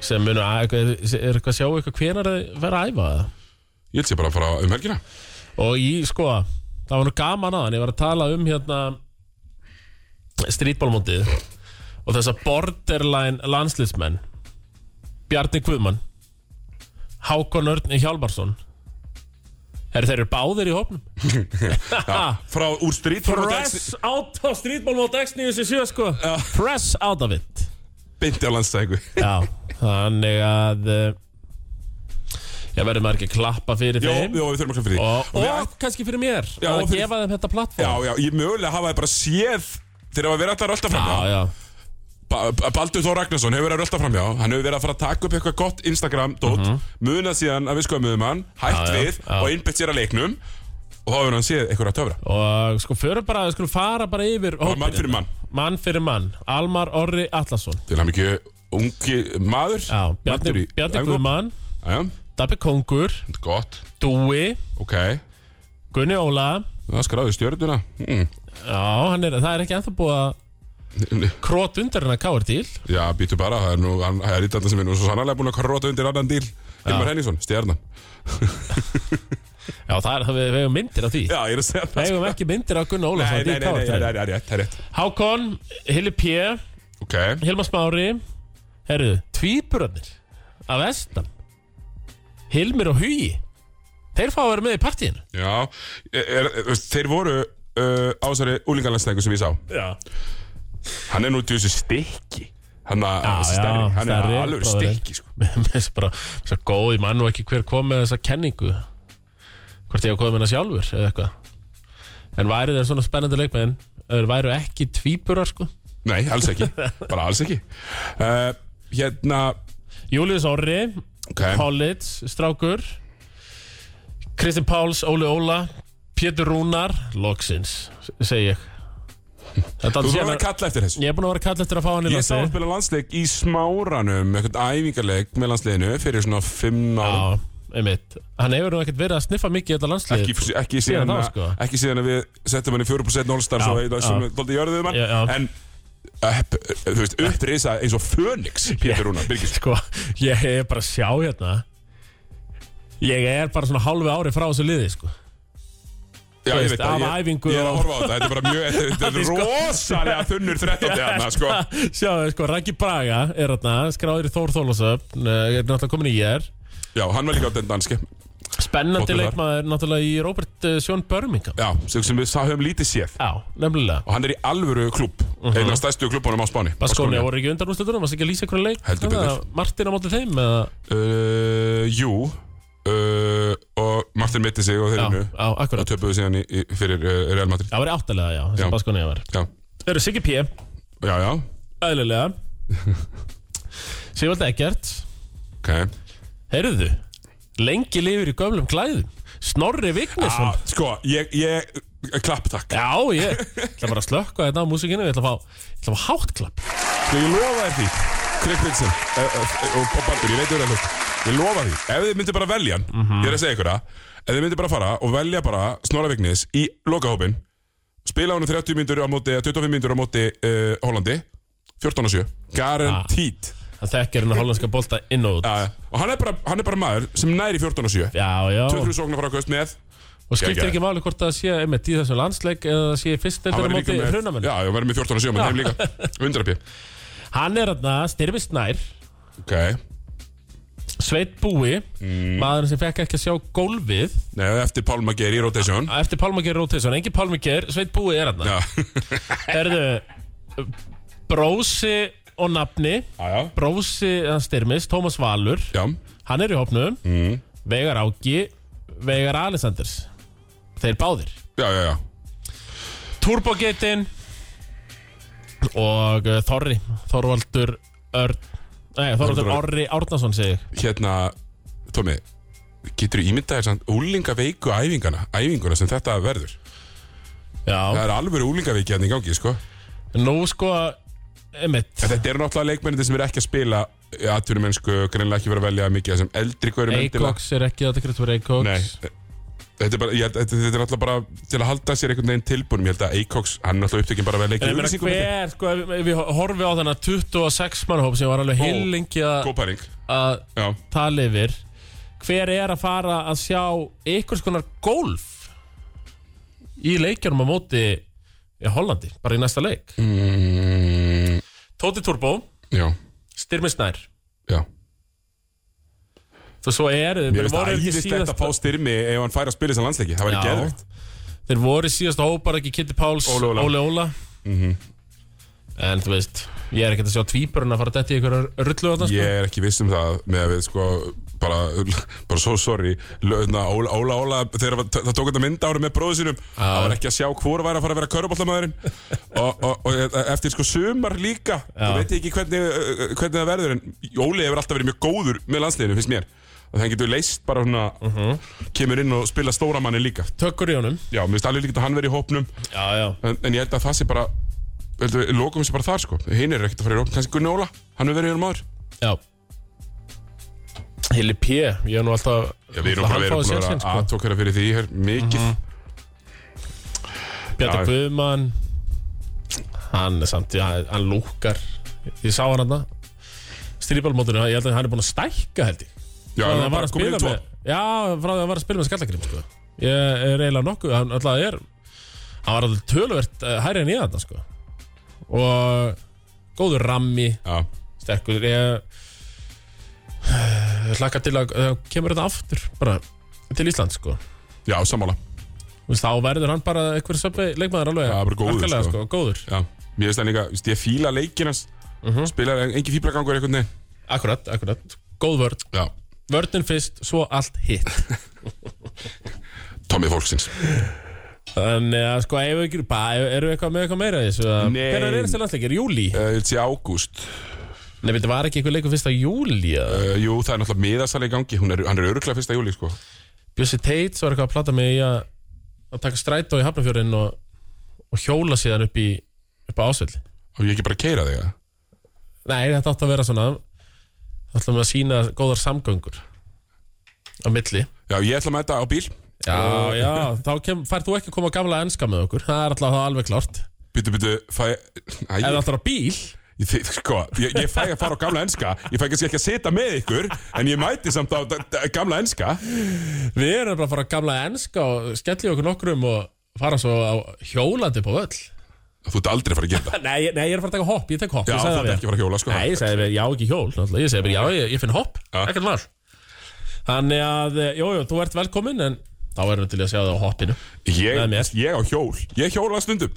Speaker 2: sem munu að, er, er eitthvað að sjá eitthvað hvenar þau vera að æfa það
Speaker 1: Ég held sé bara að fara um helgina
Speaker 2: og ég sko það var nú gaman aðan, ég var að tala um hérna strítbólmóndið og þessa borderline landslýsmenn Bjarni Guðmann Hákon Örn Hjálmarsson Herri, þeir eru báðir í hópnum
Speaker 1: Frá úr strít
Speaker 2: Ah. Press out á strítbólmónd X97 sko Press out of it
Speaker 1: Bindi á landstæku
Speaker 2: Já, þannig að eh, Ég verður maður ekki að klappa fyrir
Speaker 1: Jó,
Speaker 2: þeim
Speaker 1: jó, við þurfum að klappa fyrir því
Speaker 2: Og, og,
Speaker 1: við ættum-
Speaker 2: kannski fyrir mér
Speaker 1: Já,
Speaker 2: Að
Speaker 1: og fyrir-
Speaker 2: gefa þeim þetta
Speaker 1: Já,
Speaker 2: plattform
Speaker 1: já, ég mögulega hafa það bara séð Þeir hafa verið alltaf að rölda fram
Speaker 2: já, já.
Speaker 1: Ba- ba- Baldur Þór Ragnarsson hefur verið að rölda fram já Hann hefur verið að fara að taka upp eitthvað gott Instagram-dót Munað síðan að við skoðum hann Hætt
Speaker 2: Já, já,
Speaker 1: við
Speaker 2: já.
Speaker 1: og innbytt sér að leiknum Og þá hefur hann séð eitthvað að töfra
Speaker 2: Og sko, förum bara, við skulum fara bara yfir
Speaker 1: Bara
Speaker 2: hópinn
Speaker 1: mann fyrir
Speaker 2: hérna.
Speaker 1: mann.
Speaker 2: Mann fyrir mann Almar Orri Atlasson
Speaker 1: Til hann ekki ungi maður
Speaker 2: Já,
Speaker 1: mættur
Speaker 2: Bjarni,
Speaker 1: í-
Speaker 2: Bjarni
Speaker 1: æfingu.
Speaker 2: Guðmann
Speaker 1: Já, já,
Speaker 2: Dabbi Kongur
Speaker 1: gott,
Speaker 2: Dúi
Speaker 1: ok
Speaker 2: Gunni Óla
Speaker 1: Það skráði stjörnuna mm.
Speaker 2: Já, hann er, það er ekki ennþá búið að Krót undir hennar káir til
Speaker 1: Mm. Já, býtu bara, það er nú hann- Það er í þetta sem er nú svo sannarlega búin að króta undir annan díl Hilmar Henningsson, stjörnan
Speaker 2: Já, það er, það við við eigum myndir af því
Speaker 1: Já, ég er að segja
Speaker 2: Við
Speaker 1: það
Speaker 2: eigum ekki myndir af Gunni Óla
Speaker 1: Nei, nei, nei, nei, það er rétt, það er rétt
Speaker 2: Hákon, Hilli P
Speaker 1: Ok,
Speaker 2: Hilmar Smári Herru, tvíburarnir Af Estan Hilmir og Hugi Þeir fá að vera með í partíinu
Speaker 1: já er, er, veist, Þeir voru uh, á þessari úlingalandsnæku sem ég sá
Speaker 2: Já,
Speaker 1: Hann er nú til þessu stikki Hann er
Speaker 2: já,
Speaker 1: stærri, hann er
Speaker 2: stærri,
Speaker 1: alveg
Speaker 2: bróðir.
Speaker 1: stikki sko.
Speaker 2: Mér finnst bara svo góð Ég mann og ekki hver kom með þessa kenningu Hvort ég hafa komið með hana sjálfur Eða eitthvað En væri þeir svona spennandi leikmenn ef Þeir væru ekki tvíburar sko
Speaker 1: Nei, alls ekki, bara alls ekki uh, Hérna
Speaker 2: Július Orri
Speaker 1: Ok.
Speaker 2: Pálits, Strákur Kristinn Páls, Óli Óla Pétur Rúnar, Loksins Segi ég Þetta
Speaker 1: Þú
Speaker 2: er
Speaker 1: þarf
Speaker 2: síðan
Speaker 1: að kalla eftir þessu
Speaker 2: Ég er búin að vera að kalla eftir að fá hann í
Speaker 1: Ég sá hann
Speaker 2: landi
Speaker 1: spila landsleik í smáranum eitthvað æfingarleik með landsleikinu fyrir svona fimm árum
Speaker 2: Já, einmitt Hann hefur nú ekkert verið að sniffa mikið í þetta landslið
Speaker 1: ekki, ekki, síðan
Speaker 2: Síðan
Speaker 1: að,
Speaker 2: þá, sko.
Speaker 1: ekki síðan að við settum hann í 4% all-star
Speaker 2: Já,
Speaker 1: svo heita sem
Speaker 2: já.
Speaker 1: doldi jörðuðum hann
Speaker 2: Já, já.
Speaker 1: en upp, þú veist, upprisa eins og Fönix Pétur Rúnar Birgis
Speaker 2: Sko, ég er bara að sjá hérna Ég er bara svona halvi ári frá þessu liði, sko
Speaker 1: Já, ég
Speaker 2: Þú veist,
Speaker 1: veit það,
Speaker 2: af
Speaker 1: ég,
Speaker 2: æfingu
Speaker 1: ég er að
Speaker 2: og-
Speaker 1: horfa á þetta Þetta er bara mjög, þetta- þetta
Speaker 2: Því,
Speaker 1: er
Speaker 2: sko.
Speaker 1: rosalega þunnur 13. þarna, sko
Speaker 2: Sjáðu, sko, Raggi Braga er hérna Skráður í Þór Þólasöfn eh, Er náttúrulega komin í ég
Speaker 1: Já, hann var líka á den danski
Speaker 2: Spennandi
Speaker 1: Fótboltar.
Speaker 2: leikmaður náttúrulega í Robert eh, Sjón Birmingham
Speaker 1: Já, sem- sem við sá- höfum lítið séð
Speaker 2: Já, nefnilega
Speaker 1: Og hann er í alvöru klubb
Speaker 2: Mhm.
Speaker 1: Einn af stærstu klubbanum á Spáni
Speaker 2: Baskónia voru ekki undan úrslutunum, varst ekki að lýsa einhverju leik
Speaker 1: Heldur betur.
Speaker 2: Þannig að Martin á móti þeim eða
Speaker 1: uh, Jú uh, Og Martin mitti sig og þeir
Speaker 2: Já,
Speaker 1: eru
Speaker 2: já,
Speaker 1: Og
Speaker 2: akkurat
Speaker 1: töpuðu síðan í, í, fyrir uh, Real Madrid
Speaker 2: Það var áttalega, já,
Speaker 1: Já.
Speaker 2: þessi Baskónia var
Speaker 1: Já,
Speaker 2: Þau eru Siggi P,
Speaker 1: já, já,
Speaker 2: eðlilega Sigvald Eggert
Speaker 1: ok
Speaker 2: Heyrðu, lengi lifir í gömlum klæðum Snorri Vignesson
Speaker 1: ah, Sko, ég, ég, klapp takk
Speaker 2: Já, ég ætla bara að slökka þetta á músikinu Ég ætla að fá, ég ætla að fá háttklapp
Speaker 1: Sko, ég lofa þér því Craig Wilson eh, eh, og og Baldur, ég veit þú þetta Ég lofa því, ef þið myndir bara velja hann Ég er að segja ykkur það Ef þið myndir bara fara og velja bara Snorra Vignis í lokahópin Spila honum 30 myndur á móti, 25 myndur á móti uh, Hollandi 14 og 7 Guaranteed
Speaker 2: Það þekkir hennar hollandska bolta inn og út
Speaker 1: ah. Og hann er, bara, hann er bara maður sem næri 14 og 7
Speaker 2: Já, já
Speaker 1: 23 sóknar frá kost með
Speaker 2: Og skiptir
Speaker 1: Geggjað.
Speaker 2: ekki máli hvort það sé einmitt í þessum landsleik eða það sé í fyrst
Speaker 1: Hann
Speaker 2: deildar á
Speaker 1: verður líka
Speaker 2: móti
Speaker 1: með-
Speaker 2: hrunamenn
Speaker 1: Já, hann verður með 14 og 7 menn heim líka 100 pí
Speaker 2: Hann er þarna styrfi snær
Speaker 1: Ok,
Speaker 2: Sveit Búi maðurinn sem fekk ekki að sjá gólfið
Speaker 1: Nei, eftir Pálma Geir í rotation
Speaker 2: eftir Pálmager Rótisson, engin Pálmager Sveit Búi er þarna
Speaker 1: Já,
Speaker 2: Herðu, Brósi og nafni
Speaker 1: já, já,
Speaker 2: Brósi eða styrmis, Tómas Valur
Speaker 1: já.
Speaker 2: hann er í hopnum Vegar Áki, Vegar Alessanders þeir báðir
Speaker 1: Já, já, já.
Speaker 2: Turbogetin og uh, Þorri Þorvaldur Örn Nei, Þorvaldur
Speaker 1: Þorvaldur
Speaker 2: Orri Árnason segi ég.
Speaker 1: hérna, Tómi getur ímyndaðir samt úlingaveiku æfingana, æfinguna sem þetta verður það
Speaker 2: Já,
Speaker 1: er alveg úlingaveiki hérna í gangi, sko en
Speaker 2: nú sko Emmett,
Speaker 1: þetta eru náttúrulega leikmennir sem eru ekki að spila aðturum mennsku, greinlega ekki verið að velja mikið af þessum eldri hverjum endilega
Speaker 2: Eikoks er ekki þetta kreftur fyrir Eikoks
Speaker 1: Nei, þetta er, bara, ég, held- þetta, þetta er náttúrulega bara til að halda sér einhvern veginn tilbúnum ég held að Eikoks, hann er náttúrulega upptökin bara að vera
Speaker 2: En ég
Speaker 1: leikir
Speaker 2: meina hver, sko, ef ef við horfið á þennan 26 mannhóp sem var alveg heilengi að
Speaker 1: Góparing,
Speaker 2: að
Speaker 1: já,
Speaker 2: tala yfir Hver er að fara að sjá einhvers konar golf í leikjunum á móti í Hollandi, bara í næsta leik
Speaker 1: Mm.
Speaker 2: Tóti Turbo,
Speaker 1: já,
Speaker 2: Styrmi Snær
Speaker 1: já
Speaker 2: Þú svo er,
Speaker 1: Mér
Speaker 2: þeir
Speaker 1: finnst
Speaker 2: voru
Speaker 1: það
Speaker 2: ekki
Speaker 1: æðislegt að fá
Speaker 2: síðast
Speaker 1: styrmi ef hann fær að spila þessan landsleiki, það væri
Speaker 2: Já.
Speaker 1: geðvegt
Speaker 2: Þeir voru síðast hópar ekki Kitty Páls,
Speaker 1: Óli Óla. Mhm.
Speaker 2: En þú veist, ég er ekkert að sjá tvíburinn að fara dætt í einhverjar rullu þarna, sko.
Speaker 1: Ég er ekki viss um það með að við sko bara, bara so sorry lögna, Óla, Óla, Óla þegar var- það tók þetta mynda ári með bróðu sínum það var ekki að sjá hvora væri að fara að vera köruboltamæðurinn og, og, og eftir sko sumar líka þú veit ég ekki hvernig, uh, hvernig það verður en Óli hefur alltaf verið mjög góður með landsliðinu finnst mér og hann getur leist bara svona kemur inn og spila stóra manni líka
Speaker 2: Tökkur í honum
Speaker 1: já, mér finnst alveg líka að hann verið í hópnum
Speaker 2: Já, já
Speaker 1: en, en ég held að það sé bara heldur við, lokum sé bara þar sko hinn er ekkert að fara í hópn kannski Gunni Óla, hann hefur verið í honum áður
Speaker 2: Já Hili P, ég er nú alltaf
Speaker 1: Já, við erum bara verið búin að vera
Speaker 2: sko. Mhm.
Speaker 1: aðtókara fyrir því hér, mikið.
Speaker 2: Bjarni
Speaker 1: Já.
Speaker 2: Guðmann Hann er samt, já, hann lúkar Ég sá hann hann Strýbalmótinu, ég held að hann er búin að stækka held ég
Speaker 1: Já,
Speaker 2: Frá því
Speaker 1: hann
Speaker 2: að hann var að
Speaker 1: bara komin
Speaker 2: spila
Speaker 1: inn tvo.
Speaker 2: með Já, frá því að hann var að spila með skallakrim sko. Ég er eiginlega nokkuð Hann alltaf er Hann var alltaf töluvert uh, hærri en ég þarna sko. Og góður rammi
Speaker 1: Já,
Speaker 2: sterkur ég ég hlakka til að uh, kemur þetta aftur bara til Ísland sko
Speaker 1: já, sammála.
Speaker 2: Þú veist, þá verður hann bara einhver söpvei leikmaður alveg
Speaker 1: Já, bara góður,
Speaker 2: harkalega,
Speaker 1: sko.
Speaker 2: sko, góður.
Speaker 1: Já, mér finnst það líka, þú veist, ég fíla leikinast, uh
Speaker 2: Mhm.
Speaker 1: -huh. spilar en- engin fíblagangur einhvern veginn.
Speaker 2: akkurat, akkurat, góð vörd
Speaker 1: Já,
Speaker 2: vördin fyrst, svo allt hitt
Speaker 1: Tommy Fólksins.
Speaker 2: þannig að sko ef við ekki bara, ef- erum við eitthvað með eitthvað meira í þessu að-
Speaker 1: Nei.
Speaker 2: hvenær er þetta landsleikir, júli
Speaker 1: Uh, ég sé ágúst.
Speaker 2: nei, þetta var ekki eitthvað leikur fyrsta júli eða?
Speaker 1: Uh, jú, það er náttúrulega miðasal í gangi, Hún er, hann er öruglega fyrsta júli, sko.
Speaker 2: Bjössi Teit svo er eitthvað að plata mig í að að taka strætó í Hafnafjörðin og, og hjóla síðan upp í upp á ásvill
Speaker 1: Og ég ekki bara að keira þig að?
Speaker 2: Nei, þetta átti að vera svona Það ætlum við að sína góðar samgöngur á milli
Speaker 1: Já, ég ætla að mæta á bíl
Speaker 2: Já, já, þá kem, fær þú ekki að koma á gamla enska með okkur Það er alltaf það alveg klart
Speaker 1: Býtu, býtu, fæ Æ,
Speaker 2: Ef það
Speaker 1: ég,
Speaker 2: ætlar á bíl
Speaker 1: þið, sko, ég, ég fæ að fara á gamla enska Ég fæ kannski ekki að sita með ykkur En ég mæti samt á d- d- gamla enska
Speaker 2: Við erum bara að fara á gamla enska og skellja okkur nokkrum og fara svo á hjólandi på völl
Speaker 1: Þú ert aldrei að fara að gera það
Speaker 2: Nei, ég- nei, ég er að fara að taka hopp, ég tek hopp
Speaker 1: Já,
Speaker 2: ég
Speaker 1: þú ert
Speaker 2: sagði við
Speaker 1: ekki að fara að hjóla, sko
Speaker 2: Nei, ég segi mér, já ekki hjól náttúrulega. Ég segi mér, já, ég, ég finn hopp
Speaker 1: Já.
Speaker 2: Ekkert mál Þannig að, eh, jú, jú, þú ert velkomin En þá erum við til í að sjá það á hoppinu með mér.
Speaker 1: ég, ég á hjól Ég hjóla stundum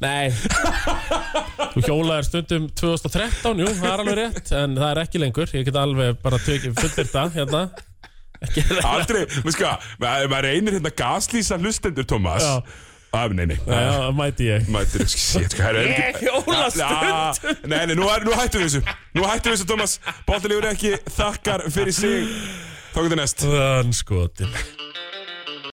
Speaker 2: Nei Þú hjólaðir stundum 2013, jú, það er alveg rétt En það er ekki lengur, ég get alveg bara tökir fullir það hérna Ekki
Speaker 1: Aldrei, maður sko ma- Maður reynir hérna gaslýsa hlustendur, Thomas
Speaker 2: Já.
Speaker 1: Af, nei, nei
Speaker 2: Já, það mæti ég
Speaker 1: Mætir, shit, sko, herra, er ekki-
Speaker 2: Ég hjóla
Speaker 1: Ja, Nei, nei, nú, er- nú hættum við þessu Nú hættum við þessu, Thomas Bóttilegur ekki þakkar fyrir sig Þá getur næst
Speaker 2: Þann skotin